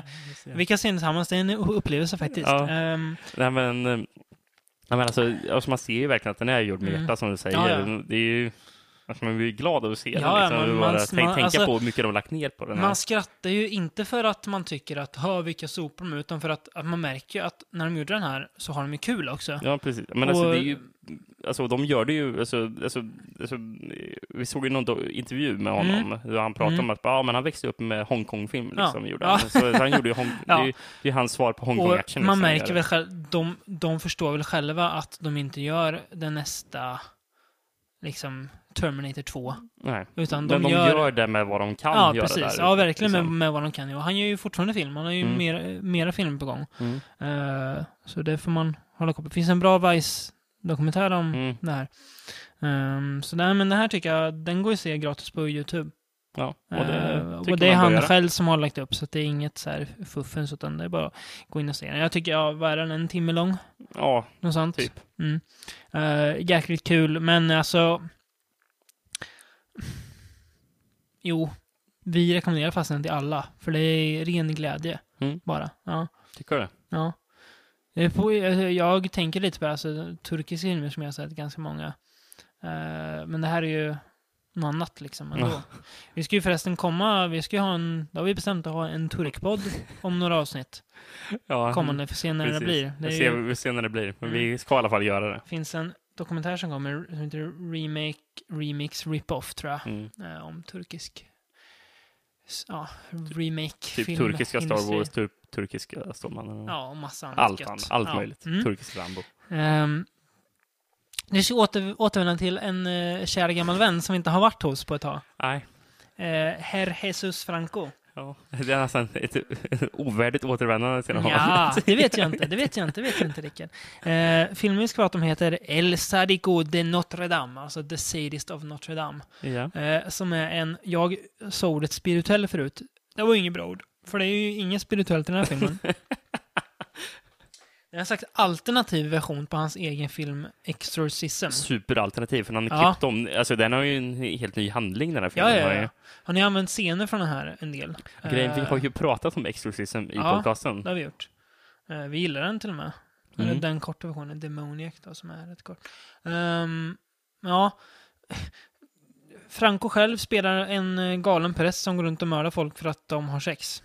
Speaker 3: ja.
Speaker 2: Vi kan se den tillsammans, det är en upplevelse faktiskt.
Speaker 3: Ja.
Speaker 2: Ehm,
Speaker 3: Nej men, eh, ja, men alltså, alltså, man ser ju verkligen att den är gjord med
Speaker 2: Mm.
Speaker 3: hjärta som du säger.
Speaker 2: Ja, ja.
Speaker 3: Den- Det är ju, alltså, man blir ju glad över att se
Speaker 2: Ja,
Speaker 3: den
Speaker 2: ja,
Speaker 3: liksom.
Speaker 2: men
Speaker 3: Man,
Speaker 2: man-
Speaker 3: bara, tänk,
Speaker 2: man-
Speaker 3: tänka
Speaker 2: alltså-
Speaker 3: på hur mycket de har lagt ner på den här.
Speaker 2: man skrattar ju inte för att man tycker att hör vilka sopor de är", utan för att, att man märker ju att när de gjorde den här så har de ju kul också.
Speaker 3: Ja, precis. Men alltså,
Speaker 2: Och-
Speaker 3: det är ju, alltså, de gör det ju, alltså, alltså, alltså, vi såg ju någon do- intervju med honom, där han pratade om
Speaker 2: Mm.
Speaker 3: att ja, men han växte upp med Hongkong-film,
Speaker 2: Ja.
Speaker 3: liksom, gjorde
Speaker 2: Ja.
Speaker 3: han. Så, han gjorde ju Hong- det, är ju, det är ju hans svar på
Speaker 2: Och
Speaker 3: Hongkong-action.
Speaker 2: man
Speaker 3: liksom,
Speaker 2: märker
Speaker 3: gör
Speaker 2: väl
Speaker 3: det.
Speaker 2: själv, de, de förstår väl själva att de inte gör den nästa, liksom, Terminator 2.
Speaker 3: Nej.
Speaker 2: Utan de
Speaker 3: men de
Speaker 2: gör-
Speaker 3: gör... det med vad de kan
Speaker 2: ja,
Speaker 3: göra
Speaker 2: precis.
Speaker 3: där.
Speaker 2: ja, verkligen med,
Speaker 3: liksom.
Speaker 2: med vad de kan. Och han gör ju fortfarande film, han har ju
Speaker 3: Mm.
Speaker 2: mera, mera film på gång.
Speaker 3: Mm.
Speaker 2: Eh, så det får man hålla koll på. Det finns en bra Vice-dokumentär om
Speaker 3: Mm.
Speaker 2: det här. Ehm, så nej, men det här tycker jag, den går ju att se gratis på YouTube.
Speaker 3: Ja, och det,
Speaker 2: Eh,
Speaker 3: tycker
Speaker 2: och det är
Speaker 3: man
Speaker 2: han
Speaker 3: bör göra.
Speaker 2: själv som har lagt upp, så att det är inget så här fuffens, utan det är bara att gå in och se den. Jag tycker, ja, vad är den, en timme lång?
Speaker 3: Ja,
Speaker 2: Något sånt.
Speaker 3: Typ.
Speaker 2: Mm. Eh, jäkligt kul, men alltså... Jo, vi rekommenderar fast den till alla, för det är ren glädje
Speaker 3: Mm.
Speaker 2: bara. Ja.
Speaker 3: tycker du?
Speaker 2: Ja. Det är på- Jag, alltså, jag tänker lite på alltså, turkiska filmer som jag har sett ganska många. Eh, men det här är ju något annat liksom ändå.
Speaker 3: Ja.
Speaker 2: Vi ska ju förresten komma, vi ska ju ha en, då har vi bestämt att ha en turkpodd om några avsnitt.
Speaker 3: Ja,
Speaker 2: Kommande, för se när det
Speaker 3: precis.
Speaker 2: blir. Det
Speaker 3: Vi
Speaker 2: är
Speaker 3: ser,
Speaker 2: ju,
Speaker 3: vi ser när det blir, men
Speaker 2: Mm.
Speaker 3: vi ska i alla fall göra det.
Speaker 2: finns en dokumentär som kommer som heter Remake, Remix, Rip-Off tror jag.
Speaker 3: Mm.
Speaker 2: eh, om turkisk s- ja, remake
Speaker 3: Typ turkiska Star Wars, tur, turkiska Stålmannen.
Speaker 2: Ja, och massa annat
Speaker 3: allt
Speaker 2: gött.
Speaker 3: annat, allt
Speaker 2: ja.
Speaker 3: möjligt.
Speaker 2: Mm.
Speaker 3: Turkisk Rambo.
Speaker 2: Ehm, vi ska åter, återvända till en eh, kär gammal vän som vi inte har varit hos på ett tag.
Speaker 3: Nej,
Speaker 2: Eh, Herr Jesus Franco.
Speaker 3: ja. det är nästan ett ovärdigt återvändande till honom.
Speaker 2: Ja, det vet jag inte. Det vet jag inte. Det vet jag inte, Rickard. Eh, filmen vi ska prata om heter El Sadico de Notre Dame, alltså The Sadist of Notre Dame.
Speaker 3: ja.
Speaker 2: Eh, som är en, jag sa ordet spirituell förut. Det var ju inget bra ord. För det är ju inget spirituellt i den här filmen. Det är en slags alternativ version på hans egen film Exorcism.
Speaker 3: Superalternativ, för han har
Speaker 2: Ja.
Speaker 3: klippt om. Alltså, den har ju en helt ny handling, den här
Speaker 2: Ja,
Speaker 3: filmen.
Speaker 2: ja,
Speaker 3: har ju.
Speaker 2: ja. Har ni använt scener från den här en del?
Speaker 3: Grejen, vi
Speaker 2: Eh,
Speaker 3: har ju pratat om Exorcism i
Speaker 2: ja.
Speaker 3: podcasten.
Speaker 2: Det har vi gjort. Eh, vi gillar den till och med.
Speaker 3: Mm.
Speaker 2: Eller Den korta versionen, Demoniac då, som är rätt kort. Ehm, ja. Franco själv spelar en eh, galen präst som går runt och mördar folk för att de har sex.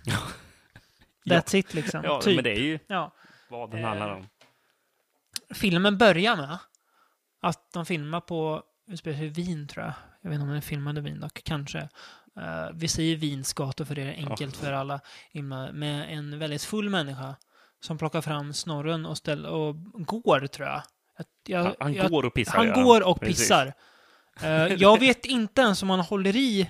Speaker 2: That's it liksom.
Speaker 3: Ja,
Speaker 2: typ.
Speaker 3: men det är ju
Speaker 2: ja.
Speaker 3: vad den
Speaker 2: Eh,
Speaker 3: handlar om.
Speaker 2: Filmen börjar med att de filmar på, utspelar sig i Wien tror jag. Jag vet inte om den filmade i Wien dock, kanske. Eh, vi säger Wiens gator för det är enkelt för alla. himla- Med en väldigt full människa som plockar fram snorren och, ställ, och går tror jag. Att jag-
Speaker 3: Han, han
Speaker 2: jag,
Speaker 3: går och pissar.
Speaker 2: han
Speaker 3: gör
Speaker 2: går och
Speaker 3: Precis.
Speaker 2: pissar. Eh, jag vet inte ens om han håller i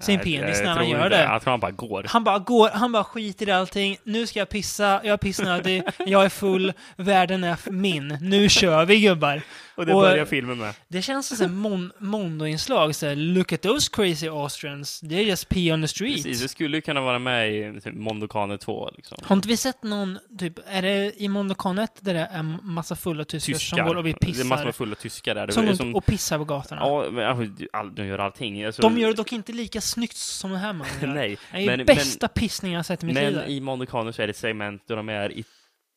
Speaker 2: sin
Speaker 3: Nej,
Speaker 2: penis
Speaker 3: jag
Speaker 2: när han
Speaker 3: tror
Speaker 2: gör
Speaker 3: inte.
Speaker 2: det.
Speaker 3: Jag tror han bara går.
Speaker 2: Han bara går, han bara skiter i allting. Nu ska jag pissa, jag är pissnödig, jag är full, världen är min. Nu kör vi gubbar.
Speaker 3: Och det
Speaker 2: och-
Speaker 3: börjar filmen med.
Speaker 2: Det känns som såhär mon- Mondo-inslag, såhär “Look at those crazy Austrians, they're just pee on the street”.
Speaker 3: Precis, det skulle ju kunna vara med i typ, Mondokane 2. Liksom.
Speaker 2: Har inte vi sett någon, typ, är det i Mondo Con 1 där det är massa fulla tyskar, som går och vi
Speaker 3: Det är massor
Speaker 2: pissar?
Speaker 3: med fulla tyskar där. Det
Speaker 2: Som
Speaker 3: är
Speaker 2: går och pissar på gatorna.
Speaker 3: ja, men, alltså, all, de gör allting. Alltså,
Speaker 2: De gör det dock inte lika snyggt som den här mannen gör.
Speaker 3: Nej,
Speaker 2: Det är
Speaker 3: men-
Speaker 2: bästa pissningen jag har sett i mitt liv.
Speaker 3: men
Speaker 2: där.
Speaker 3: i Mondokane så är det ett segment där de är i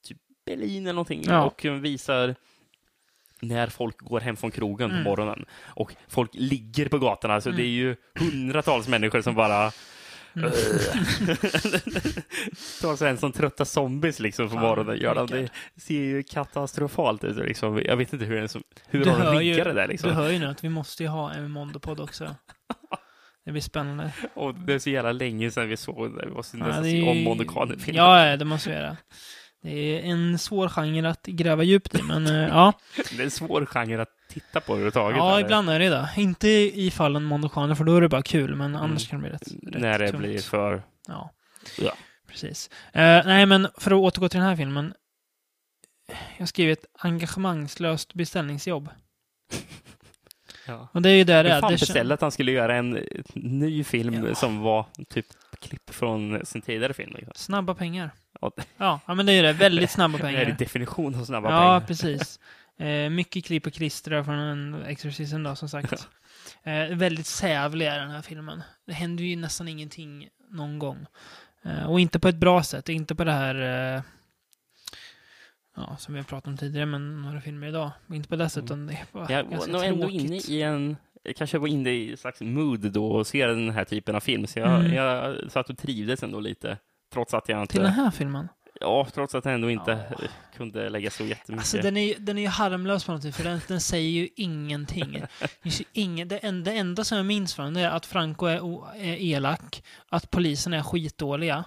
Speaker 3: typ Berlin eller någonting
Speaker 2: Ja.
Speaker 3: och visar när folk går hem från krogen
Speaker 2: Mm.
Speaker 3: på morgonen och folk ligger på gatorna. Så
Speaker 2: Mm.
Speaker 3: det är ju hundratals människor som bara
Speaker 2: Mm.
Speaker 3: tar sig en som trötta zombies liksom på
Speaker 2: Fan,
Speaker 3: morgonen. Gör de. Det
Speaker 2: Rickard.
Speaker 3: ser ju katastrofalt ut. Liksom. Jag vet inte hur, den som, hur
Speaker 2: Du
Speaker 3: har
Speaker 2: hör
Speaker 3: de
Speaker 2: ju-
Speaker 3: riggat det där. Liksom.
Speaker 2: Du hör ju nu att vi måste ju ha en Mondo-podd också. Det blir spännande.
Speaker 3: Och det är så jävla länge sedan vi såg den. Vi måste nästan
Speaker 2: det är
Speaker 3: se om
Speaker 2: ju-
Speaker 3: Mondokanen-filmen.
Speaker 2: Ja, ja, det måste vi göra. Det är en svår genre att gräva djupt i, men eh, ja.
Speaker 3: Det är en svår genre att titta på överhuvudtaget.
Speaker 2: Ja,
Speaker 3: när
Speaker 2: ibland är det det. Inte i fallen Mondokaner, för då är det bara kul,
Speaker 3: Mm.
Speaker 2: men annars kan det bli rätt,
Speaker 3: Det,
Speaker 2: rätt
Speaker 3: när det
Speaker 2: tungt.
Speaker 3: blir för...
Speaker 2: Ja.
Speaker 3: Ja.
Speaker 2: Precis. Eh, nej, men för att återgå till den här filmen. Jag skrev ett engagemangslöst beställningsjobb.
Speaker 3: Ja.
Speaker 2: Och det är ju där det
Speaker 3: Hur
Speaker 2: är.
Speaker 3: fan
Speaker 2: Det kän-
Speaker 3: beställde att han skulle göra en eh, ny film
Speaker 2: Ja.
Speaker 3: som var typ klipp från sin tidigare film? Liksom.
Speaker 2: Snabba pengar.
Speaker 3: Ja.
Speaker 2: Ja, ja, men det är det. Väldigt snabba
Speaker 3: Det är
Speaker 2: pengar.
Speaker 3: definition av snabba
Speaker 2: ja,
Speaker 3: pengar.
Speaker 2: precis. Eh, mycket klipp och klistra från en Exorcisten då, som sagt. Eh, väldigt sävlig är den här filmen. Det händer ju nästan ingenting någon gång. Eh, och inte på ett bra sätt, inte på det här eh, ja, som vi har pratat om tidigare, men några filmer idag. Inte på det sättet,
Speaker 3: Mm.
Speaker 2: utan det är bara
Speaker 3: Jag var
Speaker 2: ganska
Speaker 3: nog ändå
Speaker 2: tråkigt.
Speaker 3: inne i en... Jag kanske var inne i en slags mood då och ser den här typen av film. Så jag,
Speaker 2: Mm.
Speaker 3: jag satt och trivdes ändå lite. Trots att jag
Speaker 2: Till den
Speaker 3: inte...
Speaker 2: här filmen?
Speaker 3: Ja, trots att jag ändå inte kunde lägga så jättemycket.
Speaker 2: Alltså den är, ju- den är ju harmlös på något sätt, för den, den säger ju ingenting. Det, finns ju ingen, det, enda, det enda som jag minns från det är att Franco är, o, är elak, att polisen är skitdåliga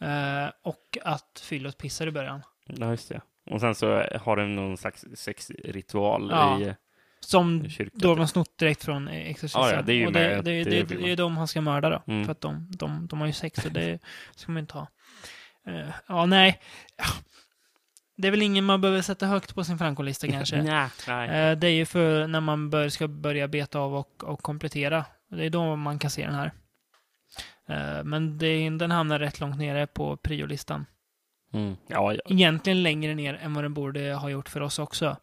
Speaker 2: eh, och att Fyllot pissar i början.
Speaker 3: Ja, just det. Och sen så har de någon slags sexritual
Speaker 2: Ja.
Speaker 3: i
Speaker 2: Som
Speaker 3: i kyrkan.
Speaker 2: då de har snott direkt från eh, Exorcisten.
Speaker 3: Ah, Ja, ja, det är ju
Speaker 2: och
Speaker 3: med
Speaker 2: det,
Speaker 3: att
Speaker 2: det,
Speaker 3: det
Speaker 2: det,
Speaker 3: vill
Speaker 2: det är de han ska mörda då,
Speaker 3: Mm.
Speaker 2: för att de, de, de har ju sex och det ska man ju inte ha. Eh, ja, nej. Det är väl ingen man behöver sätta högt på sin Franco-lista kanske.
Speaker 3: Nej, nej.
Speaker 2: Eh, Det är ju för när man bör, ska börja beta av och, och komplettera. Det är då man kan se den här. Eh, Men det, är- den hamnar rätt långt nere på priolistan. Eh.
Speaker 3: Mm. Ja, ja.
Speaker 2: Egentligen längre ner än vad den borde ha gjort för oss också.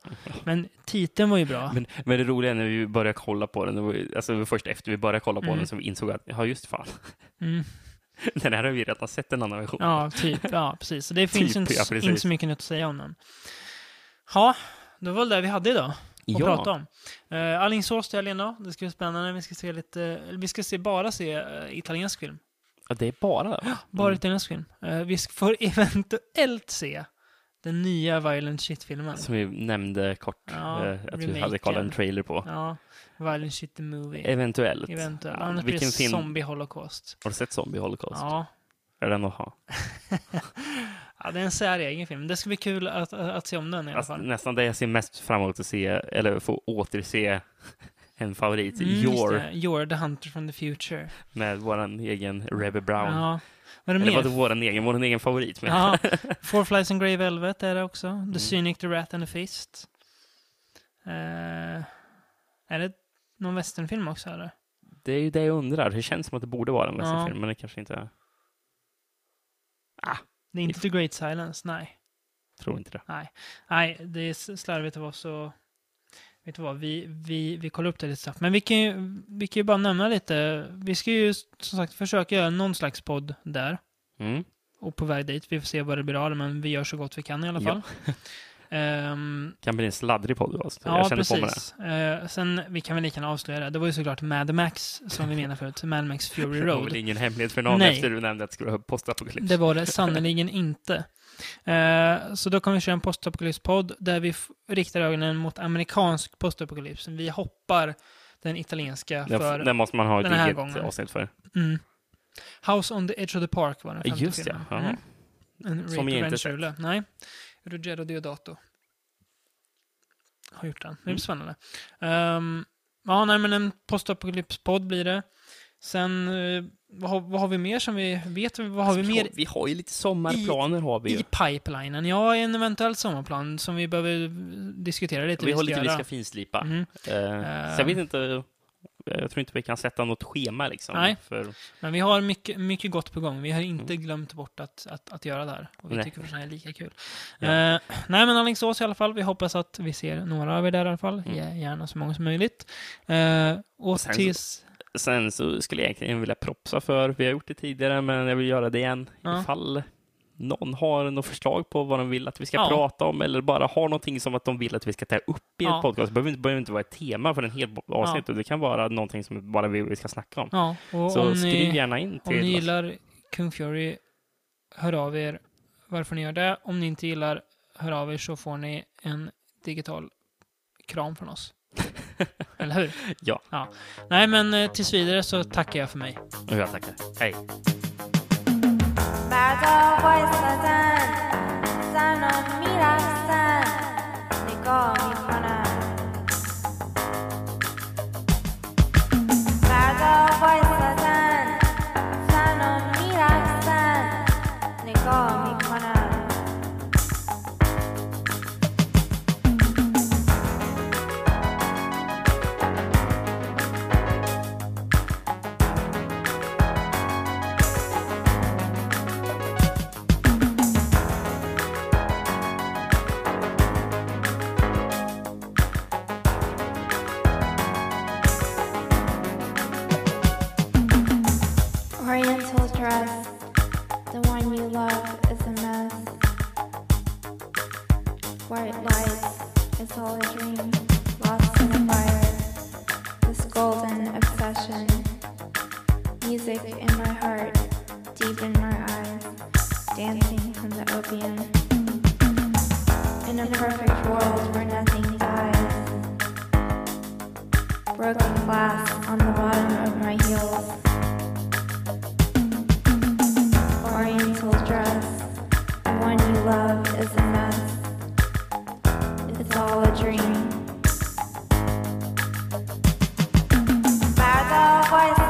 Speaker 2: Men titeln var ju bra.
Speaker 3: Men, men det roliga är när vi började kolla på den, det var ju- alltså det var först efter vi började kolla på
Speaker 2: Mm.
Speaker 3: den som vi insåg att, ja just fan,
Speaker 2: Mm.
Speaker 3: den här har vi redan sett en annan version.
Speaker 2: Ja, typ. Ja, precis. Så det finns ju inte,
Speaker 3: Typ, ja,
Speaker 2: s-
Speaker 3: precis.
Speaker 2: inte så mycket nytt att säga om den. Ja, det var väl det vi hade idag att prata om. Uh, Alingsås till helgen då. Det ska bli spännande. Vi ska se lite, eller vi ska se, bara se eh, italiensk film.
Speaker 3: Ja, det är bara
Speaker 2: Bara
Speaker 3: Mm.
Speaker 2: italiensk film. Eh, vi sk- får eventuellt se Den nya Violent Shit-filmen.
Speaker 3: Som vi nämnde kort,
Speaker 2: Ja,
Speaker 3: eh, att vi hade
Speaker 2: remaken.
Speaker 3: kollat en trailer på.
Speaker 2: Ja, Violent Shit the Movie.
Speaker 3: Eventuellt.
Speaker 2: Eventuellt.
Speaker 3: Ja,
Speaker 2: Annars blir
Speaker 3: vilken
Speaker 2: det
Speaker 3: film?
Speaker 2: Zombie Holocaust.
Speaker 3: Har du sett Zombie Holocaust?
Speaker 2: Ja.
Speaker 3: Är den att ha?
Speaker 2: ja, det är en säregen film. Det ska bli kul att, att se om den i alla
Speaker 3: Alltså,
Speaker 2: fall.
Speaker 3: nästan det jag ser mest fram emot att se, eller få återse en favorit,
Speaker 2: Mm, just
Speaker 3: Your,
Speaker 2: det. You're the Hunter from the Future.
Speaker 3: med våran egen Rebbe Brown.
Speaker 2: Ja. Vad är det
Speaker 3: Eller
Speaker 2: mer?
Speaker 3: var det våran egen, våran egen favorit? Men
Speaker 2: Ja, Four Flies and Grey Velvet är det också. The
Speaker 3: Mm.
Speaker 2: Cynic, The Rat and the Fist. Eh, är det någon westernfilm också eller?
Speaker 3: Det är ju det jag undrar. Det känns som att det borde vara en westernfilm,
Speaker 2: Ja.
Speaker 3: men det kanske inte är.
Speaker 2: Det är inte The Great Silence, nej.
Speaker 3: Tror inte det.
Speaker 2: Nej, det är slarvigt av oss och... Vet du vad, vi, vi, vi kollar upp det lite snabbt. Men vi kan, ju, vi kan ju bara nämna lite. Vi ska ju som sagt försöka göra någon slags podd där.
Speaker 3: Mm.
Speaker 2: Och på väg dit. Vi får se vad det blir av det, men vi gör så gott vi kan i alla
Speaker 3: Ja.
Speaker 2: fall. Ehm,
Speaker 3: Kan bli en sladdrig podcast.
Speaker 2: Ja,
Speaker 3: jag känner på mig det.
Speaker 2: precis. Eh, sen, vi kan väl lika gärna avslöja det. Det var ju såklart Mad Max, som vi menade förut. Mad Max Fury
Speaker 3: Det var
Speaker 2: Road.
Speaker 3: väl ingen hemlighet för någon
Speaker 2: Nej.
Speaker 3: efter du nämnde att det skulle vara postapokalyps.
Speaker 2: Det var det sannerligen inte. Eh, så då kommer vi köra en postapokalypspodd där vi f- riktar ögonen mot amerikansk postapokalyps. Vi hoppar den italienska
Speaker 3: Den,
Speaker 2: för...
Speaker 3: den måste man ha ett
Speaker 2: den här
Speaker 3: eget
Speaker 2: gången.
Speaker 3: avsnitt för.
Speaker 2: Mm. House on the Edge of the Park var den femte
Speaker 3: Just ja.
Speaker 2: filmen.
Speaker 3: ja.
Speaker 2: Mm. En
Speaker 3: Som
Speaker 2: Ray
Speaker 3: jag inte
Speaker 2: Tarantula. Nej. Ruggero Deodato. Har gjort den. Det är
Speaker 3: Mm.
Speaker 2: spännande. Ehm, ja, nej, men en postapokalypspodd blir det. Sen, eh, vad, har, vad har vi mer som vi vet? Vad har vi mer
Speaker 3: Vi har ju lite sommarplaner har vi ju.
Speaker 2: i pipelinen? Ja, en eventuell sommarplan som vi behöver diskutera lite.
Speaker 3: vi har
Speaker 2: ska
Speaker 3: lite vi
Speaker 2: göra.
Speaker 3: ska finslipa.
Speaker 2: Mm.
Speaker 3: Eh,
Speaker 2: Eh.
Speaker 3: så jag vet inte, jag tror inte vi kan sätta något schema liksom.
Speaker 2: Nej.
Speaker 3: För,
Speaker 2: Men vi har mycket, mycket gott på gång. Vi har inte glömt bort att, att, att göra det här. Och vi
Speaker 3: Mm. Nej.
Speaker 2: tycker förstås det är lika kul.
Speaker 3: Ja.
Speaker 2: Eh, nej, men Alingsås i alla fall. Vi hoppas att vi ser några av er där i alla fall.
Speaker 3: Mm.
Speaker 2: Ge Gärna så många som möjligt. Eh, och
Speaker 3: sen så-
Speaker 2: tills...
Speaker 3: sen så skulle jag egentligen vilja propsa för, vi har gjort det tidigare men jag vill göra det igen.
Speaker 2: Ja.
Speaker 3: Ifall någon har något förslag på vad de vill att vi ska
Speaker 2: Ja.
Speaker 3: prata om eller bara har någonting som att de vill att vi ska ta upp i
Speaker 2: Ja.
Speaker 3: en podcast. Det behöver inte, behöver inte vara ett tema för en hel avsnitt. Det kan vara någonting som bara vi, vi ska snacka om.
Speaker 2: Ja, och
Speaker 3: Så
Speaker 2: om
Speaker 3: skriv
Speaker 2: ni,
Speaker 3: gärna in
Speaker 2: om
Speaker 3: till
Speaker 2: ni
Speaker 3: oss.
Speaker 2: gillar Kung Fury, hör av er varför ni gör det. Om ni inte gillar, hör av er så får ni en digital kram från oss. Eller hur?
Speaker 3: Ja.
Speaker 2: ja. Nej, men eh, tills vidare så tackar jag för mig.
Speaker 3: Och jag tackar. Hej.
Speaker 1: بعد وای زدن زنان میرفتن نگاه میکنن بعد وای زدن زنان میرفتن نگاه میکنن Oriental dress, the one you love is a mess. White lights, it's all a dream, lost in the fire. This golden obsession, music in my heart, deep in my eyes, dancing from the opium. In a perfect world where nothing dies, broken glass on the bottom of my heels. Oriental dress, the one you love is a mess. It's all a dream. By the voice